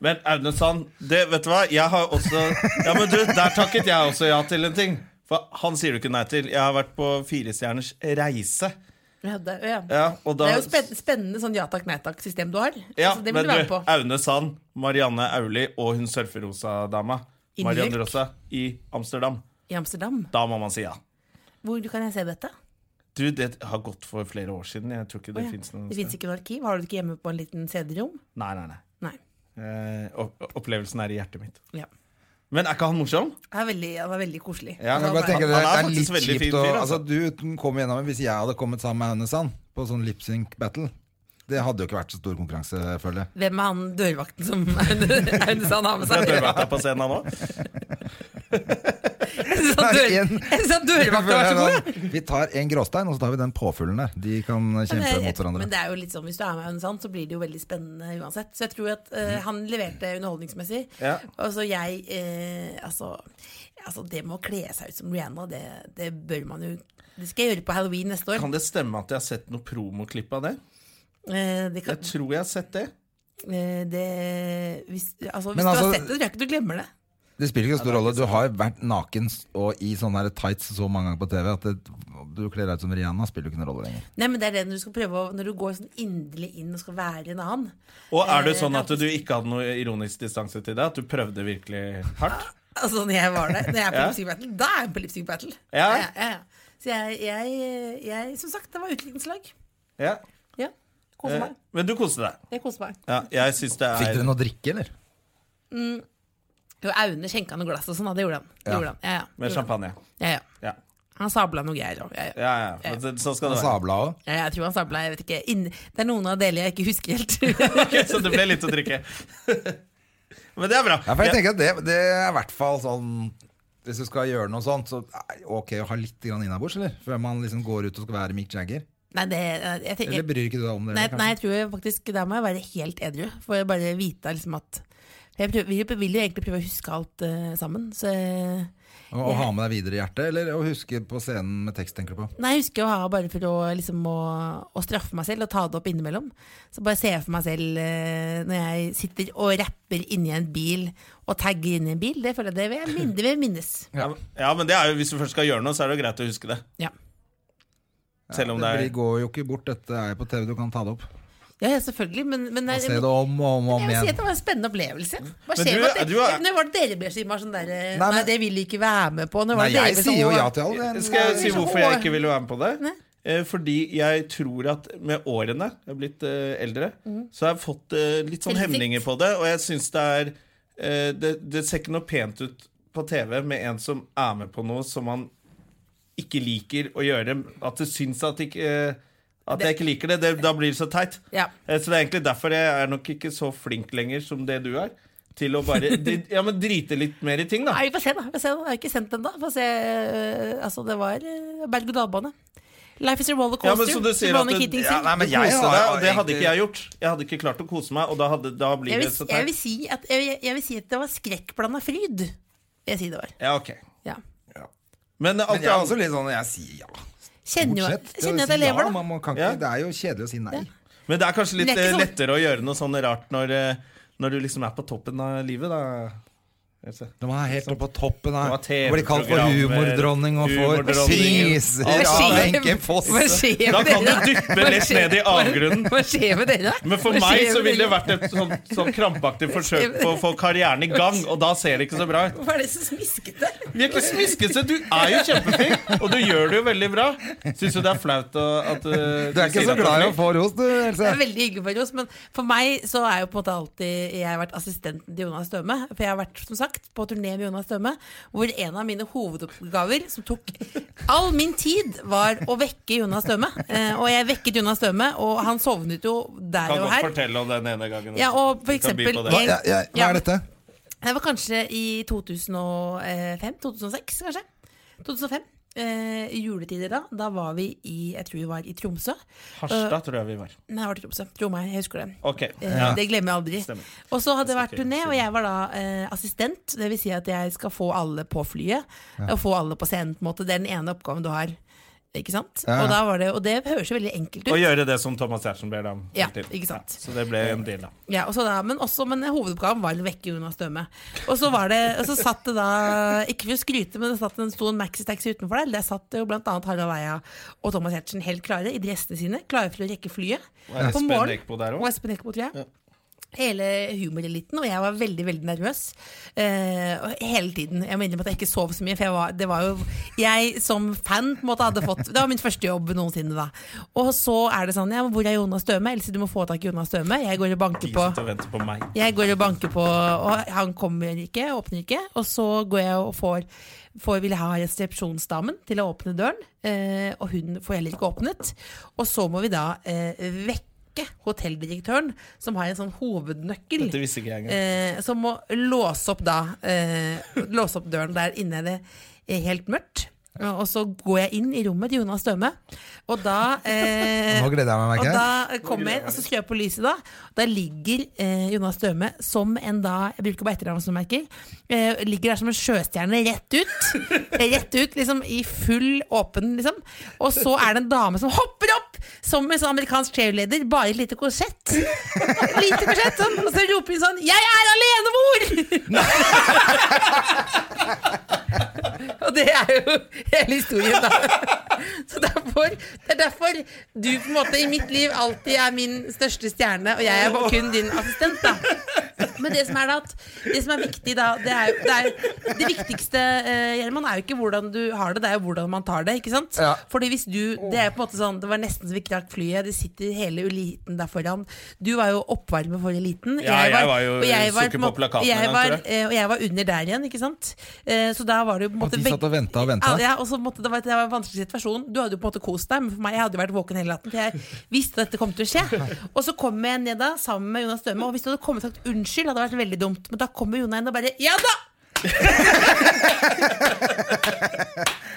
Speaker 2: Men Aune Sand, det, vet du hva? Jeg har også Ja, men du, der takket jeg også ja til en ting. For han sier du ikke nei til. Jeg har vært på Firestjerners reise.
Speaker 3: Ja, det, ja.
Speaker 2: Ja, og da
Speaker 3: det er jo spennende, spennende sånn ja takk, nei takk-system du har.
Speaker 2: Ja,
Speaker 3: altså, det
Speaker 2: men
Speaker 3: vil du være på.
Speaker 2: Aune Sand, Marianne Auli og hun surferosa-dama.
Speaker 3: I New
Speaker 2: Marianne
Speaker 3: York?
Speaker 2: Rosa i Amsterdam.
Speaker 3: I Amsterdam.
Speaker 2: Da må man si ja.
Speaker 3: Hvor kan jeg se dette?
Speaker 2: Du, det har gått for flere år siden. Jeg tror ikke det
Speaker 3: Å ja,
Speaker 2: finnes noe
Speaker 3: Det fins ikke noe arkiv? Har du det ikke hjemme på en liten CD-rom?
Speaker 2: Nei, nei, nei.
Speaker 3: Nei.
Speaker 2: Eh, opp opplevelsen er i hjertet mitt.
Speaker 3: Ja.
Speaker 2: Men er ikke han morsom?
Speaker 3: Det er veldig, det er veldig koselig.
Speaker 2: Ja,
Speaker 1: Jeg kan bare
Speaker 3: det,
Speaker 1: tenke
Speaker 2: Han-
Speaker 1: det, det
Speaker 2: han er
Speaker 1: er
Speaker 2: faktisk
Speaker 1: litt
Speaker 2: veldig fin
Speaker 1: kjipt å
Speaker 2: fyr,
Speaker 1: altså,
Speaker 2: altså.
Speaker 1: Du kom gjennom det hvis jeg hadde kommet sammen med Aune Sand på sånn lip sync battle. Det hadde jo ikke vært så stor konkurranse, føler jeg.
Speaker 3: hvem er han dørvakten som Aune Aune Sand har med
Speaker 2: Det er
Speaker 3: seg?
Speaker 2: dørvakta på scenen nå.
Speaker 3: En sånn dør-
Speaker 1: Nei,
Speaker 3: en sånn dørvakt, vær så god!
Speaker 1: sånn. Vi tar en gråstein, og så tar vi den påfuglen der. De kan
Speaker 3: Men
Speaker 1: kjempe
Speaker 3: det-
Speaker 1: mot hverandre.
Speaker 3: Men det er jo litt sånn, hvis du er med Aune Sand, så blir det jo veldig spennende uansett. Så jeg tror at eh, han leverte underholdningsmessig.
Speaker 2: Mm. Ja.
Speaker 3: Og så jeg eh, altså, altså, det med å kle seg ut som Rihanna, det, det bør man jo Det skal jeg gjøre på halloween neste år.
Speaker 2: Kan det stemme at jeg har sett noe promoklipp av det?
Speaker 3: Eh, det kan,
Speaker 2: Jeg tror jeg har sett det.
Speaker 3: eh, det, hvis altså, hvis
Speaker 1: Men
Speaker 3: du
Speaker 1: altså-
Speaker 3: har sett det, tror jeg ikke du glemmer det.
Speaker 1: Det spiller ikke så stor rolle. Du har vært naken s- og i sånne her tights så mange ganger på TV at det, du kler deg ut som Rihanna, spiller jo ikke noen rolle lenger.
Speaker 3: Nei, men det er det når du skal prøve å, Når du går sånn inderlig inn og skal være en annen.
Speaker 2: Og er det
Speaker 3: Eh,
Speaker 2: sånn
Speaker 3: ja.
Speaker 2: at du ikke hadde noe ironisk distanse til det? At du prøvde virkelig hardt?
Speaker 3: Altså, når jeg var der, når jeg er på
Speaker 2: Ja.
Speaker 3: Lipstick Battle, da er jeg på Lipstick Battle.
Speaker 2: Ja.
Speaker 3: Ja, ja, ja. Så jeg, jeg, jeg Som sagt, det var utviklingslag.
Speaker 2: Ja.
Speaker 3: Ja. Kose
Speaker 2: Eh,
Speaker 3: meg.
Speaker 2: Men du koste deg.
Speaker 3: Jeg koser meg.
Speaker 2: Ja, jeg syns det
Speaker 1: Fikk
Speaker 2: er
Speaker 1: dere noe å drikke, eller?
Speaker 3: Jo, Aune skjenka noe glass og sånn, da. det gjorde han. Det
Speaker 1: Ja.
Speaker 3: gjorde han. Ja, ja.
Speaker 2: Med
Speaker 3: Gjorde han.
Speaker 2: champagne.
Speaker 3: Ja, ja.
Speaker 2: Ja,
Speaker 3: Han sabla noe greier òg. Ja, ja.
Speaker 2: ja. ja. Men det- Sånn skal det være.
Speaker 1: Sabla òg?
Speaker 3: Ja, jeg tror han sabla, jeg vet ikke. Inn, det er noen av delene jeg ikke husker helt.
Speaker 2: Ok, så det ble litt å drikke. Men det er bra.
Speaker 1: Ja, for jeg tenker at det, det er i hvert fall sånn Hvis du skal gjøre noe sånt, så er det ok å ha litt grann innabords, eller? Før man liksom går ut og skal være Mick Jagger.
Speaker 3: Nei, det, jeg tenker,
Speaker 1: Eller bryr ikke du deg om det?
Speaker 3: Nei,
Speaker 1: eller,
Speaker 3: nei, jeg tror faktisk der må jeg være helt edru. For å bare vite liksom at Jeg prøver, vil, jo- vil jo egentlig prøve å huske alt eh, sammen. Så, eh,
Speaker 1: Å å ha med deg videre i hjertet, eller å huske på scenen med tekst, tenker du på?
Speaker 3: nei, jeg husker å ha bare for å, liksom, å, å straffe meg selv og ta det opp innimellom. Så bare ser jeg for meg selv eh, når jeg sitter og rapper inni en bil og tagger inni en bil. Det føler jeg det vil jeg minne, det vil jeg minnes.
Speaker 2: Ja, men- ja, men det er jo, hvis du først skal gjøre noe, så er det jo greit å huske det.
Speaker 3: Ja.
Speaker 2: Selv om det
Speaker 1: det
Speaker 2: er
Speaker 1: blir- går jo ikke bort, dette er jo på TV, du kan ta det opp.
Speaker 3: Ja, ja, selvfølgelig, men, men,
Speaker 1: Og
Speaker 3: men
Speaker 1: se det om og om, og om
Speaker 3: jeg vil si at
Speaker 1: igjen.
Speaker 3: det var en spennende opplevelse. Hva
Speaker 2: Men
Speaker 3: skjer
Speaker 2: du-
Speaker 3: med at
Speaker 2: du er-
Speaker 3: det- Når var det dere ble så sånn der eh,
Speaker 1: Nei,
Speaker 3: Nei,
Speaker 1: men-
Speaker 3: det vil de ikke være med på. Når var
Speaker 1: Nei,
Speaker 3: det
Speaker 1: jeg
Speaker 3: dere ble sånn,
Speaker 1: sier jo
Speaker 3: «Å,
Speaker 1: ja til alt. men-
Speaker 2: Skal jeg si
Speaker 3: så
Speaker 2: hvorfor
Speaker 3: hår.
Speaker 2: jeg ikke ville være med på det?
Speaker 3: Nei.
Speaker 2: Eh, Fordi jeg tror at med årene, jeg er blitt eh, eldre, så har jeg fått eh, litt sånn
Speaker 3: Selvinnsikt.
Speaker 2: hemninger på det. Og jeg syns det er eh, det, det ser ikke noe pent ut på TV med en som er med på noe som man ikke liker å gjøre. At det syns at, ikke, eh, at jeg ikke liker det. det. Da blir det så teit.
Speaker 3: Ja.
Speaker 2: Eh, Så det er egentlig derfor jeg er nok ikke så flink lenger som det du er. Til å bare dri- ja, men drite litt mer i ting, da.
Speaker 3: Nei, vi får se, da. Vi får se, da. Jeg har ikke sendt den, da. Vi Får se. øh, altså, det var øh, berg-og-dal-bane. Life is a roller
Speaker 2: Ja,
Speaker 3: coaster.
Speaker 2: men så du sier at
Speaker 3: Ronan
Speaker 2: du,
Speaker 3: Keating
Speaker 2: ja,
Speaker 3: synger.
Speaker 2: nei, men
Speaker 1: Du
Speaker 2: jeg
Speaker 1: koser
Speaker 2: koste
Speaker 1: deg,
Speaker 2: deg,
Speaker 1: og
Speaker 2: og det hadde
Speaker 1: egentlig-
Speaker 2: ikke jeg gjort. Jeg hadde ikke klart å kose meg, og da, hadde, da blir
Speaker 3: jeg,
Speaker 2: det
Speaker 3: vil,
Speaker 2: så
Speaker 3: jeg vil
Speaker 2: teit.
Speaker 3: si at jeg, jeg vil si at det var skrekkblanda fryd. Vil jeg si det var.
Speaker 2: Ja, ok.
Speaker 3: Ja.
Speaker 2: Men alt
Speaker 1: Men jeg
Speaker 2: det
Speaker 1: er
Speaker 2: andre
Speaker 1: også litt sånn, jeg sier ja.
Speaker 3: Kjenner jo
Speaker 1: Bortsett,
Speaker 3: kjenner jeg at jeg
Speaker 1: si
Speaker 3: lever,
Speaker 1: ja,
Speaker 3: da.
Speaker 1: man må, kan
Speaker 2: Ja.
Speaker 1: ikke, det er jo kjedelig å si nei.
Speaker 2: Men det er kanskje litt
Speaker 3: Men det er
Speaker 2: eh,
Speaker 3: ikke sånn-
Speaker 2: lettere å gjøre noe sånn rart når, eh, når du liksom er på toppen av livet, da. Else.
Speaker 1: De er helt oppe på toppen
Speaker 2: Det var
Speaker 1: her.
Speaker 2: TV
Speaker 1: Blir kalt for
Speaker 2: programmer,
Speaker 1: humordronning og får
Speaker 2: humordronning.
Speaker 1: priser
Speaker 3: Hva
Speaker 1: av
Speaker 3: skjer-
Speaker 1: Wenche
Speaker 3: Hva
Speaker 1: Foss.
Speaker 3: skjer
Speaker 2: Da
Speaker 3: med
Speaker 2: kan du
Speaker 3: dere?
Speaker 2: dyppe litt ned i avgrunnen.
Speaker 3: Hva skjer med dere?
Speaker 2: Men for
Speaker 3: Hva
Speaker 2: meg
Speaker 3: skjer
Speaker 2: så
Speaker 3: med
Speaker 2: ville det
Speaker 3: dere?
Speaker 2: vært et sånn, sånn krampaktig forsøk på å få karrieren i gang, og da ser det ikke så bra ut.
Speaker 3: Hvorfor er det så smiskete?
Speaker 2: Vi er ikke smiskete. Du er jo kjempeflink, og du gjør det jo veldig bra. Syns du det er flaut å- at eh,
Speaker 1: Du er ikke
Speaker 2: sier
Speaker 1: så
Speaker 2: at
Speaker 1: glad i
Speaker 2: flink?
Speaker 1: å få ros, du, Else.
Speaker 3: Det er veldig hyggelig for oss, men for meg så er jo på en måte alltid Jeg har vært assistenten til Jonas Støme. For jeg har vært som sagt på turné med Jonas Støme, hvor en av mine hovedoppgaver, som tok all min tid, var å vekke Jonas Støme. Eh, og jeg vekket Jonas Støme, og han sovnet jo der
Speaker 2: Kan
Speaker 3: og
Speaker 2: godt
Speaker 3: her.
Speaker 2: fortelle om den ene gangen.
Speaker 3: Ja, og for
Speaker 2: Vi kan by på
Speaker 3: eksempel-
Speaker 1: Hva,
Speaker 2: det.
Speaker 1: ja, ja, hva
Speaker 3: Ja.
Speaker 1: er dette?
Speaker 3: Det var kanskje i 2005-2006, kanskje. 2005. Eh, i juletider da. Da var vi i Jeg tror vi var i Tromsø.
Speaker 2: Harstad tror jeg vi var.
Speaker 3: Nei, det var til Tromsø. Tro meg, jeg husker det.
Speaker 2: Ok.
Speaker 3: Eh,
Speaker 2: Ja.
Speaker 3: Det glemmer jeg aldri.
Speaker 2: Stemmer.
Speaker 3: Og så hadde det
Speaker 2: Jeg
Speaker 3: vært
Speaker 2: skal ikke
Speaker 3: turné, og
Speaker 2: si
Speaker 3: jeg var da eh, assistent. Det vil si at jeg skal få alle på flyet, og få alle på scenen. på en måte Det er den ene oppgaven du har. Ikke sant?
Speaker 1: Ja.
Speaker 3: Og, da var det, og det høres jo veldig enkelt
Speaker 2: Å
Speaker 3: ut.
Speaker 2: gjøre det som Thomas Giertsen ber deg om.
Speaker 3: Ja,
Speaker 2: hele tiden.
Speaker 3: ikke sant.
Speaker 2: Ja, så det ble en deal, da.
Speaker 3: Ja, og så da, men, også, men hovedoppgaven var å vekke Jonas Døme. Og så, var det, og så satt det da Ikke for å skryte, men det satt en stor maxitaxi utenfor der. Der satt jo blant annet Harald Eia og Thomas Hertzen helt klare i dressene sine, klare for å rekke flyet.
Speaker 2: Er
Speaker 3: På
Speaker 2: Espen
Speaker 3: morgenen-
Speaker 2: Eckbo der
Speaker 3: og
Speaker 2: òg?
Speaker 3: Espen Eckbo, tror jeg. Hele humoreliten, og jeg var veldig veldig nervøs eh, og hele tiden. Jeg må innrømme at jeg ikke sov så mye, for jeg var, det var jo Jeg som fan på en måte hadde fått Det var min første jobb noensinne, da. Og så er det sånn ja, men Hvor er Jonas Døme? Else, du må få tak i Jonas Døme. Jeg går og banker på
Speaker 2: Sitter og venter på meg.
Speaker 3: jeg går og banker på, og han kommer ikke, åpner ikke. Og så går jeg og får, får vil ha resepsjonsdamen til å åpne døren, eh, og hun får heller ikke åpnet. Og så må vi da eh, vekke hotelldirektøren, som har en sånn hovednøkkel.
Speaker 2: Dette visste ikke jeg engang.
Speaker 3: Eh, som må låse opp da eh, Låse opp døren der inne er det eh, helt mørkt. Og så går jeg inn i rommet til Jonas Døme, og da eh,
Speaker 1: Nå gleder jeg meg,
Speaker 3: og
Speaker 1: merker jeg.
Speaker 3: da kommer jeg, og så skrur jeg på lyset da. Da ligger eh, Jonas Døme som en da, jeg bruker bare etternavn som merker, eh, ligger der som en sjøstjerne rett ut. rett ut, liksom i full åpen, liksom. Og så er det en dame som hopper opp, som en sånn amerikansk cheerleader, bare i et lite korsett. Et lite korsett, sånn. Og så roper hun sånn, jeg er alenemor! Og det er jo hele historien, da. Så derfor, det er derfor du på en måte i mitt liv alltid er min største stjerne, og jeg er bare kun din assistent, da. Men det som er da at Det som er viktig da Det, er, jo- det, er, jo- det viktigste eh, Gjerman, er jo ikke hvordan du har det, det er jo hvordan man tar det. ikke sant?
Speaker 1: Ja.
Speaker 3: Fordi hvis du Det er på en måte sånn Det var nesten så vi ikke rakk flyet. Det sitter hele eliten der foran. Du var jo oppvarmer for eliten.
Speaker 2: Ja, jeg var jo
Speaker 3: og jeg var
Speaker 2: sukker på
Speaker 3: på en måte-
Speaker 2: plakaten en
Speaker 3: jeg
Speaker 2: gang,
Speaker 3: var,
Speaker 2: tror jeg.
Speaker 3: eh, Og jeg var under der igjen, ikke sant? Eh, Så da var det jo på en
Speaker 1: Og
Speaker 3: måte
Speaker 1: de
Speaker 3: begge-
Speaker 1: satt og ventet og ventet.
Speaker 3: Ja, ja, og så måtte det, var, det var en vanskelig situasjon. Du hadde jo på en måte kost deg, men for meg jeg hadde jo vært våken hele natten. For jeg visste at dette kom til å skje. Og så kom jeg ned da sammen med Jonas Døme, og hvis du hadde kommet og sagt unnskyld, hadde det vært veldig dumt. Men da kommer Jonas inn og bare Ja da! Det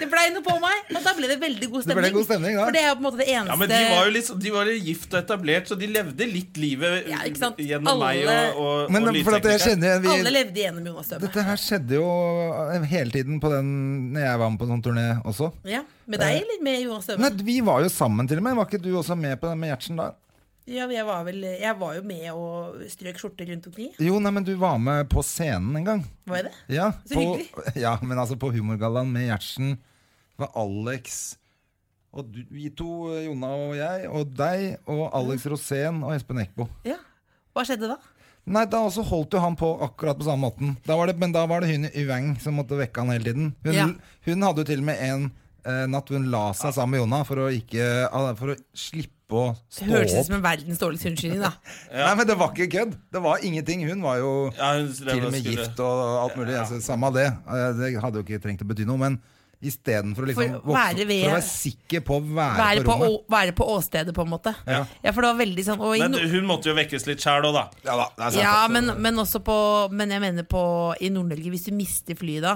Speaker 3: blei noe på meg, og da ble det veldig god
Speaker 1: Det
Speaker 3: stemning.
Speaker 1: ble god stemning, da.
Speaker 3: For det er jo på en måte det eneste
Speaker 2: Ja, men de var jo litt, de var jo gift og etablert, så de levde litt livet
Speaker 3: Ja, ikke sant?
Speaker 2: gjennom meg
Speaker 3: Alle-
Speaker 2: og, og,
Speaker 1: Men
Speaker 2: og
Speaker 1: for at jeg kjenner
Speaker 2: lydteknikeren.
Speaker 3: Alle
Speaker 1: vi,
Speaker 3: levde gjennom Jonas Døme.
Speaker 1: Dette her skjedde jo eh, hele tiden på den Når jeg var med på en sånn turné også.
Speaker 3: Ja, Med deg eller med Jonas Døme?
Speaker 1: Eh, Nei, Vi var jo sammen til og med. Var ikke du også med på den med Gjertsen da?
Speaker 3: Ja, men jeg var, vel, jeg var jo med og strøk skjorte rundt omkring.
Speaker 1: Jo, nei, men du var med på scenen en gang.
Speaker 3: Var jeg det?
Speaker 1: Ja,
Speaker 3: Så
Speaker 1: på, ja men altså på Humorgallaen med Gjertsen var Alex og du, vi to, Jonna og jeg, og deg, og Alex Rosén og Espen Eckbo.
Speaker 3: Ja. Hva skjedde da?
Speaker 1: Nei, da også holdt jo han på akkurat på samme måten. Da var det, men da var det hun i Wang som måtte vekke han hele tiden. Hun,
Speaker 3: Ja. Ah.
Speaker 1: hun hadde jo til og med en eh, natt hun la seg sammen med Jonna for å, ikke, ah, for å slippe å
Speaker 3: Det
Speaker 1: stå
Speaker 3: hørtes ut
Speaker 1: opp.
Speaker 3: som en verdens dårligste unnskyldning, da.
Speaker 1: Nei, men det var ikke kødd. Det var ingenting. Hun var jo
Speaker 2: Ja, hun drev
Speaker 1: til og
Speaker 2: og
Speaker 1: med
Speaker 2: skulle-
Speaker 1: gift og alt mulig. Altså, samme av det. Eh, Det hadde jo ikke trengt å bety noe, men istedenfor å liksom
Speaker 3: For å være ved-
Speaker 1: for å være sikker på å være,
Speaker 3: Være
Speaker 1: på
Speaker 3: på,
Speaker 1: rommet.
Speaker 3: å, være på åstedet, på en måte.
Speaker 1: Ja.
Speaker 3: for det var veldig sånn og i
Speaker 2: Men
Speaker 3: no
Speaker 2: hun måtte jo vekkes litt sjæl òg, da.
Speaker 1: Ja, da, det er sant.
Speaker 3: Ja, men, men også på Men jeg mener på i Nord-Norge, hvis du mister flyet da,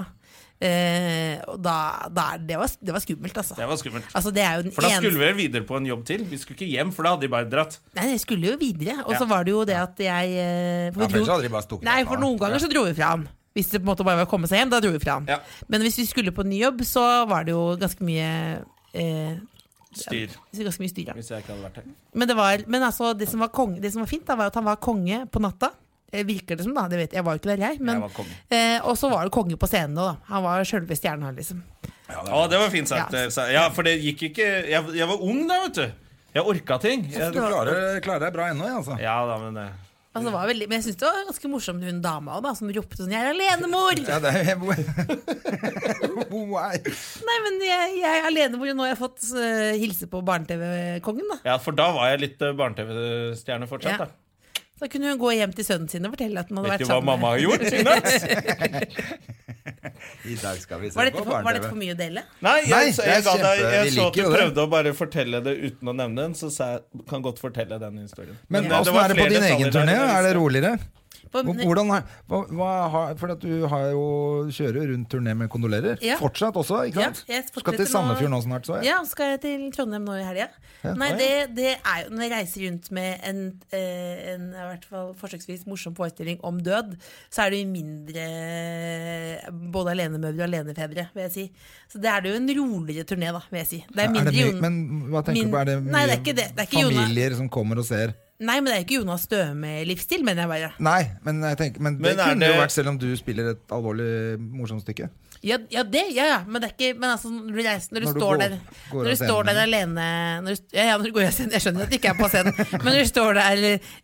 Speaker 3: eh, og da, da er- det, var, det var skummelt, altså.
Speaker 2: Det var skummelt.
Speaker 3: Altså, det er jo den
Speaker 2: For da
Speaker 3: eneste
Speaker 2: skulle vi videre på en jobb til. Vi skulle ikke hjem, for da hadde de bare dratt.
Speaker 3: Nei, jeg skulle jo videre. Og så
Speaker 2: Ja.
Speaker 3: var det jo det at jeg eh, for
Speaker 1: Ja,
Speaker 3: vi
Speaker 1: for ellers hadde de bare stukket
Speaker 3: Nei,
Speaker 1: derfra.
Speaker 3: for noen ganger så dro vi fra han. Hvis det på en måte bare var å komme seg hjem, da dro vi fra han.
Speaker 2: Ja.
Speaker 3: Men hvis vi skulle på ny jobb, så var det jo ganske mye eh,
Speaker 2: Styr.
Speaker 3: Ganske mye styr, ja.
Speaker 2: Hvis jeg ikke hadde vært her.
Speaker 3: Men, det, var, men altså, det, som var kong, det som var fint, da, var at han var konge på natta. Eh, Virker det som, da. Det vet, jeg. jeg var jo ikke der, jeg. Men,
Speaker 2: Jeg var konge.
Speaker 3: eh, og så var det konge på scenen òg, da. Han var sjølve stjernen her, liksom.
Speaker 2: Å, det var fint sagt.
Speaker 3: Ja.
Speaker 2: Elsa. Ja, for det gikk ikke Jeg, jeg var ung da, vet du. Jeg orka ting.
Speaker 1: Du
Speaker 2: Jeg,
Speaker 1: klarer, klarer deg bra ennå, jeg, altså.
Speaker 2: ja da, men eh,
Speaker 3: Altså, det var veldig, men jeg syns det var ganske morsomt hun dama òg, da, som ropte sånn 'Jeg er alenemor!'
Speaker 1: Ja, det er Wow.
Speaker 3: Nei, men jeg, jeg er alenemor, og nå har jeg fått eh, hilse på barne-TV-kongen, da.
Speaker 2: Ja, for da var jeg litt eh, barne-TV-stjerne
Speaker 3: Ja.
Speaker 2: fortsatt, da.
Speaker 3: Da kunne hun gå hjem til sønnen sin og fortelle at hun hadde
Speaker 2: Vet
Speaker 3: vært
Speaker 2: du hva
Speaker 3: sammen
Speaker 2: mamma har gjort? Ine?
Speaker 1: I dag skal vi se
Speaker 3: Var dette,
Speaker 1: på
Speaker 3: for, var
Speaker 1: barne-TV.
Speaker 3: dette for mye å dele?
Speaker 2: Nei,
Speaker 1: Nei,
Speaker 2: jeg, så,
Speaker 1: det er
Speaker 2: jeg, ga deg,
Speaker 1: kjempe-
Speaker 2: jeg
Speaker 1: vi
Speaker 2: så at du
Speaker 1: liker jo det.
Speaker 2: prøvde å bare fortelle det uten å nevne den, så sa jeg kan godt fortelle den historien.
Speaker 1: Men
Speaker 2: eh,
Speaker 1: åssen
Speaker 2: var
Speaker 1: er det på
Speaker 2: flere
Speaker 1: din
Speaker 2: detaljer
Speaker 1: egen
Speaker 2: der
Speaker 1: turné?
Speaker 2: jeg
Speaker 1: Er det
Speaker 2: visste.
Speaker 1: roligere?
Speaker 3: På-
Speaker 1: Hvor- Hvordan er, hva, hva har, for at du har jo, kjører jo rundt turné med kondolerer.
Speaker 3: Ja.
Speaker 1: Fortsatt også, ikke
Speaker 3: Ja,
Speaker 1: sant?
Speaker 3: jeg
Speaker 1: skal
Speaker 3: fortsetter
Speaker 1: til
Speaker 3: nå.
Speaker 1: Sandefjord nå snart, så jeg.
Speaker 3: Ja, skal jeg til Trondheim nå i helga? Nei,
Speaker 1: Å, ja.
Speaker 3: det, det er jo Når jeg reiser rundt med en, eh, en i hvert fall forsøksvis morsom forestilling om død, så er det jo mindre eh, både alenemødre og alenefedre, vil jeg si. Så det er det jo en roligere turné, da, vil jeg si. Det er
Speaker 1: Er
Speaker 3: mindre
Speaker 1: det mye-
Speaker 3: Jon-
Speaker 1: men hva tenker
Speaker 3: min-
Speaker 1: du på, er det mye
Speaker 3: Nei, det er ikke det. Det er ikke Jonas-
Speaker 1: familier som kommer og ser?
Speaker 3: Nei, men det er jo ikke Jonas Støme-livsstil, mener jeg bare.
Speaker 1: Nei, men, jeg tenker, men,
Speaker 2: Men
Speaker 1: det
Speaker 2: er
Speaker 1: kunne
Speaker 2: det-
Speaker 1: jo vært selv om du spiller et alvorlig morsomt stykke.
Speaker 3: Ja, ja det, ja, ja. Men det er ikke Men altså, når du, reiser, når du,
Speaker 1: Når du
Speaker 3: står,
Speaker 1: går-
Speaker 3: der,
Speaker 1: går
Speaker 3: når du
Speaker 1: av scenen,
Speaker 3: står der
Speaker 1: ja.
Speaker 3: alene når du, ja, ja, når du går av scenen. Jeg skjønner at det ikke er på scenen, men når du står der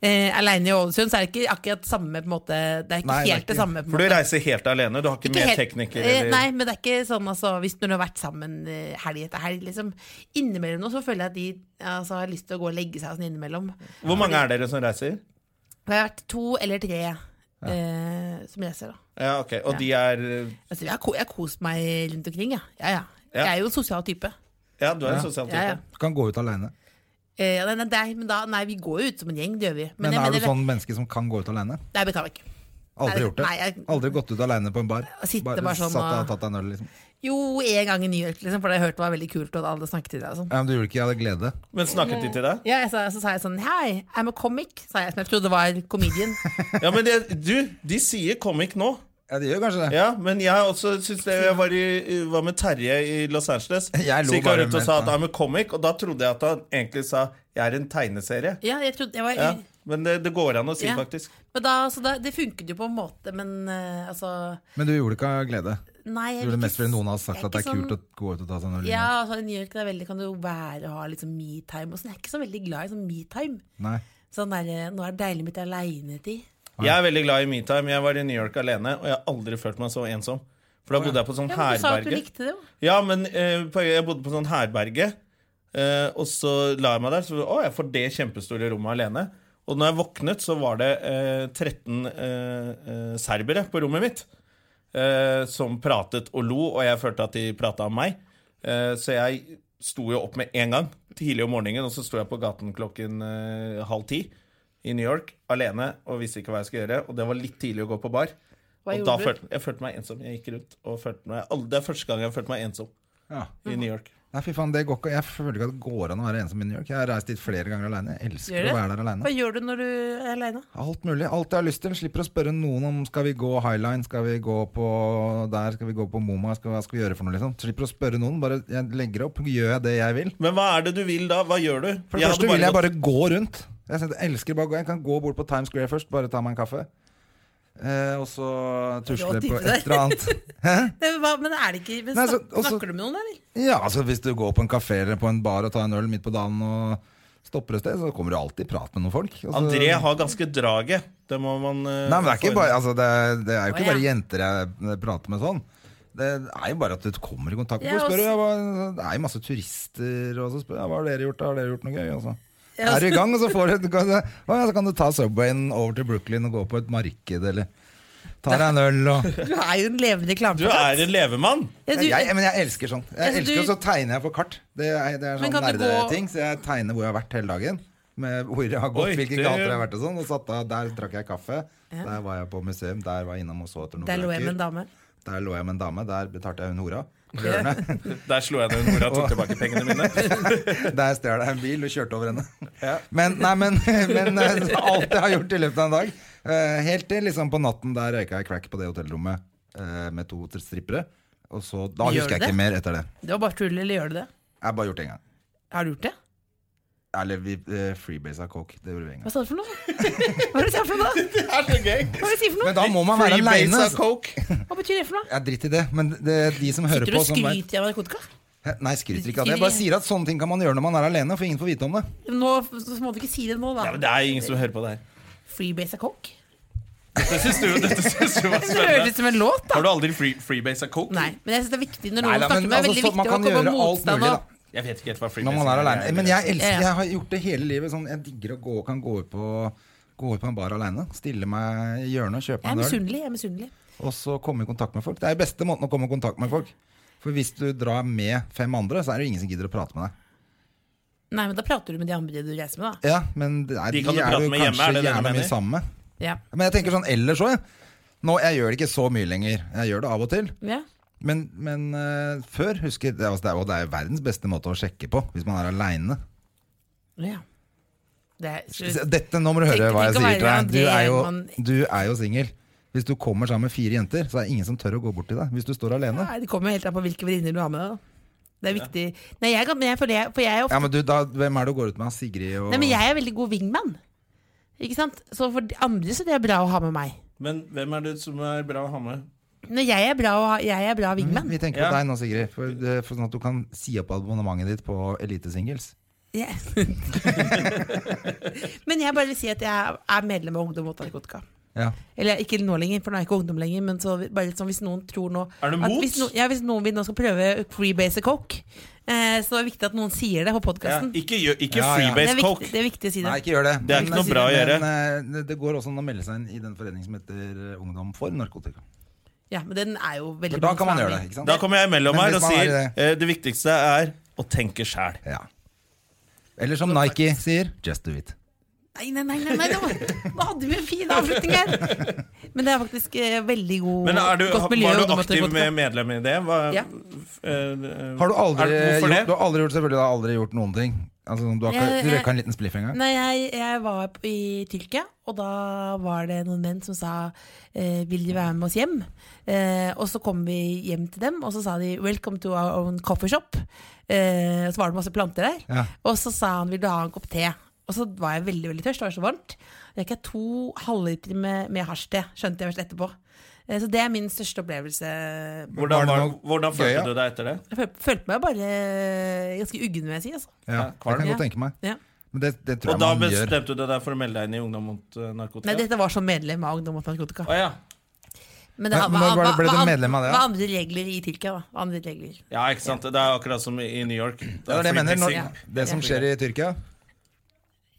Speaker 3: eh, alene i Ålesund, så er det ikke akkurat samme på en måte Det er ikke
Speaker 1: Nei, det er
Speaker 3: helt det,
Speaker 1: ikke-
Speaker 3: samme. på en
Speaker 2: For du
Speaker 3: måte.
Speaker 2: reiser helt alene? Du har ikke, med
Speaker 3: Ikke helt-
Speaker 2: tekniker?
Speaker 3: eh,
Speaker 2: Eller?
Speaker 3: Nei, men det er ikke sånn altså, hvis når du har vært sammen eh, helg etter helg, liksom. Innimellom nå så føler jeg at de altså, har lyst til å gå og legge seg og sånn innimellom.
Speaker 2: Hvor mange er dere som reiser?
Speaker 3: Det har vært to eller tre eh, som reiser, da.
Speaker 2: Ja, ok, Og
Speaker 3: Ja.
Speaker 2: de er
Speaker 3: Altså, jeg har ko- jeg har kost meg rundt omkring, jeg. Ja. Ja, ja.
Speaker 2: Ja.
Speaker 3: Jeg er jo en sosial type.
Speaker 2: Ja, du er
Speaker 1: Ja.
Speaker 2: en sosial type.
Speaker 3: Ja, ja.
Speaker 1: Du kan gå ut aleine.
Speaker 3: Eh, ja, nei, nei, nei, men da, nei, vi går jo ut som en gjeng, det gjør vi.
Speaker 1: Men,
Speaker 3: jeg
Speaker 1: er du
Speaker 3: mener-
Speaker 1: sånn menneske som kan gå ut aleine?
Speaker 3: Nei, det kan vi ikke.
Speaker 1: Aldri
Speaker 3: Nei,
Speaker 1: gjort det?
Speaker 3: nei, jeg-
Speaker 1: Aldri gått ut aleine på en bar?
Speaker 3: Sitte bare sånn
Speaker 1: satt deg
Speaker 3: og-
Speaker 1: og tatt deg en øl, liksom?
Speaker 3: Jo, en gang i New York, liksom, for jeg hørte det var veldig kult, og alle snakket til deg og sånn.
Speaker 1: Ja, men du gjorde ikke jeg hadde glede?
Speaker 2: Men snakket de til deg?
Speaker 3: Ja, jeg sa, så sa jeg sånn Hei, I'm a comic, sa jeg, som jeg trodde var comedian.
Speaker 2: Ja, men det, du, de sier comic nå.
Speaker 1: Ja, det gjør kanskje det.
Speaker 2: Ja, men jeg også syns det Jeg var, i, var med Terje i Los Angeles.
Speaker 1: Jeg lo
Speaker 2: Så gikk han
Speaker 1: bare
Speaker 2: rundt og
Speaker 1: med-
Speaker 2: sa at I'm a comic, og da trodde jeg at han egentlig sa jeg er en tegneserie.
Speaker 3: ja, jeg trodde jeg var,
Speaker 2: Ja, men det, det går an å si,
Speaker 3: Ja.
Speaker 2: faktisk.
Speaker 3: men da, Så da, det funket jo på en måte, men eh, altså
Speaker 1: Men du gjorde ikke av glede?
Speaker 3: Nei, jeg
Speaker 1: Du gjorde
Speaker 3: vil
Speaker 1: mest
Speaker 3: ikke
Speaker 1: fordi noen har
Speaker 3: s-
Speaker 1: sagt
Speaker 3: jeg
Speaker 1: at det er
Speaker 3: ikke
Speaker 1: kult
Speaker 3: sånn-
Speaker 1: å gå ut og ta seg en øl?
Speaker 3: ja, altså, I New York det er veldig, kan det jo være å ha liksom me-time. og sånn. Jeg er ikke så veldig glad i sånn me-time.
Speaker 1: liksom. Nei.
Speaker 3: Sånn der, eh, Nå er det deilig med litt aleine-tid.
Speaker 2: Jeg er veldig glad i metime. Jeg var i New York alene, og jeg har aldri følt meg så ensom. For da bodde jeg på sånn
Speaker 3: Ja, men du sa at du
Speaker 2: herberge.
Speaker 3: likte det jo.
Speaker 2: Ja, men eh, på- jeg bodde på sånn herberge, eh, og så la jeg meg der. Så å, jeg får det kjempestore rommet alene. Og når jeg våknet, så var det eh, 13 eh, eh, serbere på rommet mitt. eh, som pratet og lo, og jeg følte at de prata om meg. Eh, så jeg sto jo opp med en gang, tidlig om morgenen, og så sto jeg på gaten klokken eh, halv ti i New York alene og visste ikke hva jeg skulle gjøre. Og det var litt tidlig å gå på bar.
Speaker 3: Hva
Speaker 2: og
Speaker 3: gjorde
Speaker 2: da
Speaker 3: du?
Speaker 2: følte jeg følte meg ensom. Jeg gikk rundt og følte meg aldri- Det er første gang jeg har følt meg ensom.
Speaker 1: Ja.
Speaker 2: i New York.
Speaker 1: Nei, fy faen, det går ikke. Jeg føler ikke at det går an å være ensom i New York. Jeg har reist dit flere ganger alene. Jeg
Speaker 3: Gjør
Speaker 1: elsker
Speaker 3: det?
Speaker 1: å være der
Speaker 3: Hva
Speaker 1: alene.
Speaker 3: gjør du når du er aleine?
Speaker 1: Alt mulig. Alt jeg har lyst til. Slipper å spørre noen om skal vi gå Highline, skal vi gå på der, skal vi gå på Moma, skal, hva skal vi gjøre for noe, liksom. Slipper å spørre noen. Bare jeg legger opp, gjør jeg det jeg vil.
Speaker 2: Men hva er det du vil da? Hva gjør du?
Speaker 1: For det
Speaker 2: Jeg hadde
Speaker 1: første vil jeg
Speaker 2: gått-
Speaker 1: bare gå rundt. Jeg synes- jeg elsker bare å gå. Jeg kan gå bort på Times Square først, bare ta meg en kaffe. Eh, og så tusle
Speaker 3: Råd til
Speaker 1: på
Speaker 3: deg.
Speaker 1: et eller annet.
Speaker 3: Men er det ikke men
Speaker 1: Nei, altså,
Speaker 3: snak,
Speaker 1: så- også-
Speaker 3: Snakker du med noen, eller?
Speaker 1: Ja, altså hvis du går på en kafé eller på en bar og tar en øl midt på dagen og stopper et sted, så kommer du alltid i prat med noen folk. Altså, Og så-
Speaker 2: André har ganske draget. Det må man eh,
Speaker 1: Nei, men det er,
Speaker 2: få
Speaker 1: ikke
Speaker 2: inn.
Speaker 1: bare, altså, det, er, det er jo
Speaker 3: Å,
Speaker 1: ikke
Speaker 3: ja.
Speaker 1: bare jenter jeg prater med sånn. Det er jo bare at du kommer i kontakt med
Speaker 3: Ja, altså-
Speaker 1: folk.
Speaker 3: og
Speaker 1: Spør,
Speaker 3: så-
Speaker 1: ja, hva- det er jo masse turister, og så spør jeg hva har dere gjort, da? har dere gjort noe gøy? Og så
Speaker 3: Ja,
Speaker 1: er du
Speaker 3: altså-
Speaker 1: i gang, og så, får du, kan, du- å, ja, så kan du ta Subwayen over til Brooklyn og gå på et marked, eller ta deg en øl og
Speaker 3: Du er jo en levende
Speaker 2: Du er en levemann.
Speaker 3: Ja, du-
Speaker 1: jeg, Men jeg elsker sånn. Jeg
Speaker 3: Altså,
Speaker 1: elsker
Speaker 3: du-
Speaker 1: og så tegner jeg på kart. Det er, det er
Speaker 3: Men
Speaker 1: sånn
Speaker 3: kan du gå-
Speaker 1: nerdeting, så jeg tegner hvor jeg har vært hele dagen. Med hvor jeg har gått,
Speaker 2: Oi,
Speaker 1: hvilke
Speaker 2: det-
Speaker 1: gater jeg har vært og sånn. Og satt av, Der drakk jeg kaffe. Der var jeg på museum. Der var jeg innom og så etter noen
Speaker 3: Der lå jeg med en dame.
Speaker 1: Der lå jeg med en dame. Der betalte jeg hun hora.
Speaker 2: Der slo jeg ned mora og tok tilbake pengene mine.
Speaker 1: Der stjal jeg en bil og kjørte over henne. Men, nei, men, men eh, alt jeg har gjort i løpet av en dag eh, Helt til liksom på natten der røyka jeg crack på det hotellrommet eh, med to strippere. Og så, da
Speaker 3: Gjør
Speaker 1: husker jeg
Speaker 3: du det?
Speaker 1: ikke mer etter det.
Speaker 3: Det var bare tull, eller gjør du det?
Speaker 1: Jeg har bare gjort det én gang.
Speaker 3: Har du gjort det?
Speaker 1: Eller vi eh, freebasa coke. Det gjorde vi en gang.
Speaker 3: Hva sa du for noe? Hva er det du sa for noe? da?
Speaker 2: Det er så gøy.
Speaker 3: Hva er det du sier for noe?
Speaker 1: Men da må man være altså?
Speaker 2: Freebase
Speaker 1: aleine.
Speaker 2: av coke.
Speaker 3: Hva betyr det for noe?
Speaker 1: Ja, drit i det. Men det er de som hører
Speaker 3: Sitter du
Speaker 1: på
Speaker 3: og
Speaker 1: som vet-
Speaker 3: skryter av narkotika?
Speaker 1: Hæ? Nei, skryter ikke av det. Jeg bare sier at sånne ting kan man gjøre når man er alene, for ingen får vite om det.
Speaker 3: Nå, så må du ikke si det nå,
Speaker 2: Ja, men
Speaker 3: da.
Speaker 2: det er ingen som hører på det her.
Speaker 3: Freebase av coke?
Speaker 2: Dette syns du, dette syns du var
Speaker 3: Det høres
Speaker 2: spennende.
Speaker 3: ut som en låt, da.
Speaker 2: Har du aldri free, freebase av coke?
Speaker 3: Nei, men jeg synes det er viktig
Speaker 1: Nei,
Speaker 3: når noen
Speaker 1: da,
Speaker 3: snakker
Speaker 1: men
Speaker 3: med deg.
Speaker 1: altså,
Speaker 3: Veldig
Speaker 1: så, man
Speaker 3: viktig å
Speaker 1: kan
Speaker 3: komme
Speaker 1: gjøre
Speaker 3: med
Speaker 1: alt
Speaker 3: motstand.
Speaker 1: mulig da,
Speaker 3: og-
Speaker 2: Jeg vet ikke helt hva
Speaker 1: når
Speaker 2: freebase
Speaker 1: man er alene. Men jeg
Speaker 3: Ja, ja.
Speaker 1: elsker Jeg har gjort det hele livet. Sånn, jeg digger å gå kan gå ut på Gå ut på en bar alene, stille meg i hjørnet, kjøpe
Speaker 3: Jeg er
Speaker 1: meg en øl,
Speaker 3: misunnelig. jeg er misunnelig
Speaker 1: og så komme i kontakt med folk. Det er jo beste måten å komme i kontakt med folk. For hvis du drar med fem andre, så er det jo ingen som gidder å prate med deg.
Speaker 3: Nei, men da prater du med de andre du reiser med, da.
Speaker 1: Ja, men det er,
Speaker 2: De kan du
Speaker 1: er
Speaker 2: prate
Speaker 1: jo
Speaker 2: med hjemme, er
Speaker 1: kanskje
Speaker 2: det det du
Speaker 1: gjerne
Speaker 2: mener?
Speaker 1: mye sammen med.
Speaker 3: Ja.
Speaker 1: Men jeg tenker sånn ellers òg, jeg. Nå, jeg gjør det ikke så mye lenger. Jeg gjør det av og til.
Speaker 3: ja.
Speaker 1: Men, men eh, før husker jeg, det, er- altså, det, er, og det er jo verdens beste måte å sjekke på hvis man er aleine.
Speaker 3: ja. Det er,
Speaker 1: Dette nå må du høre
Speaker 3: Tenk-
Speaker 1: hva jeg
Speaker 3: tenk å
Speaker 1: sier
Speaker 3: være
Speaker 1: til deg. Du
Speaker 3: André
Speaker 1: er jo,
Speaker 3: Gjermann.
Speaker 1: du er jo singel. Hvis du kommer sammen med fire jenter, så er det ingen som tør å gå bort til deg. Hvis du står alene.
Speaker 3: Nei, det kommer helt an på hvilke venninner du har med deg. da. Det er viktig. Nei, jeg, kan- men jeg, føler jeg, for jeg er ofte
Speaker 1: Ja, men du, da, Hvem er det du går ut med? Sigrid og
Speaker 3: Nei, men jeg er veldig god wingman. Ikke sant? Så for de andre så det er bra å ha med meg.
Speaker 2: Men hvem er det som er bra å ha med?
Speaker 3: Når jeg er bra, å ha- jeg er bra wingman.
Speaker 1: Vi tenker
Speaker 2: Ja.
Speaker 1: på deg nå, Sigrid. For, eh, for sånn at du kan si opp abonnementet ditt på Elite Singles.
Speaker 3: Jeg- men jeg bare vil si at jeg er medlem av Ungdom mot narkotika.
Speaker 1: Ja.
Speaker 3: Eller ikke nå lenger, for nå er jeg ikke ungdom lenger. Men så vi- bare sånn, hvis noen tror nå
Speaker 2: Er du
Speaker 3: at
Speaker 2: mot?
Speaker 3: Hvis, no, ja, hvis noen vil nå skal prøve freebase coke, eh, så er det viktig at noen sier det på
Speaker 2: Ja,
Speaker 3: podkasten.
Speaker 2: ikke gjør- ikke
Speaker 1: Ja, ja.
Speaker 3: Det,
Speaker 2: freebase
Speaker 3: er viktig-
Speaker 2: coke.
Speaker 3: det er viktig å si det.
Speaker 1: Nei, ikke gjør det.
Speaker 2: Det er ikke noe
Speaker 1: men-
Speaker 2: bra å gjøre.
Speaker 1: Men eh, det går også an å melde seg inn i den foreningen som heter eh, Ungdom for narkotika.
Speaker 3: Ja, men den er jo
Speaker 1: For
Speaker 3: veldig
Speaker 1: da
Speaker 3: mange
Speaker 1: kan man
Speaker 3: som er
Speaker 1: gjøre det,
Speaker 3: med.
Speaker 1: ikke sant?
Speaker 2: Da kommer jeg imellom
Speaker 1: Men
Speaker 2: her
Speaker 1: hvis
Speaker 2: og
Speaker 1: man er
Speaker 2: sier
Speaker 1: i
Speaker 2: eh, det viktigste er å tenke sjæl.
Speaker 1: Ja. Eller som Nike sier, just do it.
Speaker 3: Nei, nei, nei, nei, nei nå, nå hadde vi en fin avslutning her! Men det er faktisk eh, veldig god,
Speaker 2: Men er du,
Speaker 3: godt miljø. i
Speaker 2: var du
Speaker 3: Ungdom mot
Speaker 2: aktiv
Speaker 3: narkotika.
Speaker 2: med medlem i det? Hva,
Speaker 3: Ja.
Speaker 2: f- eh,
Speaker 1: Har du aldri,
Speaker 2: Er- hvorfor
Speaker 1: gjort,
Speaker 2: det?
Speaker 1: du har aldri gjort selvfølgelig, du har aldri gjort noen ting? Altså, du har
Speaker 3: Jeg-
Speaker 1: ikke, du
Speaker 3: jeg-
Speaker 1: røyka en liten spliff en gang?
Speaker 3: Nei, jeg, jeg var på- i Tyrkia, og da var det noen menn som sa eh, 'vil de være med oss hjem?' Eh, og så kom vi hjem til dem, og så sa de 'welcome to our own coffee shop'. Eh, og så var det masse planter der.
Speaker 1: Ja.
Speaker 3: Og så sa han 'vil du ha en kopp te'? Og så var jeg veldig veldig tørst, det var så varmt. Jeg gikk jeg to halvlitere med, med hasjte, skjønte jeg først etterpå. Eh, så det er min største opplevelse.
Speaker 1: Var
Speaker 2: Hvordan,
Speaker 1: det
Speaker 2: var,
Speaker 1: noe
Speaker 2: hvordan
Speaker 1: gøy, ja?
Speaker 2: følte du deg etter det?
Speaker 3: Jeg føl- følte meg bare ganske uggen, vil jeg si. Altså.
Speaker 1: Ja, det kan jeg godt tenke meg.
Speaker 3: Ja.
Speaker 1: Men det, det tror jeg
Speaker 2: Og da
Speaker 1: man gjør.
Speaker 2: bestemte du deg for å melde deg inn i Ungdom mot eh, narkotika?
Speaker 3: Nei, dette var som medlem av Ungdom mot narkotika.
Speaker 2: Å, ja.
Speaker 3: Men
Speaker 1: Men når var det- ble du
Speaker 3: an-
Speaker 1: medlem av det, da?
Speaker 3: Hva andre regler i Tyrkia, da? Hva andre regler?
Speaker 2: ja, ikke sant? Det er akkurat som i New York.
Speaker 1: Det er det jeg mener. Når,
Speaker 3: Ja.
Speaker 1: det som skjer i Tyrkia,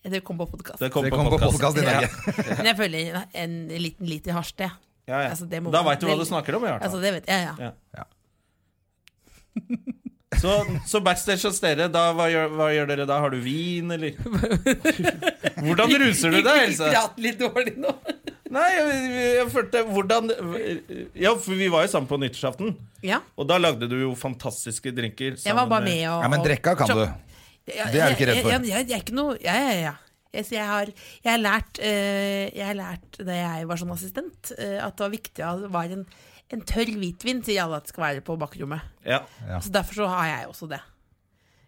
Speaker 3: Det kom på podkast.
Speaker 2: Det kom
Speaker 1: det
Speaker 2: på
Speaker 1: kommer på
Speaker 2: podcast.
Speaker 1: podkast i
Speaker 3: Ja.
Speaker 1: Norge.
Speaker 3: Men jeg føler en- en liten liter hasj, det.
Speaker 2: Ja, ja.
Speaker 3: Altså, det må
Speaker 2: da
Speaker 3: være
Speaker 2: veit du hva du
Speaker 3: veldig-
Speaker 2: snakker om, i hvert fall.
Speaker 3: Altså, det vet jeg, ja.
Speaker 2: Ja.
Speaker 1: Ja.
Speaker 2: Så, så backstage hos dere, da, hva, gjør, hva gjør dere da? Har du vin, eller? Hvordan ruser du deg, Else?
Speaker 3: Prat litt dårlig nå.
Speaker 2: Nei, jeg, jeg følte Hvordan Ja, for vi var jo sammen på nyttårsaften.
Speaker 3: Ja.
Speaker 2: Og da lagde du jo fantastiske drinker.
Speaker 3: Jeg var bare med og
Speaker 1: Ja, men
Speaker 3: og-
Speaker 1: drekka kan du.
Speaker 3: Ja,
Speaker 1: Det er du ikke redd for.
Speaker 3: Jeg, jeg, jeg, jeg er ikke noe Ja, ja, ja. Jeg, så jeg, har, jeg, har lært, eh, jeg har lært da jeg var som assistent, eh, at det var viktig at det var en, en tørr hvitvin, sier alle at det skal være på bakrommet.
Speaker 2: Ja.
Speaker 1: Ja.
Speaker 3: Så derfor så har jeg også det.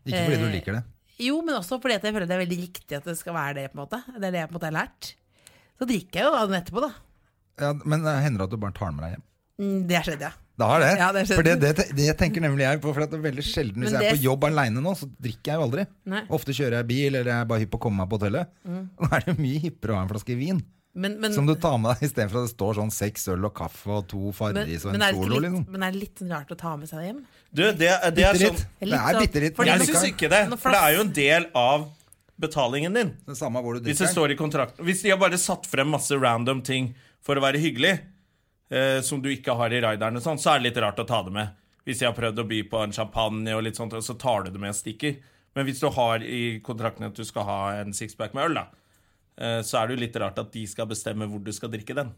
Speaker 1: Ikke fordi du
Speaker 3: Eh,
Speaker 1: liker det.
Speaker 3: Jo, men også fordi at jeg føler det er veldig riktig at det skal være det. på en måte Det er det jeg på en måte har lært. Så drikker jeg jo da den etterpå, da.
Speaker 1: Ja, men det hender at du bare tar den med deg hjem.
Speaker 3: Mm, Det har skjedd, ja.
Speaker 1: Det har det.
Speaker 3: Ja, det har skjedd.
Speaker 1: for det, det, det tenker nemlig jeg på. For at det er veldig sjelden Hvis
Speaker 3: Men
Speaker 1: jeg er
Speaker 3: det-
Speaker 1: på jobb aleine nå, så drikker jeg jo aldri.
Speaker 3: Nei.
Speaker 1: Ofte kjører jeg bil, eller jeg er bare hypp på å komme meg på hotellet. Da er det jo mye hippere å ha en flaske vin
Speaker 3: Men, men,
Speaker 1: som du tar med deg istedenfor at det står sånn seks øl og kaffe og to
Speaker 3: men,
Speaker 1: Farris og
Speaker 3: men,
Speaker 1: en
Speaker 3: er det
Speaker 1: Solo.
Speaker 3: ikke
Speaker 1: Liksom.
Speaker 3: litt, men er det litt sånn rart å ta med seg hjem?
Speaker 2: Du, det, det
Speaker 1: Bitte
Speaker 2: er sånn
Speaker 1: litt.
Speaker 3: Det er
Speaker 1: Det
Speaker 3: litt
Speaker 1: er
Speaker 3: sånn-
Speaker 1: bitte litt.
Speaker 3: fordi
Speaker 1: men
Speaker 2: Jeg
Speaker 3: du
Speaker 1: likevel.
Speaker 2: syns ikke det.
Speaker 3: Nå
Speaker 2: For det er
Speaker 3: flass-
Speaker 2: jo en del av betalingen din.
Speaker 1: sånn- Det er samme hvor du
Speaker 2: Hvis det
Speaker 1: drikker.
Speaker 2: står i kontrakten Hvis de har bare satt frem masse random ting for å være hyggelig, eh, som du ikke har i rideren, og sånn, så er det litt rart å ta det med. Hvis jeg har prøvd å by på en champagne, og litt sånt, og så tar du det med og stikker. Men hvis du har i kontrakten at du skal ha en sixpack med øl, da, eh, så er det jo litt rart at de skal bestemme hvor du skal drikke den.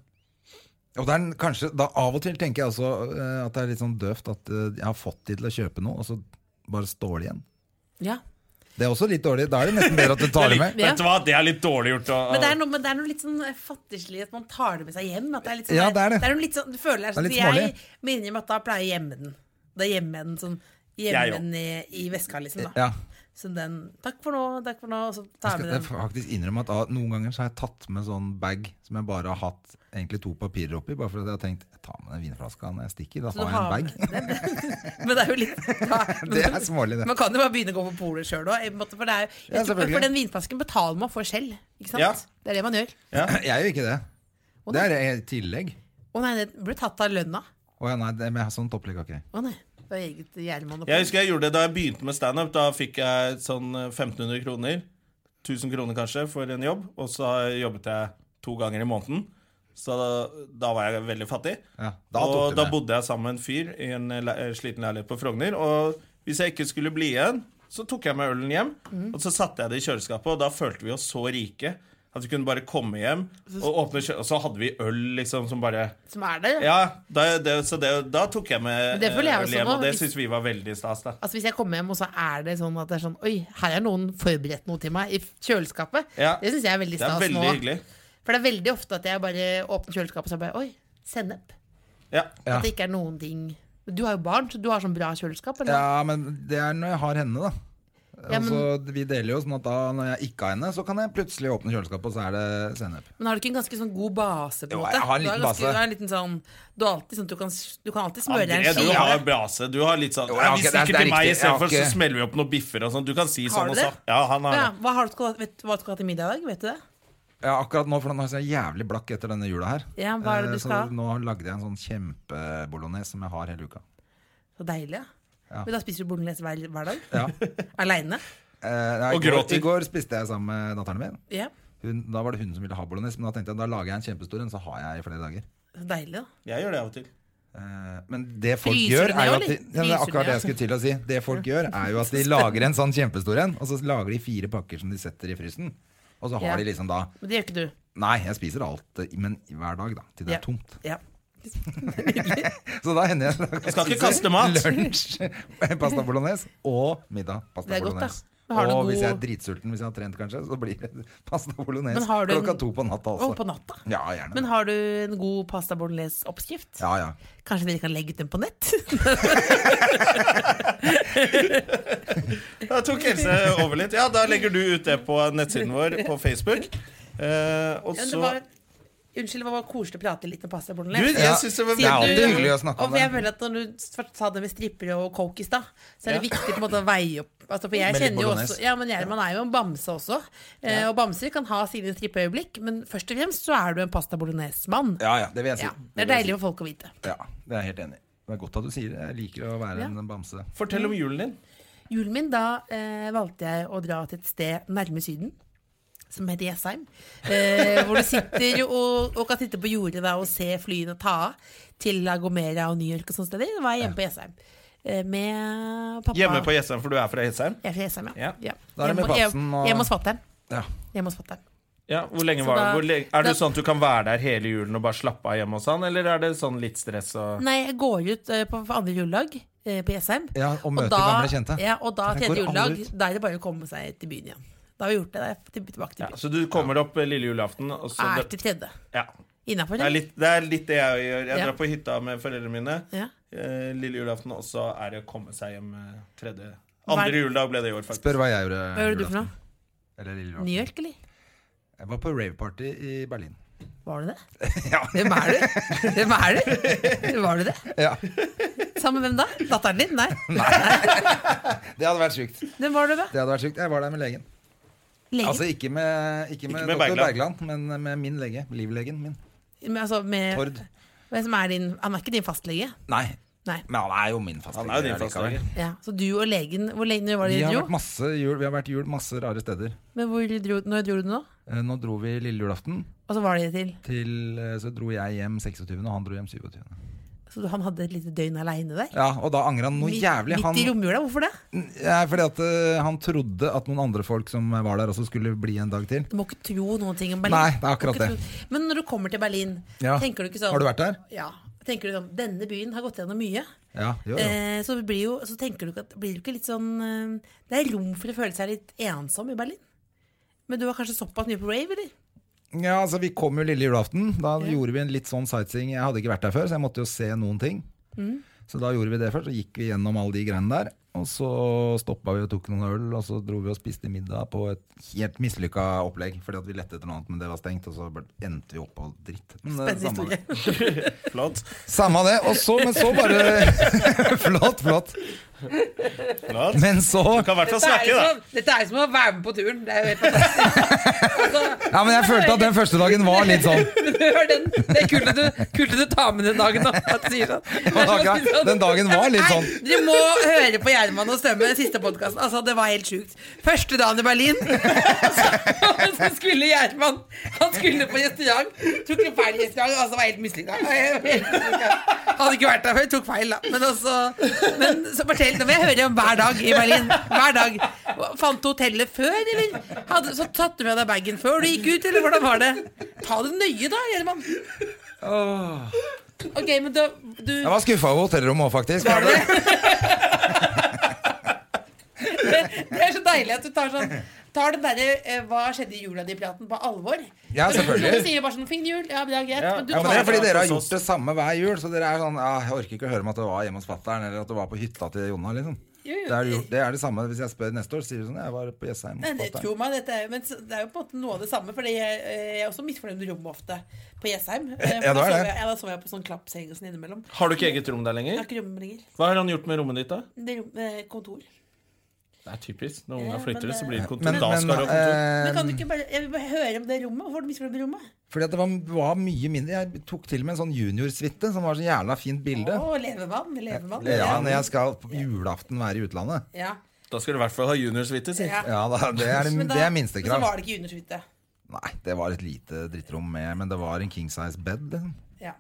Speaker 1: Og det er en- kanskje, da Av og til tenker jeg også eh, at det er litt sånn døvt at eh, jeg har fått de til å kjøpe noe, og så bare står det igjen.
Speaker 3: Ja.
Speaker 1: Det er også litt dårlig. Da er det nesten bedre at du tar det med.
Speaker 3: Ja.
Speaker 2: Vet du hva, det er litt dårlig gjort. å-
Speaker 3: Men det, er noe, men det er noe litt sånn eh, fattigslig at man tar det med seg hjem. At det er litt sånn,
Speaker 1: Ja, det er det.
Speaker 3: noe litt sånn, du føler
Speaker 1: Det
Speaker 3: deg
Speaker 1: er
Speaker 3: sånn,
Speaker 1: litt
Speaker 3: Jeg
Speaker 1: smålig.
Speaker 3: må innrømme at da pleier jeg å gjemme den. Da gjemmer jeg den sånn
Speaker 2: Jeg
Speaker 3: Gjemme den i, i veska, liksom. da
Speaker 1: Ja,
Speaker 3: Så den 'takk for nå, takk for nå', og så
Speaker 1: jeg
Speaker 3: tar jeg
Speaker 1: skal
Speaker 3: med
Speaker 1: jeg
Speaker 3: den.
Speaker 1: får faktisk innrømme at ah, Noen ganger så har jeg tatt med sånn bag som jeg bare har hatt egentlig to papirer oppi. Bare fordi jeg har tenkt jeg tar med den vinflaska når jeg stikker. Da
Speaker 3: Så du
Speaker 1: har jeg en
Speaker 3: har-
Speaker 1: bag.
Speaker 3: Men det er jo litt da, men,
Speaker 1: Det er smålig, det.
Speaker 3: Man kan jo bare begynne å gå på polet sjøl òg. For, det er jo-
Speaker 1: Ja,
Speaker 3: jeg tror-
Speaker 1: selvfølgelig.
Speaker 3: for den vinflasken betaler man for selv. Ikke sant?
Speaker 2: Ja.
Speaker 3: Det er det man gjør.
Speaker 1: Jeg gjør ikke det. Det er et tillegg.
Speaker 3: Å nei, det ble tatt av lønna.
Speaker 1: Å ja, nei, det, men jeg har sånn topplegg har ikke jeg.
Speaker 3: Å nei. Det var eget jernmann
Speaker 2: Jeg husker jeg gjorde det da jeg begynte med standup. Da fikk jeg sånn eh, 1500 kroner. 1000 kroner kanskje for en jobb. Og så jobbet jeg to ganger i måneden. Så da, da var jeg veldig fattig.
Speaker 1: Ja, da tok
Speaker 2: og
Speaker 1: du
Speaker 2: da
Speaker 1: det.
Speaker 2: bodde jeg sammen med en fyr i en le eh, sliten leilighet på Frogner. Og hvis jeg ikke skulle bli igjen, så tok jeg med ølen hjem.
Speaker 3: Mhm.
Speaker 2: Og så satte jeg det i kjøleskapet, og da følte vi oss så rike. At vi kunne bare komme hjem, og åpne kjø og så hadde vi øl liksom som bare
Speaker 3: som er der.
Speaker 2: Ja, da, det, så det, da tok jeg med
Speaker 3: Men det føler jeg
Speaker 2: eh,
Speaker 3: også
Speaker 2: øl hjem,
Speaker 3: nå,
Speaker 2: og det
Speaker 3: hvis-
Speaker 2: syns vi var veldig stas. da
Speaker 3: Altså Hvis jeg kommer hjem, og så er det sånn at det er sånn Oi, her er noen forberedt noe til meg i kjøleskapet.
Speaker 2: Ja.
Speaker 3: Det syns jeg er veldig
Speaker 2: Det er
Speaker 3: stas
Speaker 2: veldig
Speaker 3: nå.
Speaker 2: hyggelig.
Speaker 3: For det er veldig ofte at jeg bare åpner kjøleskapet og så er jeg bare Oi, sennep.
Speaker 2: Ja.
Speaker 1: Ja.
Speaker 3: At det ikke er noen ting Du har jo barn, så du har sånn bra kjøleskap, eller?
Speaker 1: Ja, men det er når jeg har henne, da.
Speaker 3: Ja, men-
Speaker 1: Altså, vi deler jo sånn at da når jeg ikke har henne, så kan jeg plutselig åpne kjøleskapet, og så er det sennep.
Speaker 3: Men har du ikke en ganske sånn god base, på en
Speaker 1: Jo,
Speaker 3: måte?
Speaker 1: jeg har en
Speaker 3: Du
Speaker 1: liten
Speaker 3: ganske,
Speaker 1: base.
Speaker 3: Du har en liten sånn Du har alltid sånn at du kan, du kan alltid smøre deg
Speaker 2: André,
Speaker 3: en
Speaker 2: du
Speaker 3: skive.
Speaker 2: har brase. Du har litt sånn
Speaker 1: Jo, jeg
Speaker 2: Nei,
Speaker 1: har
Speaker 2: Vi
Speaker 1: ikke- det er-
Speaker 2: stikker
Speaker 1: det er
Speaker 2: til
Speaker 1: riktig.
Speaker 2: meg
Speaker 1: Jeg har
Speaker 2: istedenfor, så
Speaker 1: ikke-
Speaker 2: smeller vi opp noen biffer og sånn. Du kan si
Speaker 3: Har
Speaker 2: sånn
Speaker 3: du
Speaker 2: og
Speaker 3: det?
Speaker 2: sånn. Ja, han har
Speaker 3: ja,
Speaker 2: det.
Speaker 3: hva har du, vet, hva har du hatt til middag i dag? Vet du det?
Speaker 1: Ja, akkurat nå, for nå er jeg så jævlig blakk etter denne jula her.
Speaker 3: Ja, hva er det
Speaker 1: Eh,
Speaker 3: du skal ha?
Speaker 1: Så nå lagde jeg en sånn kjempebolognese som jeg har hele uka.
Speaker 3: Så deilig. Ja.
Speaker 1: Ja.
Speaker 3: Men da spiser du bolognese hver, hver dag?
Speaker 1: Ja.
Speaker 3: Aleine?
Speaker 1: Eh, nei,
Speaker 2: Og
Speaker 1: i går-
Speaker 2: gråter.
Speaker 1: I går spiste jeg sammen med datteren min.
Speaker 3: Ja.
Speaker 1: Hun, da var det hun som ville ha bolognese, men da tenkte jeg da lager jeg en kjempestor en, så har jeg i flere dager.
Speaker 3: Så deilig, da.
Speaker 2: Jeg gjør det av og til.
Speaker 1: Eh, Men det folk
Speaker 3: Fryser
Speaker 1: gjør
Speaker 3: du
Speaker 1: er jo
Speaker 3: ned,
Speaker 1: at de, ja,
Speaker 3: eller?
Speaker 1: det er
Speaker 3: Fryser du
Speaker 1: akkurat det
Speaker 3: ned?
Speaker 1: jeg skulle til å si. Det folk gjør er jo at de lager en sånn kjempestor en, og så lager de fire pakker som de setter i frysen. Og så har
Speaker 3: Ja.
Speaker 1: de liksom da
Speaker 3: Men det gjør ikke du.
Speaker 1: Nei, jeg spiser alt, eh, men hver dag, da. Til det
Speaker 3: Ja.
Speaker 1: er tomt.
Speaker 3: Ja.
Speaker 1: Så da hender jeg at jeg
Speaker 2: skal ikke
Speaker 1: spiser
Speaker 2: kaste mat.
Speaker 1: Lunsj pasta bolognese og middag pasta
Speaker 3: Det er godt, da.
Speaker 1: bolognese.
Speaker 3: Men har du
Speaker 1: Og hvis
Speaker 3: god-
Speaker 1: jeg er dritsulten, hvis jeg har trent kanskje, så blir det pasta bolognese
Speaker 3: Men har du en-
Speaker 1: klokka to på natta
Speaker 3: Å,
Speaker 1: også.
Speaker 3: på natta?
Speaker 1: Ja, gjerne.
Speaker 3: Men har du en god pasta bolognese-oppskrift?
Speaker 1: Ja, ja.
Speaker 3: Kanskje dere kan legge ut den på nett?
Speaker 2: Da tok Else over litt. Ja, da legger du ut det på nettsiden vår på Facebook. Eh, og
Speaker 3: Ja, det
Speaker 2: så
Speaker 3: var, unnskyld, det var koselig å prate litt om pasta
Speaker 2: Du,
Speaker 3: bolognese.
Speaker 2: jeg syns det var
Speaker 1: Det er
Speaker 3: Siden
Speaker 1: alltid
Speaker 3: du-
Speaker 1: hyggelig å snakke
Speaker 3: og
Speaker 1: om
Speaker 3: for jeg
Speaker 1: det.
Speaker 3: føler at Når du først sa det med strippere og coke i stad, så er det
Speaker 2: Ja.
Speaker 3: viktig på en måte å veie opp. Altså, for jeg
Speaker 1: Med litt
Speaker 3: kjenner jo
Speaker 1: bolognese.
Speaker 3: også Ja, men Gjerman er jo en bamse også. Eh, Og bamser kan ha sine strippeøyeblikk, men først og fremst så er du en pasta bolognese-mann.
Speaker 1: Ja, ja, det vil jeg si.
Speaker 3: Ja, det er
Speaker 1: vil jeg si.
Speaker 3: deilig for folk å vite.
Speaker 1: Ja, det er jeg helt enig i. Det er godt at du sier det. Jeg liker å være
Speaker 3: Ja.
Speaker 1: en bamse.
Speaker 2: Fortell om julen din.
Speaker 3: Julen min, da eh, valgte jeg å dra til et sted nærme Syden. Som heter Jessheim. Eh, hvor du sitter og, og kan sitte på jordet da, og se flyene ta av til La Gomera og New York og sånne steder. Da var jeg hjemme på Jessheim. Eh, med pappa.
Speaker 2: Hjemme på Jessheim, for du er fra Jessheim.
Speaker 3: Jeg er fra Jessheim, ja.
Speaker 2: Ja.
Speaker 3: ja.
Speaker 1: Da er det med
Speaker 3: Hjemme-
Speaker 1: Batsen og-
Speaker 3: Hjemme hos fatter'n.
Speaker 1: Ja.
Speaker 3: Hjemme hos fatter'n.
Speaker 2: Ja, hvor lenge
Speaker 3: Så
Speaker 2: var
Speaker 3: da-
Speaker 2: hvor lenge, Er det
Speaker 3: da-
Speaker 2: sånn at du kan være der hele julen og bare slappe av hjemme hos han, eller er det sånn litt stress og
Speaker 3: Nei, jeg går ut eh, på andre juledag eh, på Jessheim.
Speaker 1: Ja, og møte gamle kjente.
Speaker 3: Ja, og da
Speaker 1: Jeg
Speaker 3: tredje
Speaker 1: går
Speaker 3: juledag,
Speaker 1: aldri ut.
Speaker 3: da er det bare å komme seg til byen igjen. Da har vi gjort det. Da er jeg til- tilbake til
Speaker 2: ja,
Speaker 3: byen.
Speaker 2: Så du kommer opp eh, lille julaften, og så
Speaker 3: er
Speaker 2: det,
Speaker 3: til tredje.
Speaker 2: ja.
Speaker 3: Innafor,
Speaker 2: det, er litt, det er litt det jeg gjør. Jeg
Speaker 3: Ja.
Speaker 2: drar på hytta med foreldrene mine
Speaker 3: Ja.
Speaker 2: eh, lille julaften, og så er det å komme seg hjem eh, tredje Andre juledag ble det i år, faktisk.
Speaker 1: Spør hva jeg gjorde.
Speaker 3: Hva gjorde du for noe?
Speaker 1: Eller lille
Speaker 3: New
Speaker 1: julaften.
Speaker 3: York, eller?
Speaker 1: Jeg var på raveparty i Berlin.
Speaker 3: Var du det? Hvem er du? Hvem er du? Var du det?
Speaker 1: Ja,
Speaker 3: Sammen med hvem da? Datteren din? Nei.
Speaker 1: Det hadde vært sykt.
Speaker 3: Hvem var du med?
Speaker 1: Det hadde vært sykt. Jeg var der med legen.
Speaker 3: Legen?
Speaker 1: Altså ikke med, ikke med,
Speaker 2: Ikke med
Speaker 1: doktor
Speaker 2: Bergland.
Speaker 1: Bergland, men med min lege. Livlegen min.
Speaker 3: Men altså med,
Speaker 1: Tord.
Speaker 3: Hvem som er din, han er ikke din fastlege?
Speaker 1: Nei,
Speaker 3: Nei.
Speaker 1: men han er jo min fastlege.
Speaker 2: Han er jo din
Speaker 1: allikevel.
Speaker 2: fastlege.
Speaker 3: Ja, så du og legen Hvor lenge var
Speaker 1: Vi
Speaker 3: det dere
Speaker 1: har
Speaker 3: dro?
Speaker 1: vært masse jul, vi har vært jul masse rare steder.
Speaker 3: Men hvor dro, når dro du nå?
Speaker 1: Eh, Nå dro vi lille julaften,
Speaker 3: Og så var det til
Speaker 1: til, eh, så dro jeg hjem 26., og han dro hjem 27.
Speaker 3: Så du- han hadde et lite døgn aleine der?
Speaker 1: Ja, Og da angra han noe
Speaker 3: Midt-
Speaker 1: jævlig.
Speaker 3: Midt
Speaker 1: Han,
Speaker 3: i romjula? Hvorfor det?
Speaker 1: ja, fordi at eh, han trodde at noen andre folk som var der, også skulle bli en dag til.
Speaker 3: Du må ikke tro noen ting om Berlin.
Speaker 1: Nei, det er akkurat
Speaker 3: Du må ikke tro- Men når du kommer til Berlin,
Speaker 1: Ja.
Speaker 3: tenker du ikke sånn
Speaker 1: Har du vært der?
Speaker 3: Ja. Tenker du sånn Denne byen har gått gjennom mye.
Speaker 1: Ja, jo, jo.
Speaker 3: Eh, så, blir jo, så tenker du ikke at Blir du ikke litt sånn eh, Det er rom for å føle seg litt ensom i Berlin. Men du var kanskje såpass mye på rave, eller?
Speaker 1: Ja, altså Vi kom jo lille julaften. Da
Speaker 3: Ja.
Speaker 1: gjorde vi en litt sånn sightseeing. Jeg hadde ikke vært der før, så jeg måtte jo se noen ting.
Speaker 3: Mm.
Speaker 1: Så da gjorde vi det først, så gikk vi gjennom alle de greiene der. Og så stoppa vi og tok noen øl, og så dro vi og spiste middag på et helt mislykka opplegg. Fordi at vi lette etter noe annet, men det var stengt, og så bare endte vi opp på dritt. Men, eh,
Speaker 3: Spennende
Speaker 1: samme det.
Speaker 3: historie.
Speaker 2: Flott.
Speaker 1: Samme det. Og så, men så bare Flott, flott.
Speaker 2: flott.
Speaker 1: Men så
Speaker 2: Du kan i hvert fall snakke, da.
Speaker 3: dette er som å være med på turen. Det er jo helt fantastisk. Altså,
Speaker 1: Ja, men jeg følte at den første dagen var litt sånn.
Speaker 3: det er kult at, du, tar med den dagen
Speaker 1: Den dagen var litt sånn.
Speaker 3: Nei, dere må høre på Gjerman og Stømme, den siste podkasten. Altså, det var helt sjukt. Første dagen i Berlin, så, så skulle Gjerman Han skulle på restaurant, tok en feil restaurant, altså var helt mislykka. Hadde ikke vært der før, tok feil, da. Men altså Men så fortell, nå vil jeg høre om hver dag i Berlin. Hver dag. Hva- Fant du hotellet før, eller? Hadde, så tatt du med deg bagen før du gikk ut, eller hvordan var det? Ta det nøye, da, Gjerman. Ok, men da du,
Speaker 1: Jeg var skuffa over hotellrommet òg, faktisk.
Speaker 3: var det det? Det er så deilig at du tar sånn Tar den derre eh, 'hva skjedde i jula di'-praten på alvor.
Speaker 1: Ja, selvfølgelig.
Speaker 3: Du sier bare sånn 'fin jul', ja, det er greit.
Speaker 2: Ja,
Speaker 3: Men du
Speaker 1: Ja, men
Speaker 3: tar
Speaker 1: det er fordi
Speaker 2: det
Speaker 1: dere har
Speaker 2: hos oss.
Speaker 1: gjort det samme hver jul. Så dere er sånn ja, Jeg orker ikke å høre om at det var hjemme hos fatter'n, eller at det var på hytta til Jonna, liksom.
Speaker 3: Jo, jo.
Speaker 1: Det er, gjort, det er det samme hvis jeg spør neste år. Sier du sånn Jeg var på Jessheim
Speaker 3: Men
Speaker 1: hos
Speaker 3: det,
Speaker 1: fatter'n.
Speaker 3: tro meg, dette er, jo- men så- det er jo på en måte noe av det samme. Fordi jeg, eh, jeg er også misfornøyd med rommet ofte på Jessheim. Eh, for
Speaker 1: Ja, det
Speaker 3: da
Speaker 1: er
Speaker 3: sover
Speaker 1: det.
Speaker 3: jeg- Ja, da sover jeg på sånn klappseng og sånn innimellom.
Speaker 2: Har du ikke eget rom der
Speaker 3: Jeg
Speaker 2: lenger?
Speaker 3: har ikke rommet lenger.
Speaker 2: Hva har han gjort med rommet ditt, da?
Speaker 3: Det er rom, eh, kontor.
Speaker 2: Det er typisk. Når
Speaker 3: Ja,
Speaker 2: unga
Speaker 3: men
Speaker 2: flytter ut, så
Speaker 3: det-
Speaker 2: blir det kontor.
Speaker 1: Men,
Speaker 2: da
Speaker 1: men
Speaker 2: skal du ha kontor.
Speaker 3: Men kan du
Speaker 1: eh,
Speaker 3: ikke bare Jeg vil bare høre om det rommet. Hvorfor er du misfornøyd med rommet?
Speaker 1: fordi at det var, var mye mindre. Jeg tok til og med en sånn juniorsuite som var så jævla fint bilde.
Speaker 3: Å, levemann. Levemann.
Speaker 1: Ja, når jeg skal på julaften være i utlandet.
Speaker 3: ja.
Speaker 2: Da skal du i hvert fall ha juniorsuite, si.
Speaker 3: ja.
Speaker 1: Ja, da, det er,
Speaker 3: Men da-
Speaker 1: det er
Speaker 3: Men så
Speaker 1: minstekrav.
Speaker 3: var det ikke juniorsuite.
Speaker 1: Nei, det var et lite drittrom med, men det var en king size bed. liksom.
Speaker 3: Ja.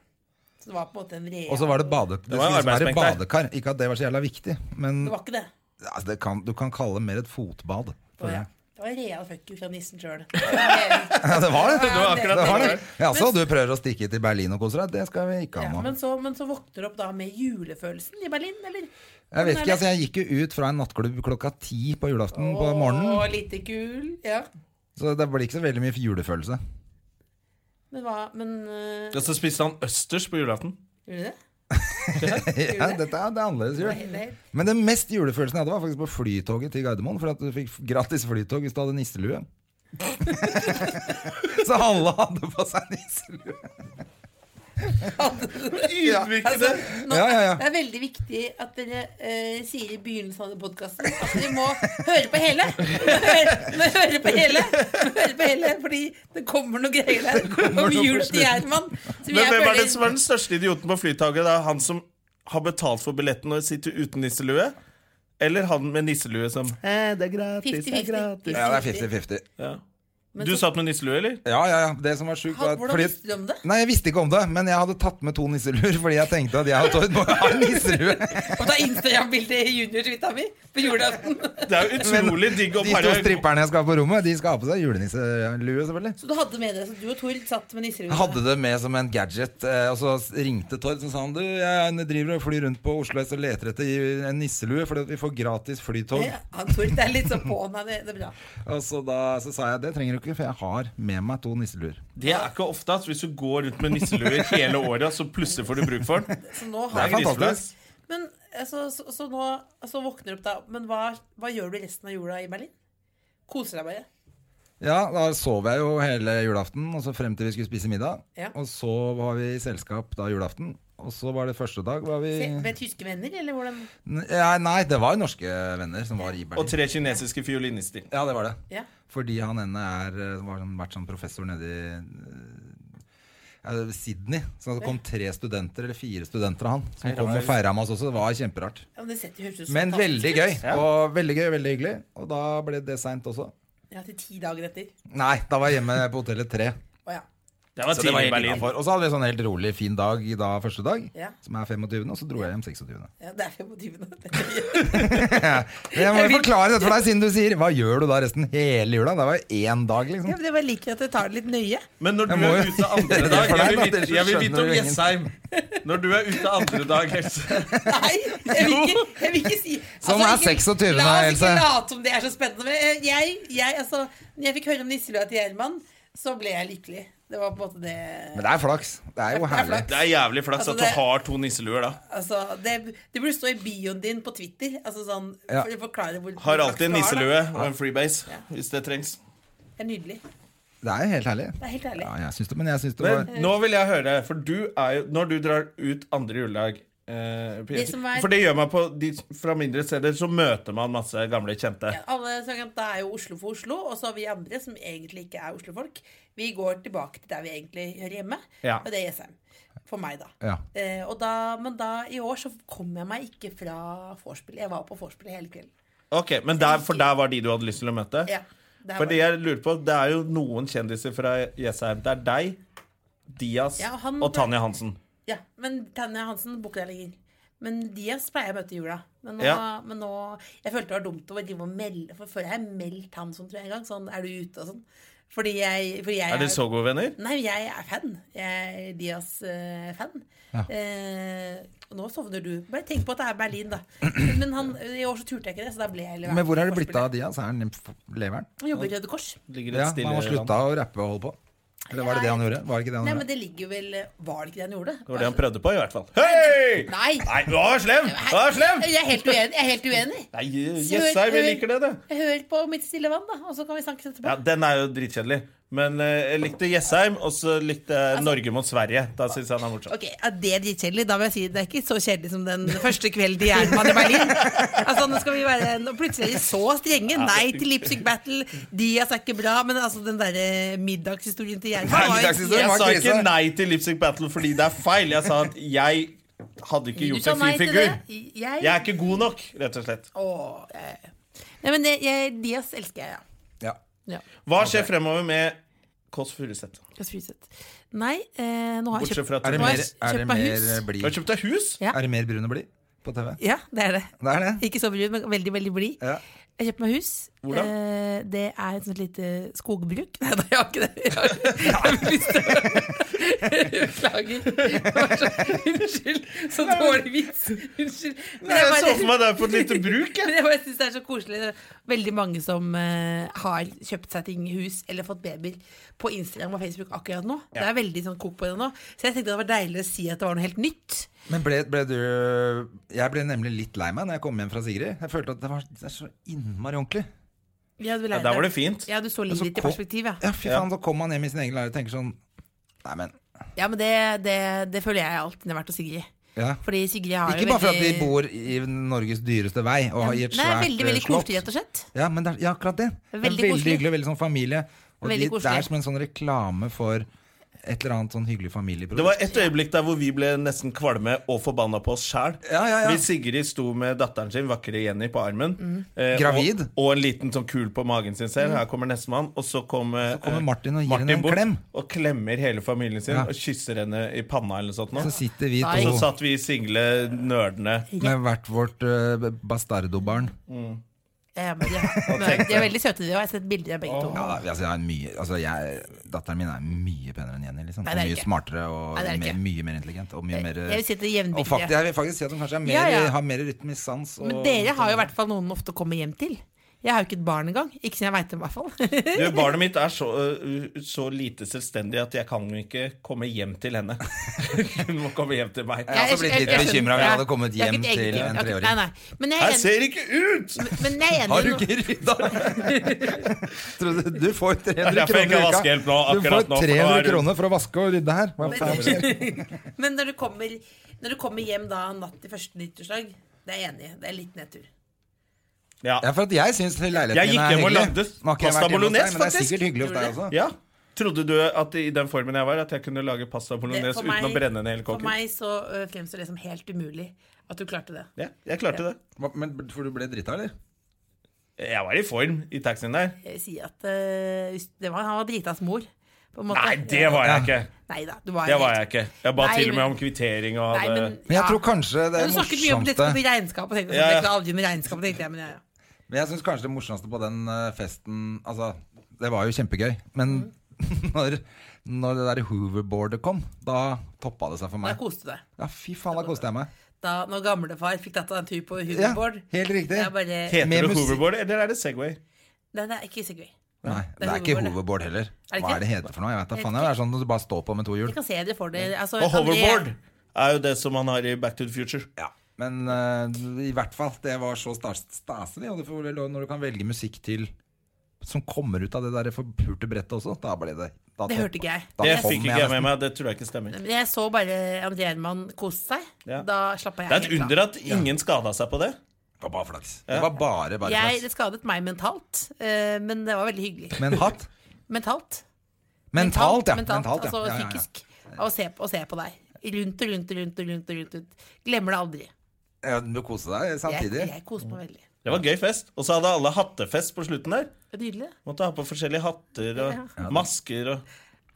Speaker 3: Så det var på en måte en real
Speaker 1: Og så var det bade... Det,
Speaker 2: var
Speaker 1: skulle liksom være
Speaker 2: arbeidsbenk der.
Speaker 1: badekar. Ikke at det var så jævla viktig, men
Speaker 3: Det var ikke det.
Speaker 1: altså, det kan, du kan kalle det mer et fotbad.
Speaker 3: Det
Speaker 1: For
Speaker 3: var,
Speaker 1: det.
Speaker 3: det var en real fuck you fra nissen sjøl.
Speaker 1: Ja, det var det.
Speaker 2: Det var akkurat
Speaker 1: Det var
Speaker 2: det.
Speaker 1: det. Ja, så du prøver å stikke til Berlin og kose deg? Det skal vi ikke
Speaker 3: Ja,
Speaker 1: ha nå.
Speaker 3: men, så, men så våkner du opp da med julefølelsen i Berlin, eller?
Speaker 1: Jeg vet ikke, altså jeg gikk jo ut fra en nattklubb klokka ti på julaften på
Speaker 3: Å,
Speaker 1: morgenen.
Speaker 3: lite kul. Ja.
Speaker 1: Så det blir ikke så veldig mye julefølelse.
Speaker 3: Men hva Men øh,
Speaker 2: Og så spiste han østers på julaften.
Speaker 3: Gjorde du det?
Speaker 1: Ja, dette er, det er annerledes jul.
Speaker 3: Det er helt-
Speaker 1: Men den mest julefølelsen jeg hadde, var faktisk på flytoget til Gardermoen. For at du fikk gratis flytog hvis du hadde nisselue. så alle hadde på seg nisselue.
Speaker 3: Altså, nå,
Speaker 1: Ja, ja, ja.
Speaker 3: Det er veldig viktig at dere eh, sier i begynnelsen av podkasten at dere må høre på hele. Høre, må høre på hele, må høre på hele Fordi det kommer noe greier der om jul til Gjerman. som
Speaker 2: Men
Speaker 3: jeg
Speaker 2: hvem er
Speaker 3: føler-
Speaker 2: det som er den største idioten på flytaket? Det er han som har betalt for billetten og sitter uten nisselue? Eller han med nisselue som
Speaker 1: Det er gratis,
Speaker 3: 50-50.
Speaker 1: Ja, det er 50-50.
Speaker 2: ja.
Speaker 3: Men
Speaker 2: Du
Speaker 3: så-
Speaker 2: satt med nisselue, eller?
Speaker 1: Ja, ja, ja. Det som var sjukt, var
Speaker 3: Ha-
Speaker 1: at
Speaker 3: Hvordan
Speaker 1: fordi-
Speaker 3: visste du om det?
Speaker 1: Nei, jeg visste ikke om det, men jeg hadde tatt med to nisseluer fordi jeg tenkte at jeg og Tord må ha nisselue.
Speaker 3: Og ta Instagram-bilde i juniorsvita mi på julaften.
Speaker 2: Det er jo utrolig digg å
Speaker 1: De to
Speaker 2: pare
Speaker 1: stripperne jeg skal ha på rommet, de skal ha på seg julenisselue, selvfølgelig.
Speaker 3: Så du hadde med deg, så du og Tord satt med nisseruen?
Speaker 1: Jeg hadde det med som en gadget, eh, og så ringte Tord og sa han, du, jeg driver og flyr rundt på Oslo S og leter etter en nisselue fordi at vi får gratis flytog.
Speaker 3: Ja, han Tord er litt sånn på'n. Det, det er bra.
Speaker 1: Og så da så sa jeg det trenger du ikke, for jeg har med meg to nisseluer.
Speaker 2: Det er ikke ofte at hvis du går rundt med nisselue hele året, så plutselig får du bruk for den.
Speaker 3: Så nå
Speaker 1: Det
Speaker 3: har
Speaker 1: er fantastisk.
Speaker 3: Men altså, så, så nå så våkner du opp da Men hva, hva gjør du resten av jula i Berlin? Koser deg bare?
Speaker 1: Ja, da sov jeg jo hele julaften, og så frem til vi skulle spise middag.
Speaker 3: Ja.
Speaker 1: Og så var vi i selskap da julaften. Og så var det første dag var vi
Speaker 3: Se, med tyske venner, eller hvordan?
Speaker 1: N- ja, Nei, det var norske venner som var i
Speaker 2: Og
Speaker 1: Berlin.
Speaker 2: tre kinesiske fiolinister.
Speaker 1: Ja, det var det.
Speaker 3: Ja.
Speaker 1: Fordi han ene er, eh, var, sånn- vært sånn professor nede i eh, ja, Sydney. Så det kom tre studenter, eller fire studenter av han, som
Speaker 2: Hei,
Speaker 1: kom
Speaker 2: rar.
Speaker 1: og feira med oss også. Det var kjemperart.
Speaker 3: ja men det setter høres ut som
Speaker 1: Men
Speaker 3: fantastisk
Speaker 1: veldig
Speaker 3: ut.
Speaker 1: gøy.
Speaker 2: Ja.
Speaker 1: Og veldig gøy, veldig hyggelig. Og da ble det seint også.
Speaker 3: Ja, til ti dager etter.
Speaker 1: Nei, da var jeg hjemme på hotellet tre.
Speaker 3: Å ja.
Speaker 2: Det var
Speaker 1: Så det var
Speaker 2: tidlig i
Speaker 1: helt
Speaker 2: Berlin.
Speaker 1: innenfor. Og så hadde vi en sånn helt rolig, fin dag i dag, første dag,
Speaker 3: Ja.
Speaker 1: som er 25., og så dro jeg hjem 26.
Speaker 3: ja. Det er 25.
Speaker 1: Men jeg må
Speaker 3: Jeg
Speaker 1: jo
Speaker 3: vil-
Speaker 1: forklare dette for deg, siden du sier 'hva gjør du da resten hele jula'? Det var jo én dag,
Speaker 3: Ja,
Speaker 1: liksom.
Speaker 3: men det var liker at jeg tar det litt nøye.
Speaker 2: Men når
Speaker 1: Jeg
Speaker 2: du
Speaker 1: må
Speaker 2: er
Speaker 1: jo
Speaker 2: ute andre
Speaker 1: gjøre det
Speaker 2: dag
Speaker 1: for deg,
Speaker 2: Jeg vil
Speaker 1: da,
Speaker 2: vite,
Speaker 1: dere så
Speaker 2: jeg vil
Speaker 1: skjønner
Speaker 2: vite om
Speaker 1: jo
Speaker 2: Jessheim. Når du er ute andre dag, Else.
Speaker 3: Nei, jeg vil ikke, jeg vil ikke si altså,
Speaker 1: Som er
Speaker 3: ikke-
Speaker 1: 26.,
Speaker 3: La oss ikke
Speaker 1: Else.
Speaker 3: late som det er så spennende. Men jeg, jeg, jeg, altså, når jeg fikk høre om nisselua til Gjerman, så ble jeg lykkelig. Det var på en måte det
Speaker 1: Men det er flaks. Det er jo
Speaker 3: Det er
Speaker 1: herlig.
Speaker 3: flaks.
Speaker 2: Det er jævlig flaks
Speaker 3: Altså,
Speaker 2: at du
Speaker 3: det-
Speaker 2: har to nisseluer, da.
Speaker 3: Altså, det, det burde stå i bioen din på Twitter. Altså sånn,
Speaker 1: Ja.
Speaker 3: for å forklare hvor
Speaker 2: Har alltid en
Speaker 3: hvor flaks du har,
Speaker 2: nisselue og en freebase
Speaker 3: Ja.
Speaker 2: hvis det trengs.
Speaker 3: da. Det er nydelig.
Speaker 1: Det er jo helt herlig.
Speaker 3: Det er helt ærlig.
Speaker 1: Ja, jeg syns det, men jeg syns det
Speaker 2: Men
Speaker 1: var
Speaker 3: Eh.
Speaker 2: nå vil jeg høre, for du er jo Når du drar ut andre juledag eh,
Speaker 3: De som er-
Speaker 2: For det gjør meg på de, Fra mindre steder så møter man masse gamle kjente.
Speaker 3: Ja, alle snakker om at det er jo Oslo for Oslo, og så har vi andre som egentlig ikke er Oslo-folk. Vi går tilbake til der vi egentlig hører hjemme,
Speaker 2: Ja.
Speaker 3: og det er Jessheim. For meg, da.
Speaker 1: Ja.
Speaker 3: Eh, og da. Men da, i år så kom jeg meg ikke fra vorspielet. Jeg var på vorspielet hele kvelden.
Speaker 2: Ok, Men der, for der var de du hadde lyst til å møte?
Speaker 3: Ja, det her
Speaker 2: Fordi
Speaker 3: var-
Speaker 2: jeg lurer på, Det er jo noen kjendiser fra Jessheim. Det er deg, Dias
Speaker 3: Ja, han-
Speaker 2: og Tanja Hansen.
Speaker 3: ja, men Tanja Hansen booker jeg lenger. Men Diaz pleier jeg å møte i jula. Men nå,
Speaker 2: Ja.
Speaker 3: men nå Jeg følte det var dumt å drive og melde For før har jeg meldt han sånn, tror jeg, en gang. Sånn, er du ute og sånn? Fordi jeg, fordi jeg
Speaker 2: Er dere så gode venner?
Speaker 3: Nei, jeg er fan. Jeg er Diaz-fan.
Speaker 1: Ja.
Speaker 3: Eh, og nå sovner du. Bare tenk på at det er Berlin, da. Men han, i år så turte jeg ikke det, så da ble jeg
Speaker 1: Men hvor er det blitt av Diaz? Er han f- leveren?
Speaker 3: Han jobber i Røde Kors.
Speaker 2: Ligger et
Speaker 1: Ja,
Speaker 2: stille
Speaker 1: han har
Speaker 2: land.
Speaker 1: slutta å rappe og holde på. Eller var det det han gjorde? Var det ikke det han
Speaker 3: Nei, men
Speaker 1: gjorde?
Speaker 3: det ligger jo vel Var det ikke det han gjorde? Altså,
Speaker 2: Det var det han prøvde på, i hvert fall. Hei!
Speaker 3: Nei!
Speaker 2: Nei, du var slem! Du var slem!
Speaker 3: Jeg er helt uenig. Jeg er helt uenig.
Speaker 2: Nei, Jessheim, vi liker det, det.
Speaker 3: Hør på Mitt stille vann, da, og så kan vi snakke etterpå.
Speaker 2: Ja, Den er jo dritkjedelig. Men eh, jeg likte Jessheim, og så likte jeg
Speaker 3: Altså-
Speaker 2: Norge mot Sverige. Da syns jeg den er morsom.
Speaker 3: Ok, ja, Det er dritkjedelig. Da vil jeg si det er ikke så kjedelig som den første kvelden til Gjerman i Berlin. Altså, nå skal vi være nå Plutselig er de så strenge. Nei til Lipstick Battle. Diaz er ikke bra. Men altså, den derre middagshistorien til Gjerman var jo
Speaker 1: middagshistorien
Speaker 2: Jeg
Speaker 1: var
Speaker 2: sa ikke
Speaker 1: krise.
Speaker 2: nei til Lipstick Battle fordi det er feil. Jeg sa at jeg hadde ikke
Speaker 3: Du
Speaker 2: gjort
Speaker 3: sa
Speaker 2: en
Speaker 3: nei
Speaker 2: fin
Speaker 3: til
Speaker 2: figur.
Speaker 3: det.
Speaker 2: Jeg er
Speaker 3: Jeg
Speaker 2: ikke god nok, rett og slett.
Speaker 3: Åh, jeg- Nei, men jeg- jeg- Diaz elsker jeg, ja.
Speaker 1: Ja.
Speaker 3: ja.
Speaker 2: Hva skjer fremover med Kåss Furuseth?
Speaker 3: Kåss Furuseth. Nei, eh, nå har jeg
Speaker 2: Bortsett
Speaker 3: kjøpt
Speaker 2: fra at
Speaker 1: Er det
Speaker 2: du
Speaker 3: Nå har
Speaker 1: mer,
Speaker 3: jeg
Speaker 1: er det
Speaker 3: kjøpt meg
Speaker 1: mer
Speaker 3: hus.
Speaker 2: Du har
Speaker 1: blid?
Speaker 2: kjøpt deg hus?
Speaker 3: Ja.
Speaker 1: Er det mer brun og blid på TV?
Speaker 3: Ja, det er det.
Speaker 1: Det er det.
Speaker 3: Ikke så brun, men veldig, veldig blid.
Speaker 1: Ja.
Speaker 3: Jeg kjøpte meg hus.
Speaker 2: Hvor da?
Speaker 3: Eh, det er et sånt lite skogbruk. Nei da, jeg har ikke det. Jeg har, jeg har ikke lyst til å Beklager. Det var så- Unnskyld. Så dårlig vits. Unnskyld. Men
Speaker 2: Jeg så
Speaker 3: bare-
Speaker 2: for meg deg på et lite bruk. Jeg.
Speaker 3: men jeg bare synes det er så koselig. Det er Veldig mange som eh, har kjøpt seg ting, hus eller fått babyer på Instagram og Facebook akkurat nå. Det er veldig sånn kok på det nå. Så jeg tenkte det var deilig å si at det var noe helt nytt.
Speaker 1: Men ble, ble du Jeg ble nemlig litt lei meg når jeg kom hjem fra Sigrid. Jeg følte at det var det er så innmari ordentlig.
Speaker 3: Ja, du
Speaker 2: Ja,
Speaker 3: lærte-
Speaker 2: der var det fint.
Speaker 3: Ja, du så livet
Speaker 1: Altså,
Speaker 3: ditt i
Speaker 1: kom-
Speaker 3: perspektiv, ja.
Speaker 1: Ja, fy
Speaker 2: Ja.
Speaker 1: faen, så kom man hjem i sin egen leilighet og tenker sånn Nei, men
Speaker 3: Ja, men det, det, det føler jeg alltid når jeg har vært hos Sigrid.
Speaker 1: ja.
Speaker 3: Fordi Sigrid har
Speaker 1: Ikke
Speaker 3: jo
Speaker 1: bare for at
Speaker 3: veldig-
Speaker 1: vi bor i Norges dyreste vei og har i et
Speaker 3: Nei,
Speaker 1: svært
Speaker 3: veldig,
Speaker 1: eh,
Speaker 3: veldig
Speaker 1: slott.
Speaker 3: koselig, rett og slett.
Speaker 1: Ja, men det er, ja, akkurat det.
Speaker 3: Veldig
Speaker 1: det er veldig
Speaker 3: koselig.
Speaker 1: hyggelig og veldig sånn familie. Og
Speaker 3: Veldig
Speaker 1: de, det
Speaker 3: koselig.
Speaker 1: er som en sånn reklame for et eller annet sånn hyggelig familieprodukt.
Speaker 2: Det var et øyeblikk der hvor vi ble nesten kvalme og forbanna på oss sjæl.
Speaker 1: Ja, ja, ja.
Speaker 2: Hvis Sigrid sto med datteren sin, vakre Jenny, på armen.
Speaker 3: Mm.
Speaker 2: eh,
Speaker 1: Gravid.
Speaker 2: Og, og en liten sånn kul på magen sin selv. Her kommer nestemann. Og så, kom, eh,
Speaker 1: kommer
Speaker 2: eh,
Speaker 1: Martin og gir henne en
Speaker 2: bort
Speaker 1: klem.
Speaker 2: Og klemmer hele familien sin
Speaker 1: Ja.
Speaker 2: og kysser henne i panna eller noe sånt. Nå.
Speaker 1: Så sitter vi
Speaker 3: Nei.
Speaker 2: Og så
Speaker 1: to
Speaker 2: satt vi single nerdene.
Speaker 1: med hvert vårt eh, bastardobarn.
Speaker 3: Ja, Eh, men de, er, de er veldig søte, de òg. Jeg har sett bilder av begge to.
Speaker 1: Ja, altså, jeg er mye, altså jeg, datteren min er mye penere enn Jenny. Liksom.
Speaker 3: Nei,
Speaker 1: Og
Speaker 3: det er
Speaker 1: mye
Speaker 3: ikke.
Speaker 1: smartere og
Speaker 3: Nei, det er
Speaker 1: mer,
Speaker 3: ikke.
Speaker 1: mye mer intelligent. Og, mye mer,
Speaker 3: Jeg vil si at det er
Speaker 1: og faktisk,
Speaker 3: jevnbyrdige.
Speaker 1: jeg vil faktisk si at hun kanskje er mer,
Speaker 3: Ja, ja.
Speaker 1: har mer rytmisk sans. Og,
Speaker 3: Men dere har jo i hvert fall noen ofte kommer hjem til. Jeg har jo ikke et barn engang. Ikke som jeg veit om, i hvert fall.
Speaker 2: Du, barnet mitt er så, øh, så lite selvstendig at jeg kan jo ikke komme hjem til henne. Hun må komme hjem til meg.
Speaker 1: Jeg hadde blitt litt
Speaker 3: jeg
Speaker 1: bekymret
Speaker 3: skjønner.
Speaker 1: om jeg
Speaker 3: Ja.
Speaker 1: hadde kommet
Speaker 3: Jeg har
Speaker 1: hjem
Speaker 3: ikke et
Speaker 1: til
Speaker 3: eget-
Speaker 1: en
Speaker 3: ok,
Speaker 1: treåring.
Speaker 3: Nei, nei. Men jeg er
Speaker 2: Jeg
Speaker 3: enig-
Speaker 2: ser ikke ut!
Speaker 3: men jeg er enig
Speaker 1: Har du
Speaker 3: i noe-
Speaker 1: ikke rydda? Tror du- Du får 300
Speaker 2: derfor jeg
Speaker 1: kroner i
Speaker 2: ikke har
Speaker 1: uka.
Speaker 2: vaskehjelp nå,
Speaker 1: Du
Speaker 2: akkurat
Speaker 1: får
Speaker 2: nå, for nå er
Speaker 1: 300
Speaker 2: det-
Speaker 1: kroner for å vaske og rydde her. Hva faen skjer?
Speaker 3: Men når du kommer, når du kommer hjem da natt til første nyttårsdag, det er jeg enig i. Det er litt nedtur.
Speaker 2: Ja.
Speaker 1: Ja, for at jeg syns leiligheten
Speaker 2: Jeg
Speaker 1: min
Speaker 2: gikk
Speaker 1: er
Speaker 2: hjem og
Speaker 1: hyggelig.
Speaker 2: lagde
Speaker 1: Nå har ikke jeg vært hjemme hos
Speaker 2: pasta
Speaker 1: deg,
Speaker 2: bolognese,
Speaker 1: men Det er
Speaker 2: faktisk.
Speaker 1: sikkert hyggelig hos deg også.
Speaker 2: ja. Trodde du at i den formen jeg var, at jeg kunne lage pasta
Speaker 3: Det,
Speaker 2: bolognese uten å brenne ned hele
Speaker 3: for
Speaker 2: kåken?
Speaker 3: meg så ø, fremstår det som helt umulig at du klarte det.
Speaker 2: Ja, jeg klarte det.
Speaker 1: Hva- Men for du ble drita, eller?
Speaker 2: Jeg var i form i taxien der.
Speaker 3: Jeg vil Eh, si at ø, hvis- det var, Han var dritas mor, på en måte.
Speaker 2: Nei, det var jeg ikke!
Speaker 3: Nei da, du var
Speaker 2: Det var jeg ikke. Jeg ba
Speaker 3: Nei,
Speaker 2: til og med
Speaker 3: men-
Speaker 2: om kvittering og
Speaker 3: Nei,
Speaker 2: hadde
Speaker 3: men,
Speaker 1: Men jeg
Speaker 3: ja.
Speaker 1: tror kanskje det
Speaker 3: Men du snakket mye om dette
Speaker 1: morsomste
Speaker 3: med regnskap, og tenkte,
Speaker 2: Ja, ja.
Speaker 3: jeg, aldri med regnskap, tenkte jeg, men ja, ja.
Speaker 1: Men jeg synes kanskje det morsomste på den eh, festen Altså, det var jo kjempegøy, men når, når det der hoverboardet kom, da toppa det seg for
Speaker 3: Da
Speaker 1: meg.
Speaker 3: koste du deg.
Speaker 1: Ja, fy faen, da koste jeg meg.
Speaker 3: Da når gamlefar fikk tatt av en tur på
Speaker 1: Ja,
Speaker 3: hoverboard
Speaker 1: helt riktig.
Speaker 3: Jeg bare
Speaker 1: Med
Speaker 2: Heter det
Speaker 1: musikk.
Speaker 2: hoverboard, eller er det Segway?
Speaker 3: Nei, det er ikke Segway.
Speaker 1: Nei,
Speaker 3: det
Speaker 1: det
Speaker 3: er
Speaker 1: er ikke
Speaker 3: hoverboard, det.
Speaker 1: hoverboard heller.
Speaker 3: det ikke
Speaker 1: Hva er det heter for noe? Jeg vet da faen. Det er sånn at du bare står på med to hjul.
Speaker 3: Jeg kan se dere for dere. Altså,
Speaker 2: Og
Speaker 3: André-
Speaker 2: hoverboard er jo det som man har i Back to the Future.
Speaker 1: Ja, men eh, i hvert fall, det var så stas staselig. Og du får vel lov når du kan velge musikk til som kommer ut av det der forpurte brettet også. Da ble det da
Speaker 3: Det
Speaker 1: topp-
Speaker 3: hørte ikke jeg.
Speaker 1: da
Speaker 2: Det
Speaker 1: kom
Speaker 2: fikk ikke jeg
Speaker 1: nesten.
Speaker 2: med meg. Det tror jeg ikke stemmer.
Speaker 3: Men Jeg så bare André Herman kose seg.
Speaker 2: Ja.
Speaker 3: Da slappa jeg
Speaker 2: Det er et
Speaker 3: helt av.
Speaker 2: under at ingen skada seg på det.
Speaker 1: Det var bare flaks. Det var bare, bare flaks.
Speaker 3: Jeg, det skadet meg mentalt, eh, men det var veldig hyggelig.
Speaker 1: Med en hatt.
Speaker 3: Mentalt.
Speaker 1: Mentalt, ja.
Speaker 3: mentalt,
Speaker 1: Mentalt, ja.
Speaker 3: Altså
Speaker 1: Ja, ja, ja.
Speaker 3: psykisk. Å se, på- å se på deg. Rundt og rundt og rundt. og rundt og rundt, og rundt. Glemmer det aldri.
Speaker 1: Ja, du koser deg
Speaker 3: Jeg,
Speaker 1: samtidig.
Speaker 3: jeg koser meg veldig.
Speaker 2: Det var gøy fest. Og så hadde alle hattefest på slutten der.
Speaker 3: Det er Nydelig.
Speaker 2: Måtte ha på forskjellige hatter og masker og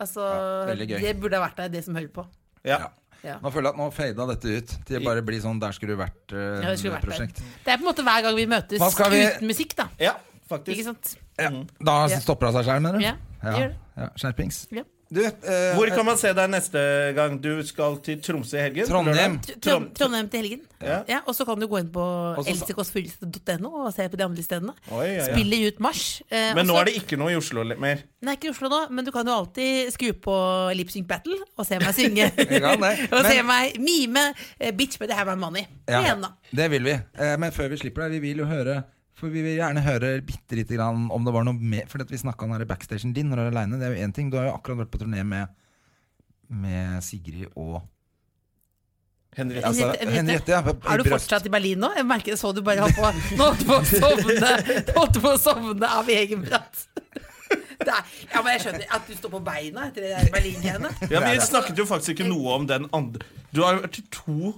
Speaker 3: Altså,
Speaker 1: veldig gøy.
Speaker 3: det burde ha vært der, det som hører på.
Speaker 2: Ja.
Speaker 1: Ja.
Speaker 3: Ja.
Speaker 1: Nå føler jeg at nå fada dette ut til å bare bli sånn 'der skulle du vært' eh,
Speaker 3: Ja, det, skulle vært
Speaker 1: prosjekt.
Speaker 3: der. det er på en måte hver gang vi møtes
Speaker 1: Hva skal vi-
Speaker 3: uten musikk, da.
Speaker 2: ja
Speaker 3: Ikke
Speaker 2: faktisk.
Speaker 3: sant?
Speaker 1: Ja. Da
Speaker 3: Mm. Ja.
Speaker 1: stopper hun seg sjøl, mener du?
Speaker 3: Ja, det gjør det.
Speaker 1: ja. Skjerpings.
Speaker 3: Ja.
Speaker 1: Du, eh,
Speaker 2: Hvor kan man se deg neste gang? Du skal til Tromsø i helgen?
Speaker 1: Trondheim.
Speaker 2: lørdag.
Speaker 3: Trond- Trondheim til helgen.
Speaker 2: Ja.
Speaker 3: Ja, og så kan du gå inn på
Speaker 1: så-
Speaker 3: elsekåsfuruseth.no og se på de andre stedene.
Speaker 2: Oi, ja, ja.
Speaker 3: Spiller ut mars. Eh,
Speaker 2: Men nå
Speaker 3: også-
Speaker 2: er det ikke noe i Oslo li- mer.
Speaker 3: Nei, ikke i Oslo nå, men du kan jo alltid skru på Lip Sync Battle og se meg synge.
Speaker 1: kan det,
Speaker 3: og se
Speaker 1: men-
Speaker 3: meg mime eh, 'Bitch, but I have my money'.
Speaker 1: Ja,
Speaker 3: Igjen, da.
Speaker 1: det vil vi. Eh, Men før vi slipper deg, vi vil jo høre For vi vil gjerne høre bitte lite grann om det var noe mer For vi snakka om her i backstagen din når du er aleine. Det er jo én ting. Du har jo akkurat vært på turné med, med Sigrid og
Speaker 2: Henriette.
Speaker 1: altså,
Speaker 3: Henriette-
Speaker 1: Henriette. Ja, i
Speaker 3: Er du
Speaker 1: Brøst.
Speaker 3: fortsatt i Berlin nå? Jeg merker det så du bare holdt på, nå holdt du på å sovne Du holdt på å sovne av egen prat. Det er, ja, men jeg skjønner at du står på beina etter det der Berlin-greiene.
Speaker 2: Ja, vi snakket jo faktisk ikke noe om den andre Du har vært i to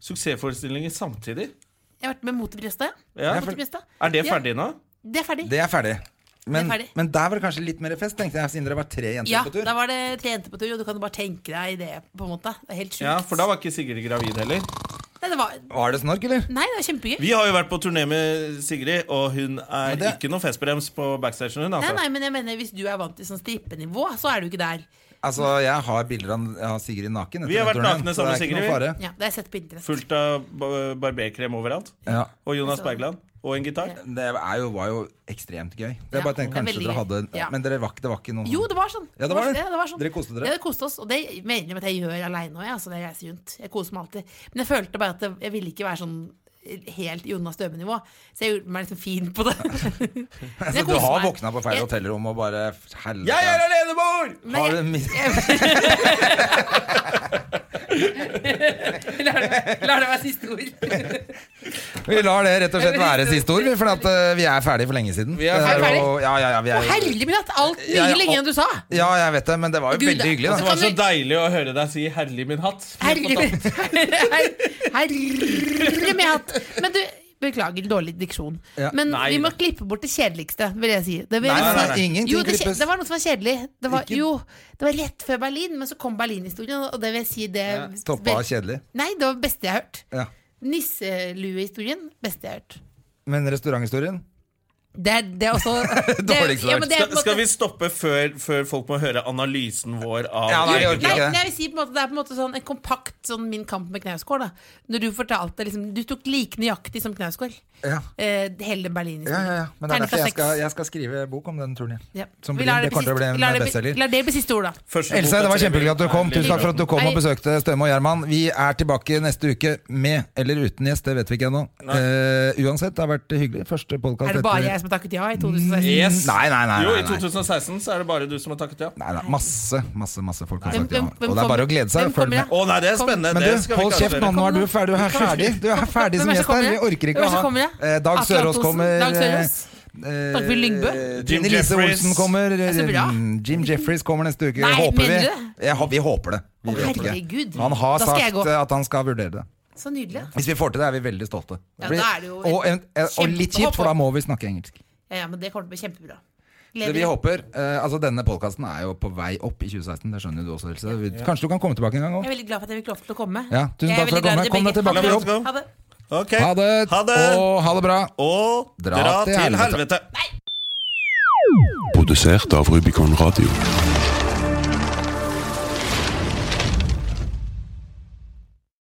Speaker 2: suksessforestillinger samtidig.
Speaker 3: Jeg har vært med Mot i brystet.
Speaker 2: Ja.
Speaker 3: Mot i brystet.
Speaker 2: Er det
Speaker 3: Ja.
Speaker 2: ferdig nå?
Speaker 3: Det er ferdig.
Speaker 1: Det er ferdig. Men,
Speaker 3: Det er ferdig.
Speaker 1: men der var det kanskje litt mer fest, tenkte jeg, siden dere var tre jenter
Speaker 3: Ja,
Speaker 1: på tur.
Speaker 3: da var det tre jenter på tur, og du kan jo bare tenke deg det, på en måte. Det er helt sjukt.
Speaker 2: Ja, For da var ikke Sigrid gravid heller.
Speaker 3: Nei, det var,
Speaker 1: Var det snork, eller?
Speaker 3: nei, det var kjempegøy.
Speaker 2: Vi har jo vært på turné med Sigrid, og hun er
Speaker 1: Men det-
Speaker 2: ikke noe festbrems på backstagen. Hun,
Speaker 3: Nei,
Speaker 2: altså.
Speaker 3: nei, men jeg mener, hvis du er vant til sånn strippenivå, så er du ikke der.
Speaker 1: Altså, jeg har bilder av av Sigrid naken. etter
Speaker 2: Vi har
Speaker 1: den
Speaker 2: vært
Speaker 1: turneen,
Speaker 2: nakne
Speaker 1: så
Speaker 2: sammen
Speaker 1: det er ikke
Speaker 2: med
Speaker 1: noe fare.
Speaker 3: Ja, Det har jeg sett på internett.
Speaker 2: Fullt av ba- barberkrem overalt.
Speaker 1: Ja.
Speaker 2: Og
Speaker 3: Altså-
Speaker 2: Jonas Bergland. Og en gitar.
Speaker 1: Det er jo, var jo ekstremt gøy. Det
Speaker 3: Ja,
Speaker 1: er bare tenkt,
Speaker 3: det er
Speaker 1: kanskje
Speaker 3: veldig
Speaker 1: dere hadde
Speaker 3: gøy. Ja.
Speaker 1: Men dere var, ikke- det var ikke noen
Speaker 3: Jo, det var sånn.
Speaker 1: Ja, det var det.
Speaker 3: det var sånn.
Speaker 1: Dere koste dere?
Speaker 3: Ja, det koste oss. Og det mener jeg at jeg gjør aleine òg, altså, når jeg reiser rundt. Jeg koser meg alltid. Men jeg følte bare at det- jeg ville ikke være sånn helt Jonas Døme-nivå. Så jeg gjorde meg liksom fin på det. Men jeg
Speaker 1: Så du
Speaker 3: koser
Speaker 1: har
Speaker 3: meg.
Speaker 1: våkna på feil
Speaker 3: Jeg-
Speaker 1: hotellrom og bare helvete.
Speaker 2: Jeg er alenemor!
Speaker 3: Men
Speaker 1: har
Speaker 3: jeg-
Speaker 1: du mis-
Speaker 3: Lar det, lar det være siste ord.
Speaker 1: Vi lar det rett og slett være siste ord, vi, for at, eh, vi er ferdige for lenge siden.
Speaker 2: Vi er
Speaker 1: Det der
Speaker 3: ferdig.
Speaker 1: å- ja, ja, ja, vi
Speaker 3: Å,
Speaker 1: er,
Speaker 3: herlig min hatt! Alt mye
Speaker 1: Ja, ja,
Speaker 3: lenger enn du sa!
Speaker 1: ja, jeg vet det, men det var jo
Speaker 3: Gud, altså,
Speaker 1: veldig hyggelig. Da.
Speaker 2: Det var så deilig å høre deg si 'herlig min hatt'.
Speaker 3: Herlig, herlig, herlig min hatt! Men du, beklager dårlig diksjon.
Speaker 1: Ja.
Speaker 3: Men
Speaker 2: Nei,
Speaker 3: vi må
Speaker 2: da.
Speaker 3: klippe bort det kjedeligste, vil jeg si. Det vil
Speaker 1: Nei,
Speaker 3: jeg
Speaker 1: nei,
Speaker 3: si.
Speaker 1: nei, nei. ingenting
Speaker 3: Jo, det, kje-
Speaker 1: klippes.
Speaker 3: det var noe som var kjedelig. Det var,
Speaker 1: Ikke-
Speaker 3: jo, det var rett før Berlin, men så kom Berlin-historien, og det vil jeg si det
Speaker 1: Toppa kjedelig.
Speaker 3: Nei, det var det beste jeg har hørt.
Speaker 1: Ja.
Speaker 3: Nisseluehistorien, beste jeg har hørt.
Speaker 1: Men restauranthistorien?
Speaker 3: Det er, det er også det,
Speaker 1: Dårligst
Speaker 3: ja, men det er
Speaker 2: Skal,
Speaker 3: på en måte-
Speaker 2: skal vi stoppe før, før folk må høre analysen vår av
Speaker 1: Ja, nei, jeg orker
Speaker 3: Nei,
Speaker 1: ikke det.
Speaker 3: men jeg vil si på en måte, det er på en måte sånn en kompakt sånn Min kamp med Knausgård. da. Når du fortalte liksom, Du tok like nøyaktig som Knausgård.
Speaker 1: Ja.
Speaker 3: Eh, hele Berlin.
Speaker 1: Ja, ja, ja. Men det er
Speaker 3: Terningkast
Speaker 1: derfor jeg
Speaker 3: seks.
Speaker 1: skal, jeg skal skrive bok om den turen. Ja.
Speaker 3: Ja.
Speaker 1: Som
Speaker 3: Vi
Speaker 1: blir,
Speaker 3: lar
Speaker 1: det kommer til å bli
Speaker 3: siste-
Speaker 1: en
Speaker 3: lar det bli-
Speaker 1: bestselger.
Speaker 3: Lar det bli siste ord, da.
Speaker 2: Første
Speaker 1: Else,
Speaker 2: boka
Speaker 1: det var
Speaker 2: til
Speaker 1: kjempehyggelig at du kom.
Speaker 2: Herlig
Speaker 1: Tusen takk for
Speaker 2: Min
Speaker 1: at du kom og besøkte Støme og Gjerman. Vi er tilbake neste uke med eller uten gjest, det vet vi ikke ennå. Eh, uansett, det har vært hyggelig. Første podkast
Speaker 3: Er det bare jeg som har takket ja i
Speaker 1: Mm.
Speaker 3: 2016?
Speaker 2: Yes.
Speaker 1: Nei, nei, nei,
Speaker 2: Jo,
Speaker 1: nei,
Speaker 2: i
Speaker 1: nei.
Speaker 2: 2016 så er det bare du som har takket ja.
Speaker 1: Nei, nei, masse, masse masse folk har
Speaker 3: Hvem-
Speaker 1: sagt ja.
Speaker 3: hvem-
Speaker 1: Og
Speaker 3: hvem
Speaker 1: det er
Speaker 3: kommer?
Speaker 1: bare å glede seg.
Speaker 3: Hvem
Speaker 1: Følg med.
Speaker 3: kommer,
Speaker 2: Å nei, det er
Speaker 3: Kom.
Speaker 2: spennende.
Speaker 1: Men du,
Speaker 2: det skal vi
Speaker 1: hold
Speaker 2: ikke
Speaker 1: kjeft nå, nå er du ferdig, du er ferdig Du er ferdig som
Speaker 3: Hvem er det
Speaker 1: gjest
Speaker 3: som
Speaker 1: her. Vi
Speaker 3: kommer?
Speaker 1: orker
Speaker 3: Hvem
Speaker 1: ikke
Speaker 3: er det
Speaker 1: å
Speaker 3: som
Speaker 1: ha
Speaker 3: kommer?
Speaker 1: Eh, Dag
Speaker 3: Atle
Speaker 1: Sørås
Speaker 3: Antonsen,
Speaker 1: kommer.
Speaker 3: Dag
Speaker 1: eh,
Speaker 3: Sørås.
Speaker 1: eh,
Speaker 3: Dagfjord Lyngbø.
Speaker 1: Trine
Speaker 2: Jim
Speaker 1: Lise
Speaker 2: Jefferies.
Speaker 1: Olsen kommer.
Speaker 3: så bra.
Speaker 1: eh, Jim Jeffries kommer neste uke,
Speaker 3: Nei,
Speaker 1: håper vi.
Speaker 3: mener du
Speaker 1: Jeg, hå- vi håper det. Vi
Speaker 3: Å,
Speaker 1: håper det.
Speaker 3: herregud.
Speaker 1: Han har
Speaker 3: Da skal jeg
Speaker 1: sagt
Speaker 3: gå.
Speaker 1: eh, at han skal vurdere det.
Speaker 3: Så nydelig.
Speaker 1: Hvis vi får til det, er vi veldig stolte.
Speaker 3: Ja,
Speaker 1: Fordi-
Speaker 3: da er det jo et
Speaker 1: og, en, eh, og litt
Speaker 3: kjempehopp.
Speaker 1: kjipt, for da må vi snakke engelsk.
Speaker 3: Ja, ja, men det kommer til å bli kjempebra.
Speaker 1: Det
Speaker 3: Gleder
Speaker 1: vi
Speaker 3: meg.
Speaker 1: håper, eh, altså Denne podkasten er jo på vei opp i 2016, det skjønner jo du også, Else. Vi- Kanskje du kan komme tilbake en gang
Speaker 3: Jeg
Speaker 1: òg?
Speaker 3: er veldig glad for at jeg fikk lov til å komme.
Speaker 1: Ja, tusen
Speaker 3: Jeg er
Speaker 1: takk for
Speaker 3: veldig
Speaker 1: å
Speaker 3: glad
Speaker 1: komme.
Speaker 3: i dere
Speaker 1: Kom deg
Speaker 3: begge.
Speaker 1: tilbake på
Speaker 2: La
Speaker 1: jobb.
Speaker 2: meg få
Speaker 3: Ha det.
Speaker 2: Ok.
Speaker 1: Ha det,
Speaker 2: Ha det.
Speaker 1: og ha det bra.
Speaker 2: Og dra, til helvete.
Speaker 4: produsert av Rubicon Radio.